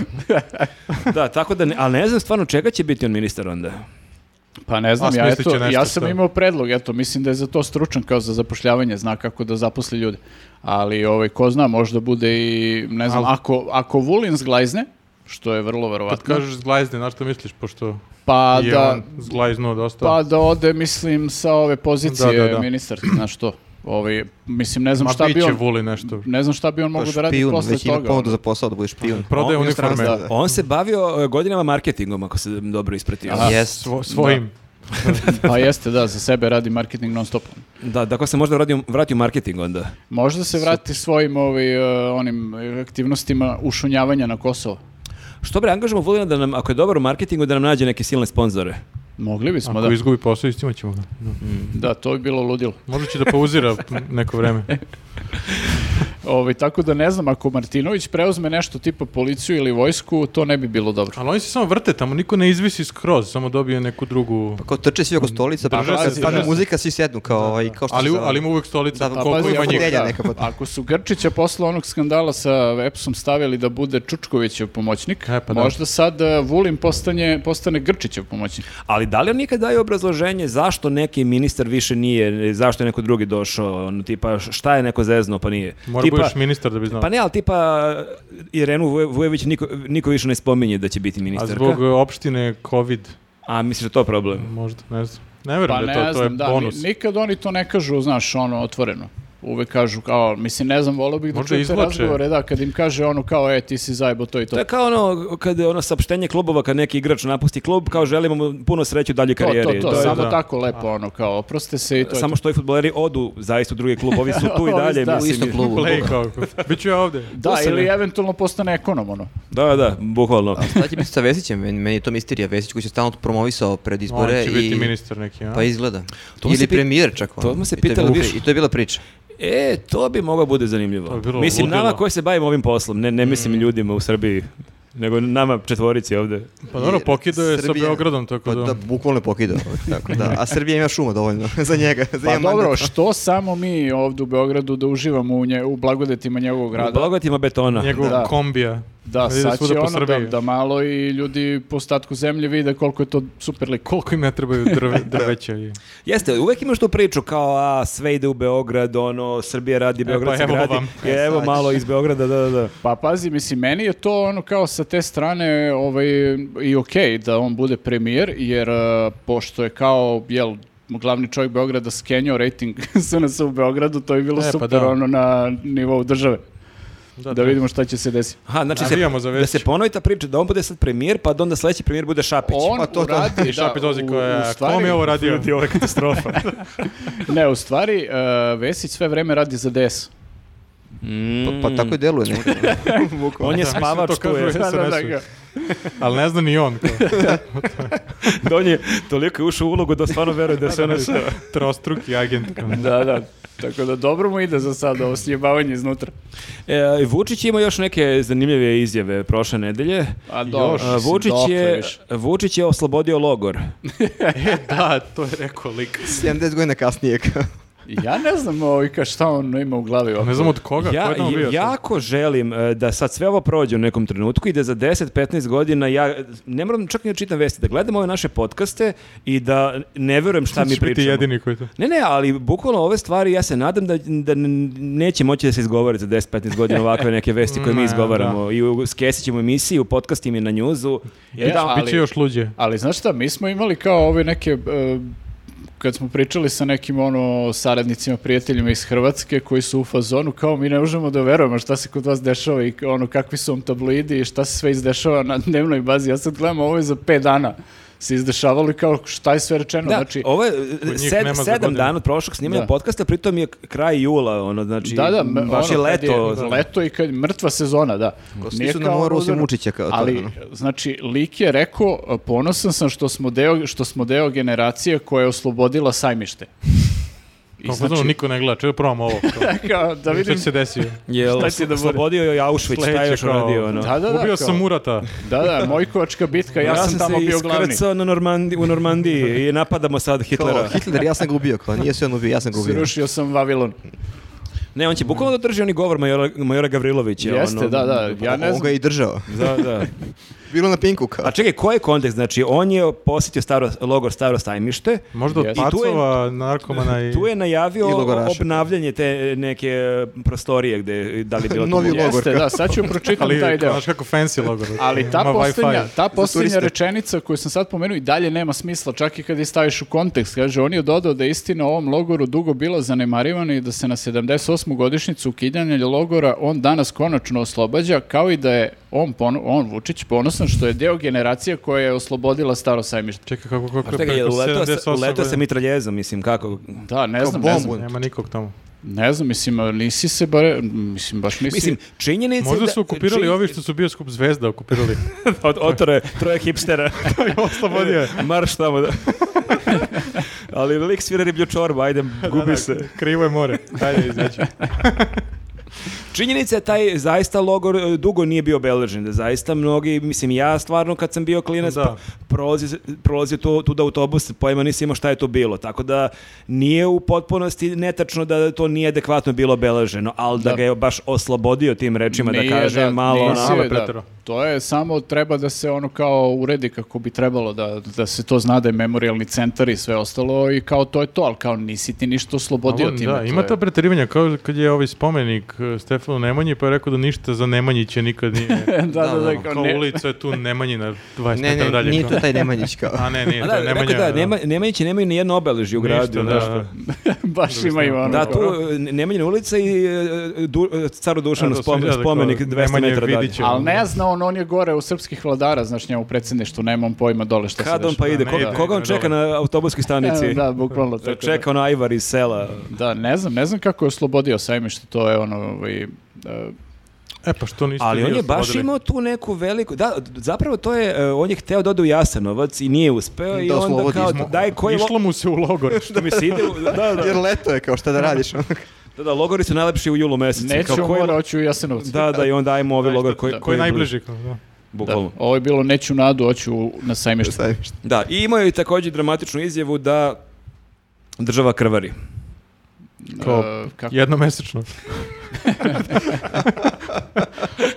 Speaker 2: da, tako da, ne, ali ne znam stvarno čega će biti on ministar onda.
Speaker 4: Pa ne znam,
Speaker 1: A,
Speaker 4: ja,
Speaker 1: smislit će
Speaker 4: eto,
Speaker 1: nešto
Speaker 4: ja sam
Speaker 1: što-
Speaker 4: imao predlog, eto, mislim da je za to stručan kao za zapošljavanje, zna kako da zaposli ljude. Ali, ovaj, ko zna, možda bude i, ne znam,
Speaker 1: Ali-
Speaker 4: ako, ako Vulin zglajzne, što je vrlo
Speaker 1: Kad
Speaker 4: verovatno,
Speaker 1: kažeš zglajzne, na što misliš, pošto
Speaker 4: pa
Speaker 1: je
Speaker 4: da,
Speaker 1: on zglajznuo dosta.
Speaker 4: pa da ode, mislim, sa ove pozicije
Speaker 1: Da, da, da.
Speaker 4: ministarke, znaš to. Ovaj, mislim, ne znam
Speaker 1: Ma
Speaker 4: šta bi
Speaker 1: biće
Speaker 4: on...
Speaker 1: vuli nešto.
Speaker 4: Ne znam šta bi on mogu da radi
Speaker 3: Pa Špijun,
Speaker 4: posle
Speaker 3: već ima
Speaker 4: toga.
Speaker 3: ponudu
Speaker 4: ono.
Speaker 3: za posao da budeš špijun.
Speaker 1: Prodaje
Speaker 3: On-
Speaker 1: uniforme.
Speaker 3: Da, da.
Speaker 2: On se bavio e, godinama marketingom, ako se dobro ispratio.
Speaker 3: Aha. Jest.
Speaker 1: Svo, svojim.
Speaker 4: Pa jeste, da, za sebe radi marketing non stop.
Speaker 2: Da, dakle se možda vratio, vratio marketing onda.
Speaker 4: Možda se vrati svojim ovaj, e, onim aktivnostima ušunjavanja na Kosovo.
Speaker 2: Što bre, angažamo Vulina da nam, ako je dobar u marketingu, da nam nađe neke silne sponzore.
Speaker 4: Mogli bismo,
Speaker 1: Ako
Speaker 4: da. Mm.
Speaker 1: izgubi posao, istima ćemo ga. Da.
Speaker 4: Da, to je bilo ludilo.
Speaker 1: Možda će da pauzira neko vreme.
Speaker 4: Ovaj, tako da ne znam, ako Martinović preuzme nešto tipa policiju ili vojsku, to ne bi bilo dobro.
Speaker 1: Ali oni se samo vrte tamo, niko ne izvisi skroz, samo dobije neku drugu...
Speaker 3: Kao trče svi oko stolica,
Speaker 1: Pa,
Speaker 3: pa
Speaker 1: drže se,
Speaker 3: stane
Speaker 1: drže se.
Speaker 3: muzika, svi sednu kao, ovaj, kao što
Speaker 1: Ali,
Speaker 3: se
Speaker 1: u-
Speaker 3: zove.
Speaker 1: ali ima uvek stolica,
Speaker 3: Da, pa
Speaker 1: koliko
Speaker 3: pazi,
Speaker 1: ima
Speaker 3: ako
Speaker 1: njih.
Speaker 3: fotelja
Speaker 4: da,
Speaker 3: neka potom.
Speaker 4: ako su Grčića posle onog skandala sa EPS-om stavili da bude Čučkovićev pomoćnik,
Speaker 1: E, pa da.
Speaker 4: možda sad e, Vulin postane, postane Grčićev pomoćnik.
Speaker 2: Ali da li on nikad daje obrazloženje zašto neki ministar više nije, zašto je neko drugi došao, ono, tipa šta je neko zezno pa nije.
Speaker 1: Mora
Speaker 2: tipa,
Speaker 1: budeš ministar da bi znao.
Speaker 2: Pa ne, ali tipa Irenu Vuj- Vujović niko, niko više ne spominje da će biti
Speaker 1: A
Speaker 2: ministarka.
Speaker 1: zbog opštine COVID,
Speaker 2: A misliš da je to problem?
Speaker 1: možda, ne znam. Ne verujem
Speaker 4: Pa
Speaker 1: da
Speaker 4: ne
Speaker 1: je to, to je
Speaker 4: znam, da, ni-
Speaker 1: bonus.
Speaker 4: nikad oni to ne kažu, znaš, ono, otvoreno. uvek kažu kao, mislim, ne znam, volio bih da
Speaker 1: Možda
Speaker 4: čujem te
Speaker 1: izvlače.
Speaker 4: razgovore, da, kad im kaže ono kao, e, ti si zajebo, to i to.
Speaker 2: To je kao ono, kad je ono saopštenje klubova, kad neki igrač napusti klub, kao želimo mu puno sreće u daljoj
Speaker 4: to, to,
Speaker 2: karijeri.
Speaker 4: to,
Speaker 2: To je-
Speaker 4: samo
Speaker 1: da.
Speaker 4: tako lepo, ono, kao, oprostite se i to je
Speaker 2: Samo
Speaker 4: to.
Speaker 2: što i futboleri odu zaista u drugi klub, ovi su tu i
Speaker 4: Ovi
Speaker 2: dalje.
Speaker 4: da.
Speaker 3: U
Speaker 2: mislim.
Speaker 3: istom klubu.
Speaker 1: Play kao, biću ja ovde.
Speaker 4: Da,
Speaker 2: to se
Speaker 4: ili
Speaker 2: ne-
Speaker 4: eventualno postane ekonom, ono.
Speaker 2: Da, da, bukvalno.
Speaker 3: Šta će biti sa Vesićem? Meni, meni je to misterija. Vesić koji se stalno promovisao pred
Speaker 1: On
Speaker 3: izbore
Speaker 1: će biti
Speaker 3: i...
Speaker 1: ministar neki, a?
Speaker 3: Pa izgleda.
Speaker 2: To se
Speaker 3: Ili
Speaker 2: pi-
Speaker 3: premijer čak. ono.
Speaker 2: to smo se
Speaker 3: I je
Speaker 2: pitali,
Speaker 3: bila
Speaker 2: viš.
Speaker 3: pri- I to je bila priča.
Speaker 2: E, to bi moglo bude zanimljivo.
Speaker 1: To bi bilo
Speaker 2: mislim,
Speaker 1: ludilo.
Speaker 2: nama koji se bavimo ovim poslom, ne, ne mislim ljudima u Srbiji, nego nama četvorici ovde.
Speaker 1: Pa dobro,
Speaker 3: Jer
Speaker 1: pokidao je sa
Speaker 3: Srbija-
Speaker 1: Beogradom,
Speaker 3: Pa
Speaker 1: tako
Speaker 3: da,
Speaker 1: da...
Speaker 3: bukvalno je pokidao. Tako, da. A Srbija ima šuma dovoljno za njega. Za
Speaker 4: Pa
Speaker 3: jedan mandat.
Speaker 4: dobro, što samo mi ovdje u Beogradu da uživamo u, nje, u blagodetima njegovog
Speaker 2: U
Speaker 4: rada.
Speaker 2: blagotima betona.
Speaker 1: Njegov
Speaker 4: Da.
Speaker 1: kombija.
Speaker 4: Da,
Speaker 1: Ide
Speaker 4: sad
Speaker 1: svuda
Speaker 4: će
Speaker 1: po
Speaker 4: ono da,
Speaker 1: Srbiji.
Speaker 4: da malo i ljudi po ostatku zemlje vide koliko je to super lik.
Speaker 1: Koliko im ja trebaju drve, drveća i...
Speaker 2: Jeste, uvek imaš tu priču kao a, sve ide u Beograd, ono, Srbija radi, Beograd se
Speaker 1: evo
Speaker 2: gradi.
Speaker 1: vam.
Speaker 2: E, evo
Speaker 3: sad.
Speaker 2: malo iz Beograda, da, da, da.
Speaker 4: Pa pazi, mislim, meni je to ono kao sa te strane ovaj, i okej da on bude premijer, jer eh, pošto je kao, jel, glavni čovjek Beograda skenjao rating SNS u Beogradu, to je bilo
Speaker 1: E, pa
Speaker 4: super
Speaker 1: da.
Speaker 4: ono na nivou države. Da,
Speaker 1: to je-
Speaker 4: vidimo šta će se desiti.
Speaker 2: Aha, znači
Speaker 1: Navijamo
Speaker 2: se,
Speaker 1: za
Speaker 2: da
Speaker 1: Vesića.
Speaker 2: se ponovi ta priča da on bude sad premijer, pa da onda sledeći premijer bude Šapić.
Speaker 4: On
Speaker 3: Pa to- to-
Speaker 4: uradi,
Speaker 1: I šapi dozi
Speaker 4: u- u
Speaker 1: koja,
Speaker 4: stvari-
Speaker 1: kom je ovo radio?
Speaker 2: ovo je katastrofa.
Speaker 4: Ne, u stvari, eh, Vesić sve vreme radi za DS.
Speaker 2: Mm.
Speaker 3: Pa, pa tako i deluje nekako.
Speaker 2: on je
Speaker 1: ono? Mislim,
Speaker 2: spavač
Speaker 1: to
Speaker 2: tu
Speaker 1: kažu
Speaker 2: je.
Speaker 1: SNS-u. Ali ne zna ni on. Kao.
Speaker 2: Da, on je toliko je ušao u ulogu da stvarno veruje da se ono
Speaker 1: Trostruki agent. kao.
Speaker 4: Da, da. Tako da dobro mu ide za sad ovo snjebavanje iznutra.
Speaker 2: E, Vučić ima još neke zanimljive izjave prošle nedelje.
Speaker 4: A dobro,
Speaker 2: E, Vučić,
Speaker 4: dokle
Speaker 2: je,
Speaker 4: više?
Speaker 2: Vučić je oslobodio logor.
Speaker 1: e, da, to je rekao lik.
Speaker 3: 70 godina kasnije. kao.
Speaker 4: Ja ne znam ovaj, ka šta on ima u glavi.
Speaker 1: Ne znam od koga, ko
Speaker 2: ja
Speaker 1: je tamo bio.
Speaker 2: jako želim e, da sad sve ovo prođe u nekom trenutku i da za 10-15 godina ja ne moram čak ni da čitam vesti, da gledam ove naše podcaste i da ne verujem šta
Speaker 1: Sad
Speaker 2: mi
Speaker 1: ćeš biti
Speaker 2: pričamo.
Speaker 1: jedini koji to.
Speaker 2: Ne, ne, ali bukvalno ove stvari ja se nadam da, da n- neće moći da se izgovore za 10-15 godina ovakve neke vesti koje mi
Speaker 1: Ma,
Speaker 2: izgovaramo. I u skesićem emisiji, u podcastima i na njuzu.
Speaker 4: E, da, ali-
Speaker 1: Biće još luđe.
Speaker 4: Ali znaš šta, mi smo imali kao ove neke... e, kad smo pričali sa nekim ono saradnicima, prijateljima iz Hrvatske koji su u fazonu, kao mi ne možemo da verujemo šta se kod vas dešava i ono kakvi su vam tabloidi i šta se sve izdešava na dnevnoj bazi. Ja sad gledam ovo je za 5 dana se izdešavalo i kao šta je sve rečeno.
Speaker 2: Da,
Speaker 4: znači,
Speaker 2: ovo je
Speaker 1: Kod njih
Speaker 2: sed,
Speaker 1: nema za
Speaker 2: sedam
Speaker 1: godinu.
Speaker 2: dana od prošlog snimanja
Speaker 4: Da.
Speaker 2: podcasta, pritom je kraj jula, ono, znači,
Speaker 4: da, da, m-
Speaker 2: baš je
Speaker 4: ono, kad
Speaker 2: leto.
Speaker 4: leto i kad mrtva sezona, da.
Speaker 3: Ko, svi
Speaker 4: Pa Nije
Speaker 3: su na
Speaker 4: kao
Speaker 3: moru, osim
Speaker 4: ono-
Speaker 3: Vučića, kao to,
Speaker 4: Ali,
Speaker 3: ono.
Speaker 4: znači, lik je rekao, e, ponosan sam što smo deo, što smo deo generacije koja je oslobodila sajmište. I
Speaker 1: Kako znači... niko ne gleda, čeo probam ovo. kao.
Speaker 4: kao, da
Speaker 1: Šta
Speaker 4: vidim,
Speaker 1: će se desio?
Speaker 2: Jel,
Speaker 4: Šta će da bude?
Speaker 2: slobodio je Auschwitz, šta je
Speaker 1: Sledeće
Speaker 2: još
Speaker 1: kao-
Speaker 2: radio, ono.
Speaker 4: Da, da, da,
Speaker 1: Ubio
Speaker 4: kao-
Speaker 1: sam Murata.
Speaker 4: da, da, Mojkovačka bitka, ja, sam, tamo bio glavni.
Speaker 2: se iskrcao na Normandi, u Normandiji i napadamo sad
Speaker 3: Kao,
Speaker 2: Hitlera.
Speaker 3: Hitler, ja sam ga ubio. Kao, nije se on ubio, ja sam ga ubio.
Speaker 4: Srušio sam Vavilon.
Speaker 2: Ne, on će bukvalno da drži oni govor majora, majora Gavrilovića.
Speaker 4: Jeste,
Speaker 2: ono.
Speaker 4: da, da, ja ne
Speaker 3: On ga je
Speaker 4: znam.
Speaker 3: i držao.
Speaker 2: Da, da.
Speaker 3: Bilo na pinku kao.
Speaker 2: A čekaj, koji je kontekst? Znači, on je posjetio staro, logor Staro sajmište,
Speaker 1: Možda od
Speaker 4: Jeste. I
Speaker 2: tu je-
Speaker 1: pacova, narkomana i...
Speaker 2: tu je najavio
Speaker 3: I logoraša.
Speaker 2: obnavljanje te neke e, prostorije gde, da li je bilo tu
Speaker 3: Novi
Speaker 2: moguće.
Speaker 3: logor.
Speaker 4: Jeste, da, sad ću pročitam
Speaker 1: Ali,
Speaker 4: taj
Speaker 1: kao,
Speaker 4: deo.
Speaker 1: znaš kako fancy logor.
Speaker 4: Ali ta
Speaker 1: Ima Wi-Fi.
Speaker 4: posljednja, ta posljednja
Speaker 3: turiste.
Speaker 4: rečenica koju sam sad pomenuo i dalje nema smisla, čak i kad je staviš u kontekst. Kaže, on je dodao da je istina o ovom logoru dugo bila zanemarivana i da se na 78. godišnicu ukidanja logora on danas konačno oslobađa, kao i da je on, pono- on Vučić, ponosan što je deo generacija koja je oslobodila staro sajmište.
Speaker 1: Čekaj, kako, kako
Speaker 2: A
Speaker 1: je
Speaker 2: Pa čekaj, je
Speaker 1: preko
Speaker 2: leto, sa,
Speaker 1: 78
Speaker 2: leto sa
Speaker 1: godina?
Speaker 2: mitraljezom, mislim, kako?
Speaker 4: Da, ne
Speaker 3: Kao
Speaker 4: znam, ne znam,
Speaker 3: bombu.
Speaker 1: Nema nikog tamo.
Speaker 4: ne znam, mislim, nisi se bare, mislim, baš nisi...
Speaker 2: Mislim, činjenica... je
Speaker 1: Možda
Speaker 2: da-
Speaker 1: su okupirali
Speaker 2: čin-
Speaker 1: ovi što su bioskop Zvezda okupirali.
Speaker 2: Od, otore, troje hipstera.
Speaker 1: Oslobodio je.
Speaker 2: Marš tamo, da. Ali lik svira riblju čorbu, ajde, gubi se.
Speaker 1: Krivo je more. Ajde, izaći.
Speaker 2: Činjenica je taj zaista logor e, dugo nije bio obeležen, da zaista mnogi, mislim ja stvarno kad sam bio klinac
Speaker 1: Da.
Speaker 2: da. prolazio, prolazio tu, tu da autobus, pojma nisi imao šta je to bilo, tako da nije u potpunosti netačno da to nije adekvatno bilo obeleženo, ali da,
Speaker 4: Da.
Speaker 2: ga je baš oslobodio tim rečima,
Speaker 4: Nije,
Speaker 2: da kaže malo ono,
Speaker 4: nisi
Speaker 2: onako.
Speaker 1: malo
Speaker 4: je,
Speaker 1: preterao.
Speaker 4: To je samo treba da se ono kao uredi kako bi trebalo da, da se to zna da je memorialni centar i sve ostalo i kao to je to, ali kao nisi ti ništa oslobodio
Speaker 1: Ovo,
Speaker 4: time.
Speaker 1: Da,
Speaker 4: to
Speaker 1: ima
Speaker 4: je-
Speaker 1: ta preterivanja, kao kad je ovaj spomenik eh, Stefanu telefon u Nemanji, pa je rekao da ništa za Nemanjića nikad nije.
Speaker 4: da, da, da,
Speaker 3: da,
Speaker 4: kao
Speaker 1: Kao
Speaker 4: ne-
Speaker 1: ulica je tu Nemanjina 20
Speaker 3: Ne,
Speaker 1: metara
Speaker 3: ne,
Speaker 1: dalje.
Speaker 3: nije to
Speaker 1: kao.
Speaker 3: taj Nemanjić kao.
Speaker 1: A ne, nije,
Speaker 2: A
Speaker 1: to
Speaker 2: Pa da,
Speaker 1: je Nemanja.
Speaker 2: rekao da, nema, Nemanjići nemaju ni jedno obeležje u
Speaker 1: Ništa,
Speaker 2: gradu.
Speaker 1: da,
Speaker 2: znaš.
Speaker 1: da.
Speaker 4: baš ima i ono.
Speaker 2: Da,
Speaker 4: kao-
Speaker 2: tu e, Nemanjina ulica i e, du, e, caru Dušanu
Speaker 1: Da, to sam
Speaker 2: spomen,
Speaker 1: ja rekao,
Speaker 2: spomenik 200
Speaker 1: Nemanja
Speaker 2: metara dalje.
Speaker 1: Vidića.
Speaker 4: Ali ne zna on, on je gore u srpskih vladara, znaš njemu predsjedništvu, nemam pojma dole šta
Speaker 2: Kad
Speaker 4: se
Speaker 2: on pa
Speaker 1: Da,
Speaker 2: ide,
Speaker 1: ne
Speaker 2: Ko-
Speaker 1: ide,
Speaker 2: koga on
Speaker 1: ne
Speaker 2: čeka
Speaker 1: dolazi.
Speaker 2: na autobuskoj stanici?
Speaker 4: dešava. E, Da, bukvalno.
Speaker 2: Da,
Speaker 4: tako da.
Speaker 2: Čeka onaj Ajvar iz sela.
Speaker 4: Da, ne znam, ne znam kako je oslobodio sajmište, to je ono, ovaj, e,
Speaker 1: E pa što niste
Speaker 2: Ali
Speaker 1: vi
Speaker 2: on je baš
Speaker 1: oslobodili?
Speaker 2: imao tu neku veliku... Da, d- zapravo to je... e, On je hteo da ode u Jasenovac i nije uspeo i
Speaker 3: Da
Speaker 2: onda
Speaker 3: oslobodi
Speaker 2: kao...
Speaker 3: smo-
Speaker 2: Daj, koji... lo-
Speaker 1: Išlo mu se u logor.
Speaker 2: Da mi se ide... u- Da, da,
Speaker 3: Jer leto je kao šta da radiš.
Speaker 2: da, da, logori su najlepši u julu mesecu.
Speaker 4: neću
Speaker 2: Kao, koji-
Speaker 4: mora, hoću u Jasenovcu.
Speaker 2: Da, da, i onda ajmo ovaj logor koji...
Speaker 4: da,
Speaker 1: Ko je
Speaker 2: koji-
Speaker 1: najbliži? kao, da.
Speaker 2: Bukvalno.
Speaker 4: Ovo je bilo neću nadu, hoću u- na sajmište.
Speaker 3: Sajmište.
Speaker 2: Da, i imao je takođe dramatičnu izjavu da država krvari.
Speaker 1: Kao,
Speaker 4: E, kako?
Speaker 1: Jednomesečno.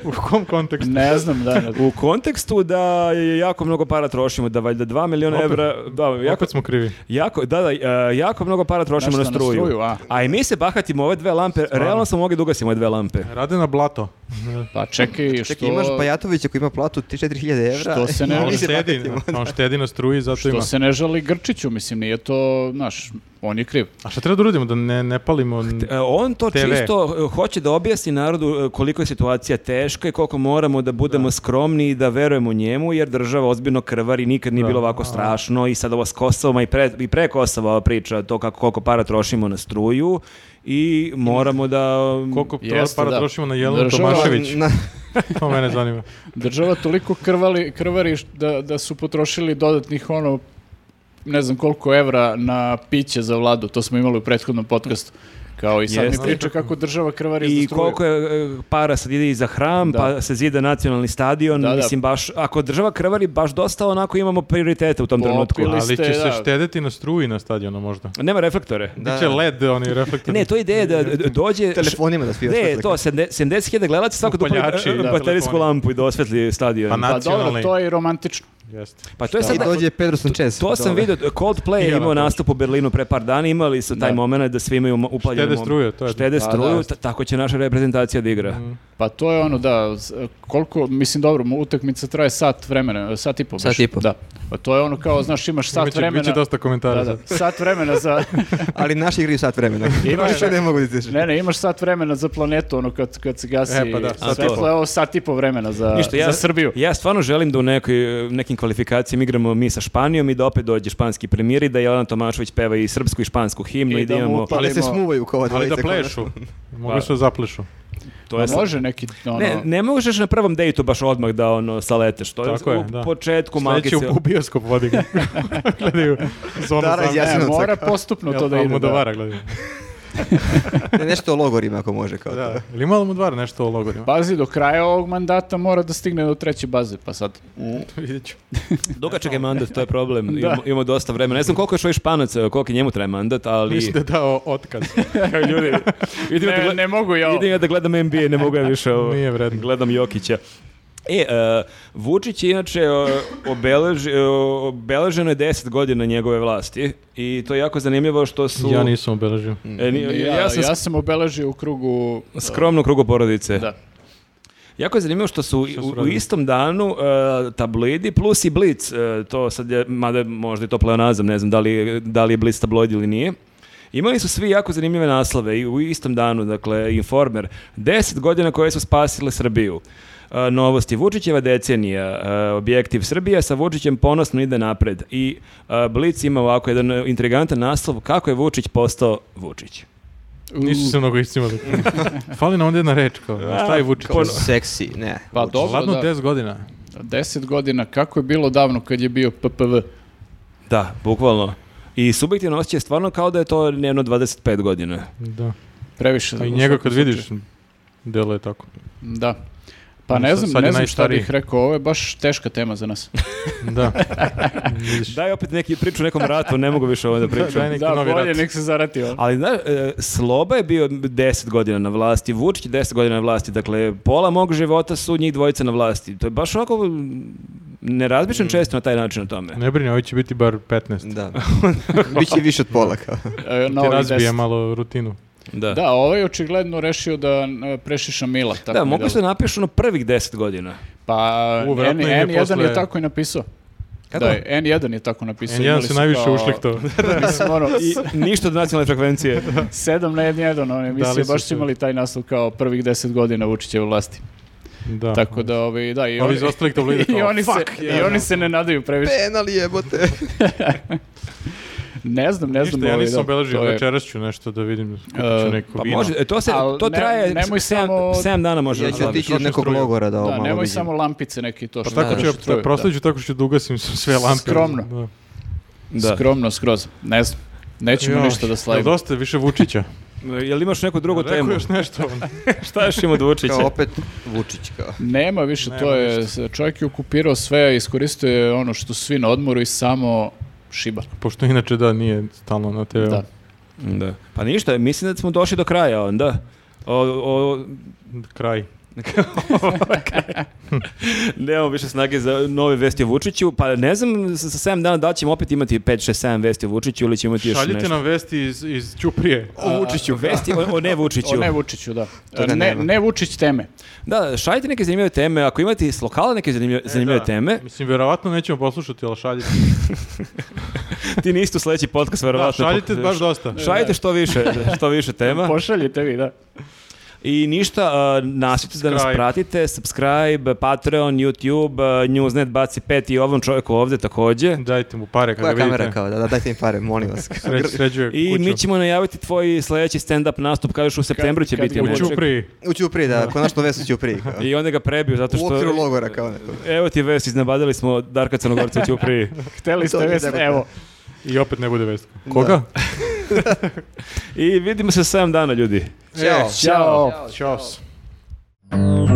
Speaker 1: u kom kontekstu?
Speaker 4: Ne znam, da, ne
Speaker 2: U kontekstu da je jako mnogo para trošimo, da valjda 2 miliona
Speaker 1: Opet-
Speaker 2: evra, da, jako,
Speaker 1: Opet smo krivi.
Speaker 2: jako, da, da, e, jako mnogo para trošimo
Speaker 4: Nešto
Speaker 2: na struju.
Speaker 4: a.
Speaker 2: A i mi se bahatimo ove dve lampe, realno smo mogli da ugasimo ove dve lampe.
Speaker 1: Rade na blato.
Speaker 4: Pa čekaj, što...
Speaker 3: Čekaj, imaš pa Pajatovića koji ima platu 34.000 evra.
Speaker 4: Što se ne-
Speaker 3: i mi
Speaker 1: On Ono štedi,
Speaker 3: bakatimo.
Speaker 1: na- on štedi na struji, zato
Speaker 4: Što
Speaker 1: ima.
Speaker 4: se ne žali Grčiću, mislim, nije to, znaš, on je kriv.
Speaker 1: A šta treba da uradimo? Da ne, ne palimo...
Speaker 2: E, On to
Speaker 1: TV.
Speaker 2: čisto e, hoće da objasni narodu e, koliko je situacija teška i koliko moramo da budemo skromni i da verujemo njemu, jer država ozbiljno krvari, nikad nije
Speaker 1: Da.
Speaker 2: bilo ovako strašno i sad ovo s Kosovoma i pre, i pre Kosova ova priča, to kako, koliko para trošimo na struju i moramo da...
Speaker 1: Koliko to
Speaker 4: Jeste,
Speaker 1: para
Speaker 4: da.
Speaker 1: trošimo na Jelenu
Speaker 4: Država-
Speaker 1: Tomašević?
Speaker 3: Na-
Speaker 1: To mene zanima.
Speaker 4: Država toliko krvali, krvari š- da, da su potrošili dodatnih ono ne znam koliko evra na piće za vladu, to smo imali u prethodnom podcastu. Kao i sad mi
Speaker 2: Jeste.
Speaker 4: priča kako država krvari za
Speaker 2: I
Speaker 4: struju.
Speaker 2: koliko je e, para sad ide i za hram,
Speaker 4: Da.
Speaker 2: pa se zida nacionalni stadion,
Speaker 4: Da, da.
Speaker 2: mislim baš, ako država krvari, baš dosta onako imamo prioritete u tom trenutku.
Speaker 4: Popili-
Speaker 1: Ali će
Speaker 4: ste,
Speaker 1: se
Speaker 4: da.
Speaker 1: štedeti na struji na stadionu možda.
Speaker 2: Nema reflektore.
Speaker 3: Da,
Speaker 1: Biće
Speaker 3: da.
Speaker 1: LED, oni reflektori.
Speaker 2: Ne, to je ideja da d- dođe...
Speaker 3: Telefonima da svi
Speaker 2: Ne,
Speaker 3: osvetle.
Speaker 2: to, 70 70.000 gledalaca svako da upali
Speaker 1: Upaljači,
Speaker 2: e,
Speaker 1: da,
Speaker 2: baterijsku
Speaker 1: telefoni.
Speaker 2: lampu i da osvetli stadion.
Speaker 1: Pa
Speaker 2: Pa,
Speaker 1: na-
Speaker 4: Pa dobro,
Speaker 1: nacionalni.
Speaker 4: to je i romantično.
Speaker 1: Jeste.
Speaker 2: to je E, sad...
Speaker 3: I dođe Pedro Sanchez.
Speaker 2: To sam
Speaker 3: dole.
Speaker 2: vidio, Coldplay je
Speaker 1: Hiljada
Speaker 2: imao
Speaker 1: dođe.
Speaker 2: nastup u Berlinu pre par dana, imali su taj
Speaker 4: Da.
Speaker 2: moment da svi imaju mo- upaljene...
Speaker 1: Štede
Speaker 2: mom-
Speaker 1: struju, to je-
Speaker 2: Štede
Speaker 4: Pa,
Speaker 2: struju,
Speaker 4: da.
Speaker 2: ta- tako će naša reprezentacija da igra.
Speaker 4: Pa to je ono, da, s- koliko, mislim, dobro, mu utakmica traje sat vremena, sat i po. baš.
Speaker 3: Sat i po.
Speaker 4: Da. Pa to je ono kao, znaš, imaš
Speaker 1: Sat
Speaker 4: sat
Speaker 1: biće,
Speaker 4: vremena.
Speaker 1: biće dosta komentara
Speaker 4: Da,
Speaker 1: sad.
Speaker 4: da, sat vremena za...
Speaker 3: Ali naši igraju sat vremena.
Speaker 4: Imaš-
Speaker 3: Više ne mogu da izađu.
Speaker 4: Ne, ne, imaš sat vremena za planetu, ono, kad, kad se gasi
Speaker 1: E, pa da,
Speaker 4: svetlo,
Speaker 1: sat
Speaker 2: i po.
Speaker 4: je ovo sat i po vremena za,
Speaker 2: Ništa, ja-
Speaker 4: za Srbiju.
Speaker 2: Ja stvarno želim da u nekoj, nekim kvalifikacijama igramo mi sa Španijom i da opet dođe španski premijer i da Jelena Tomašović peva i srpsku i špansku himnu
Speaker 4: I
Speaker 2: i,
Speaker 4: da
Speaker 2: da
Speaker 4: mu
Speaker 2: imamo...
Speaker 4: upali-
Speaker 3: Ali Pa se
Speaker 4: Palimo-
Speaker 3: smuvaju kao ova
Speaker 1: Ali da
Speaker 3: dvojica koja-
Speaker 1: plešu. Mogu se da zaplešu.
Speaker 2: To je
Speaker 4: Ma Može neki, ono...
Speaker 2: Ne, ne možeš na prvom dejtu baš odmah da ono saleteš, to je
Speaker 1: Tako je,
Speaker 2: u
Speaker 1: da.
Speaker 2: početku malkice.
Speaker 1: Sledeće u bioskop vodi ga. Gledaju zonu
Speaker 3: Dara iz
Speaker 1: zamke.
Speaker 3: Jasenovca.
Speaker 4: Ne, mora postupno to
Speaker 1: Jel pa
Speaker 4: da ide. Da.
Speaker 1: Almodovara gledaju.
Speaker 3: Ne, Nešto o logorima ako može kao
Speaker 1: Da.
Speaker 3: to.
Speaker 1: Ili ima Almodovara nešto o logorima?
Speaker 4: Pazi, do kraja ovog mandata mora da stigne do treće baze, pa sad.
Speaker 1: Vidjet ću.
Speaker 2: Dugačak je mandat, to je problem.
Speaker 4: Da.
Speaker 2: Imamo, imamo dosta vremena. Ne znam koliko je šoj španac, koliko njemu traje mandat, ali...
Speaker 1: Mislim da je dao otkaz.
Speaker 2: ljudi, idem, ja da
Speaker 4: Ne,
Speaker 2: gled-
Speaker 4: ne mogu ja ovo.
Speaker 2: idem ja da gledam NBA, ne mogu ja više ovo.
Speaker 1: Nije vredno.
Speaker 2: Gledam Jokića. E, e, Vučić je inače e, obelež, e, obeleženo je 10 godina njegove vlasti i to je jako zanimljivo što su...
Speaker 1: Ja nisam obeležio.
Speaker 2: E, ni-
Speaker 4: Ja,
Speaker 2: ja, sam
Speaker 4: ja sam obeležio u krugu...
Speaker 2: skromno u krugu porodice.
Speaker 4: Da.
Speaker 2: Jako je zanimljivo što su
Speaker 1: Šta
Speaker 2: u,
Speaker 1: su
Speaker 2: u
Speaker 1: radili?
Speaker 2: istom danu e, tablidi plus i Blic, e, to sad je, mada je možda je to pleonazam, ne znam da li, da li je Blic tabloid ili nije. Imali su svi jako zanimljive naslove i u istom danu, dakle, Informer, 10 godina koje su spasile Srbiju. E, novosti, Vučićeva decenija, e, objektiv Srbija sa Vučićem ponosno ide napred i e, Blic ima ovako jedan e, intrigantan naslov kako je Vučić postao Vučić.
Speaker 1: Nisu se mnogo istimali. Fali nam onda jedna reč. Kao, šta je Vučić?
Speaker 3: Kao seksi, ne.
Speaker 4: Pa dobro,
Speaker 1: Ladno
Speaker 4: da.
Speaker 1: 10 godina.
Speaker 4: Deset godina, kako je bilo davno kad je bio PPV?
Speaker 2: Da, bukvalno. I subjektivno osjećaj je stvarno kao da je to njeno 25 godina.
Speaker 1: Da.
Speaker 4: Previše.
Speaker 1: A Pa i
Speaker 4: u
Speaker 1: njega
Speaker 4: svakom
Speaker 1: kad
Speaker 4: slučaju.
Speaker 1: vidiš, delo je tako.
Speaker 4: Da. Pa
Speaker 1: On
Speaker 4: ne
Speaker 1: sad-
Speaker 4: znam,
Speaker 1: sad je
Speaker 4: ne znam šta
Speaker 1: najstariji.
Speaker 4: bih rekao, ovo je baš teška tema za nas.
Speaker 1: Da.
Speaker 2: Daj opet neki priču o nekom ratu, ne mogu više ovo da pričam.
Speaker 1: Daj neki novi rat.
Speaker 4: nek se zarati ovo.
Speaker 2: Ali znaš, e, Sloba je bio 10 godina na vlasti, Vučić je 10 godina na vlasti, dakle pola mog života su njih dvojica na vlasti. To je baš ovako, m, ne razmišljam često na taj način o tome.
Speaker 1: Ne brini, ovo će biti bar 15.
Speaker 3: Da. Biće više od pola kao.
Speaker 4: E, na
Speaker 1: Ti
Speaker 4: ovih
Speaker 1: razbije
Speaker 4: deset.
Speaker 1: malo rutinu.
Speaker 2: Da.
Speaker 4: Da, ovaj je očigledno rešio da n- prešiša Mila. Tako
Speaker 2: Da,
Speaker 4: mi
Speaker 2: mogu
Speaker 4: delo.
Speaker 2: se napišu na prvih 10 godina.
Speaker 4: Pa
Speaker 1: U,
Speaker 4: N,
Speaker 1: verovatno im je
Speaker 4: N1 je
Speaker 1: posle-
Speaker 4: tako i napisao.
Speaker 2: Kako?
Speaker 4: Da, N1 je tako napisao.
Speaker 1: N1
Speaker 4: imali
Speaker 1: se
Speaker 4: su
Speaker 1: najviše
Speaker 4: kao-
Speaker 1: ušli to.
Speaker 4: Mislim, ono,
Speaker 2: I ništa od nacionalne frekvencije.
Speaker 4: 7 na 1-1, one emisije,
Speaker 1: su
Speaker 4: baš su
Speaker 1: se-
Speaker 4: imali taj naslov kao prvih 10 godina Vučićeve vlasti.
Speaker 1: Da.
Speaker 4: Tako da, ovi, da, i
Speaker 1: Ovi
Speaker 4: oni,
Speaker 1: iz ostalih tabloida
Speaker 4: i
Speaker 1: kao,
Speaker 4: oni,
Speaker 1: "Fuck,
Speaker 4: se, i
Speaker 1: jebeno."
Speaker 4: oni se ne nadaju previše.
Speaker 3: Penal jebote.
Speaker 4: Ne znam, ne znam.
Speaker 1: Ništa, ja
Speaker 4: ovaj,
Speaker 1: nisam
Speaker 4: da,
Speaker 1: obeležio,
Speaker 4: to je-
Speaker 1: večeras ću nešto da vidim, skupit
Speaker 4: E,
Speaker 1: ću neko
Speaker 2: Pa
Speaker 1: vino.
Speaker 2: može, e, to, se,
Speaker 4: Al
Speaker 2: to
Speaker 4: ne-
Speaker 2: traje
Speaker 4: nemoj
Speaker 2: 7,
Speaker 4: samo-
Speaker 2: dana može.
Speaker 3: Ja
Speaker 2: da
Speaker 3: ću
Speaker 2: slaviš.
Speaker 3: otići od nekog
Speaker 1: struju.
Speaker 3: logora da ovo
Speaker 4: Da,
Speaker 3: malo
Speaker 4: nemoj
Speaker 3: vidim.
Speaker 4: samo lampice neki to
Speaker 1: Pa
Speaker 4: što
Speaker 1: tako
Speaker 4: znaš,
Speaker 1: ću,
Speaker 4: što je,
Speaker 1: ja
Speaker 4: da.
Speaker 1: prosleđu tako što ću da ugasim sve lampe.
Speaker 4: Skromno.
Speaker 1: Da.
Speaker 2: Da.
Speaker 4: Skromno, skroz. Ne znam. Nećemo
Speaker 1: Joj,
Speaker 4: ništa da
Speaker 1: jel
Speaker 4: slavimo.
Speaker 1: Dosta je više Vučića.
Speaker 2: Jel imaš neku drugu
Speaker 1: Rekao
Speaker 2: temu?
Speaker 1: još nešto.
Speaker 2: Šta još ima od Vučića?
Speaker 3: Kao opet Vučić kao.
Speaker 4: Nema više,
Speaker 1: Nema
Speaker 4: to je, čovjek je okupirao sve, iskoristio je ono što su svi na odmoru i samo šiba.
Speaker 1: Pošto inače da, nije stalno na TV.
Speaker 4: Da.
Speaker 1: Da.
Speaker 2: Da. Pa ništa, mislim da smo došli do kraja onda. O, o,
Speaker 1: Kraj.
Speaker 2: nemamo više snage za nove vesti o Vučiću, pa ne znam sa sa 7 dana da li ćemo opet imati 5, 6, 7 vesti o Vučiću ili ćemo imati još
Speaker 1: Šaljite
Speaker 2: nešto.
Speaker 1: nam vesti iz, iz Ćuprije.
Speaker 2: O Vučiću, vesti o, o ne Vučiću.
Speaker 4: O ne Vučiću, da.
Speaker 3: Toga
Speaker 4: Ne,
Speaker 3: nema.
Speaker 4: ne Vučić teme.
Speaker 2: Da, šaljite neke zanimljive teme, ako imate iz lokala neke zanimljive, zanimljive
Speaker 1: E, da.
Speaker 2: teme,
Speaker 1: Mislim, verovatno nećemo poslušati, ali šaljite.
Speaker 2: ti niste u sledeći podcast,
Speaker 1: Da,
Speaker 2: verovatno. E,
Speaker 1: šaljite baš dosta.
Speaker 2: Šaljite što više, što više tema.
Speaker 4: Pošaljite vi, da.
Speaker 2: I ništa, uh, nastavite da nas
Speaker 1: Subscribe.
Speaker 2: pratite, subscribe, Patreon, YouTube, uh, Newsnet baci pet i ovom čovjeku ovde takođe.
Speaker 1: Dajte mu pare kada
Speaker 3: Koja
Speaker 1: vidite.
Speaker 3: kamera kao, da, da, dajte mi pare, molim vas.
Speaker 1: Sreć, sređuje
Speaker 2: I
Speaker 1: kuću.
Speaker 2: mi ćemo najaviti tvoj sledeći stand-up nastup, kažeš u septembru će
Speaker 4: kad
Speaker 2: biti
Speaker 4: ga
Speaker 1: U
Speaker 2: nešto.
Speaker 4: uče-
Speaker 1: Ćupriji.
Speaker 3: U Ćupriji, da, konačno vesu Ćupriji kao.
Speaker 2: I onda ga prebiju zato
Speaker 3: U okviru
Speaker 2: što...
Speaker 3: logora kao neko.
Speaker 2: Evo ti vest, iznabadili smo Darka Crnogorca u Ćupriji.
Speaker 4: Hteli ste
Speaker 3: To je
Speaker 4: vest,
Speaker 3: debitno.
Speaker 4: evo.
Speaker 1: I opet ne bude vest. Koga?
Speaker 2: I vidimo se 7 dana, ljudi.
Speaker 3: Ćao.
Speaker 4: Ćao.
Speaker 1: Ćao.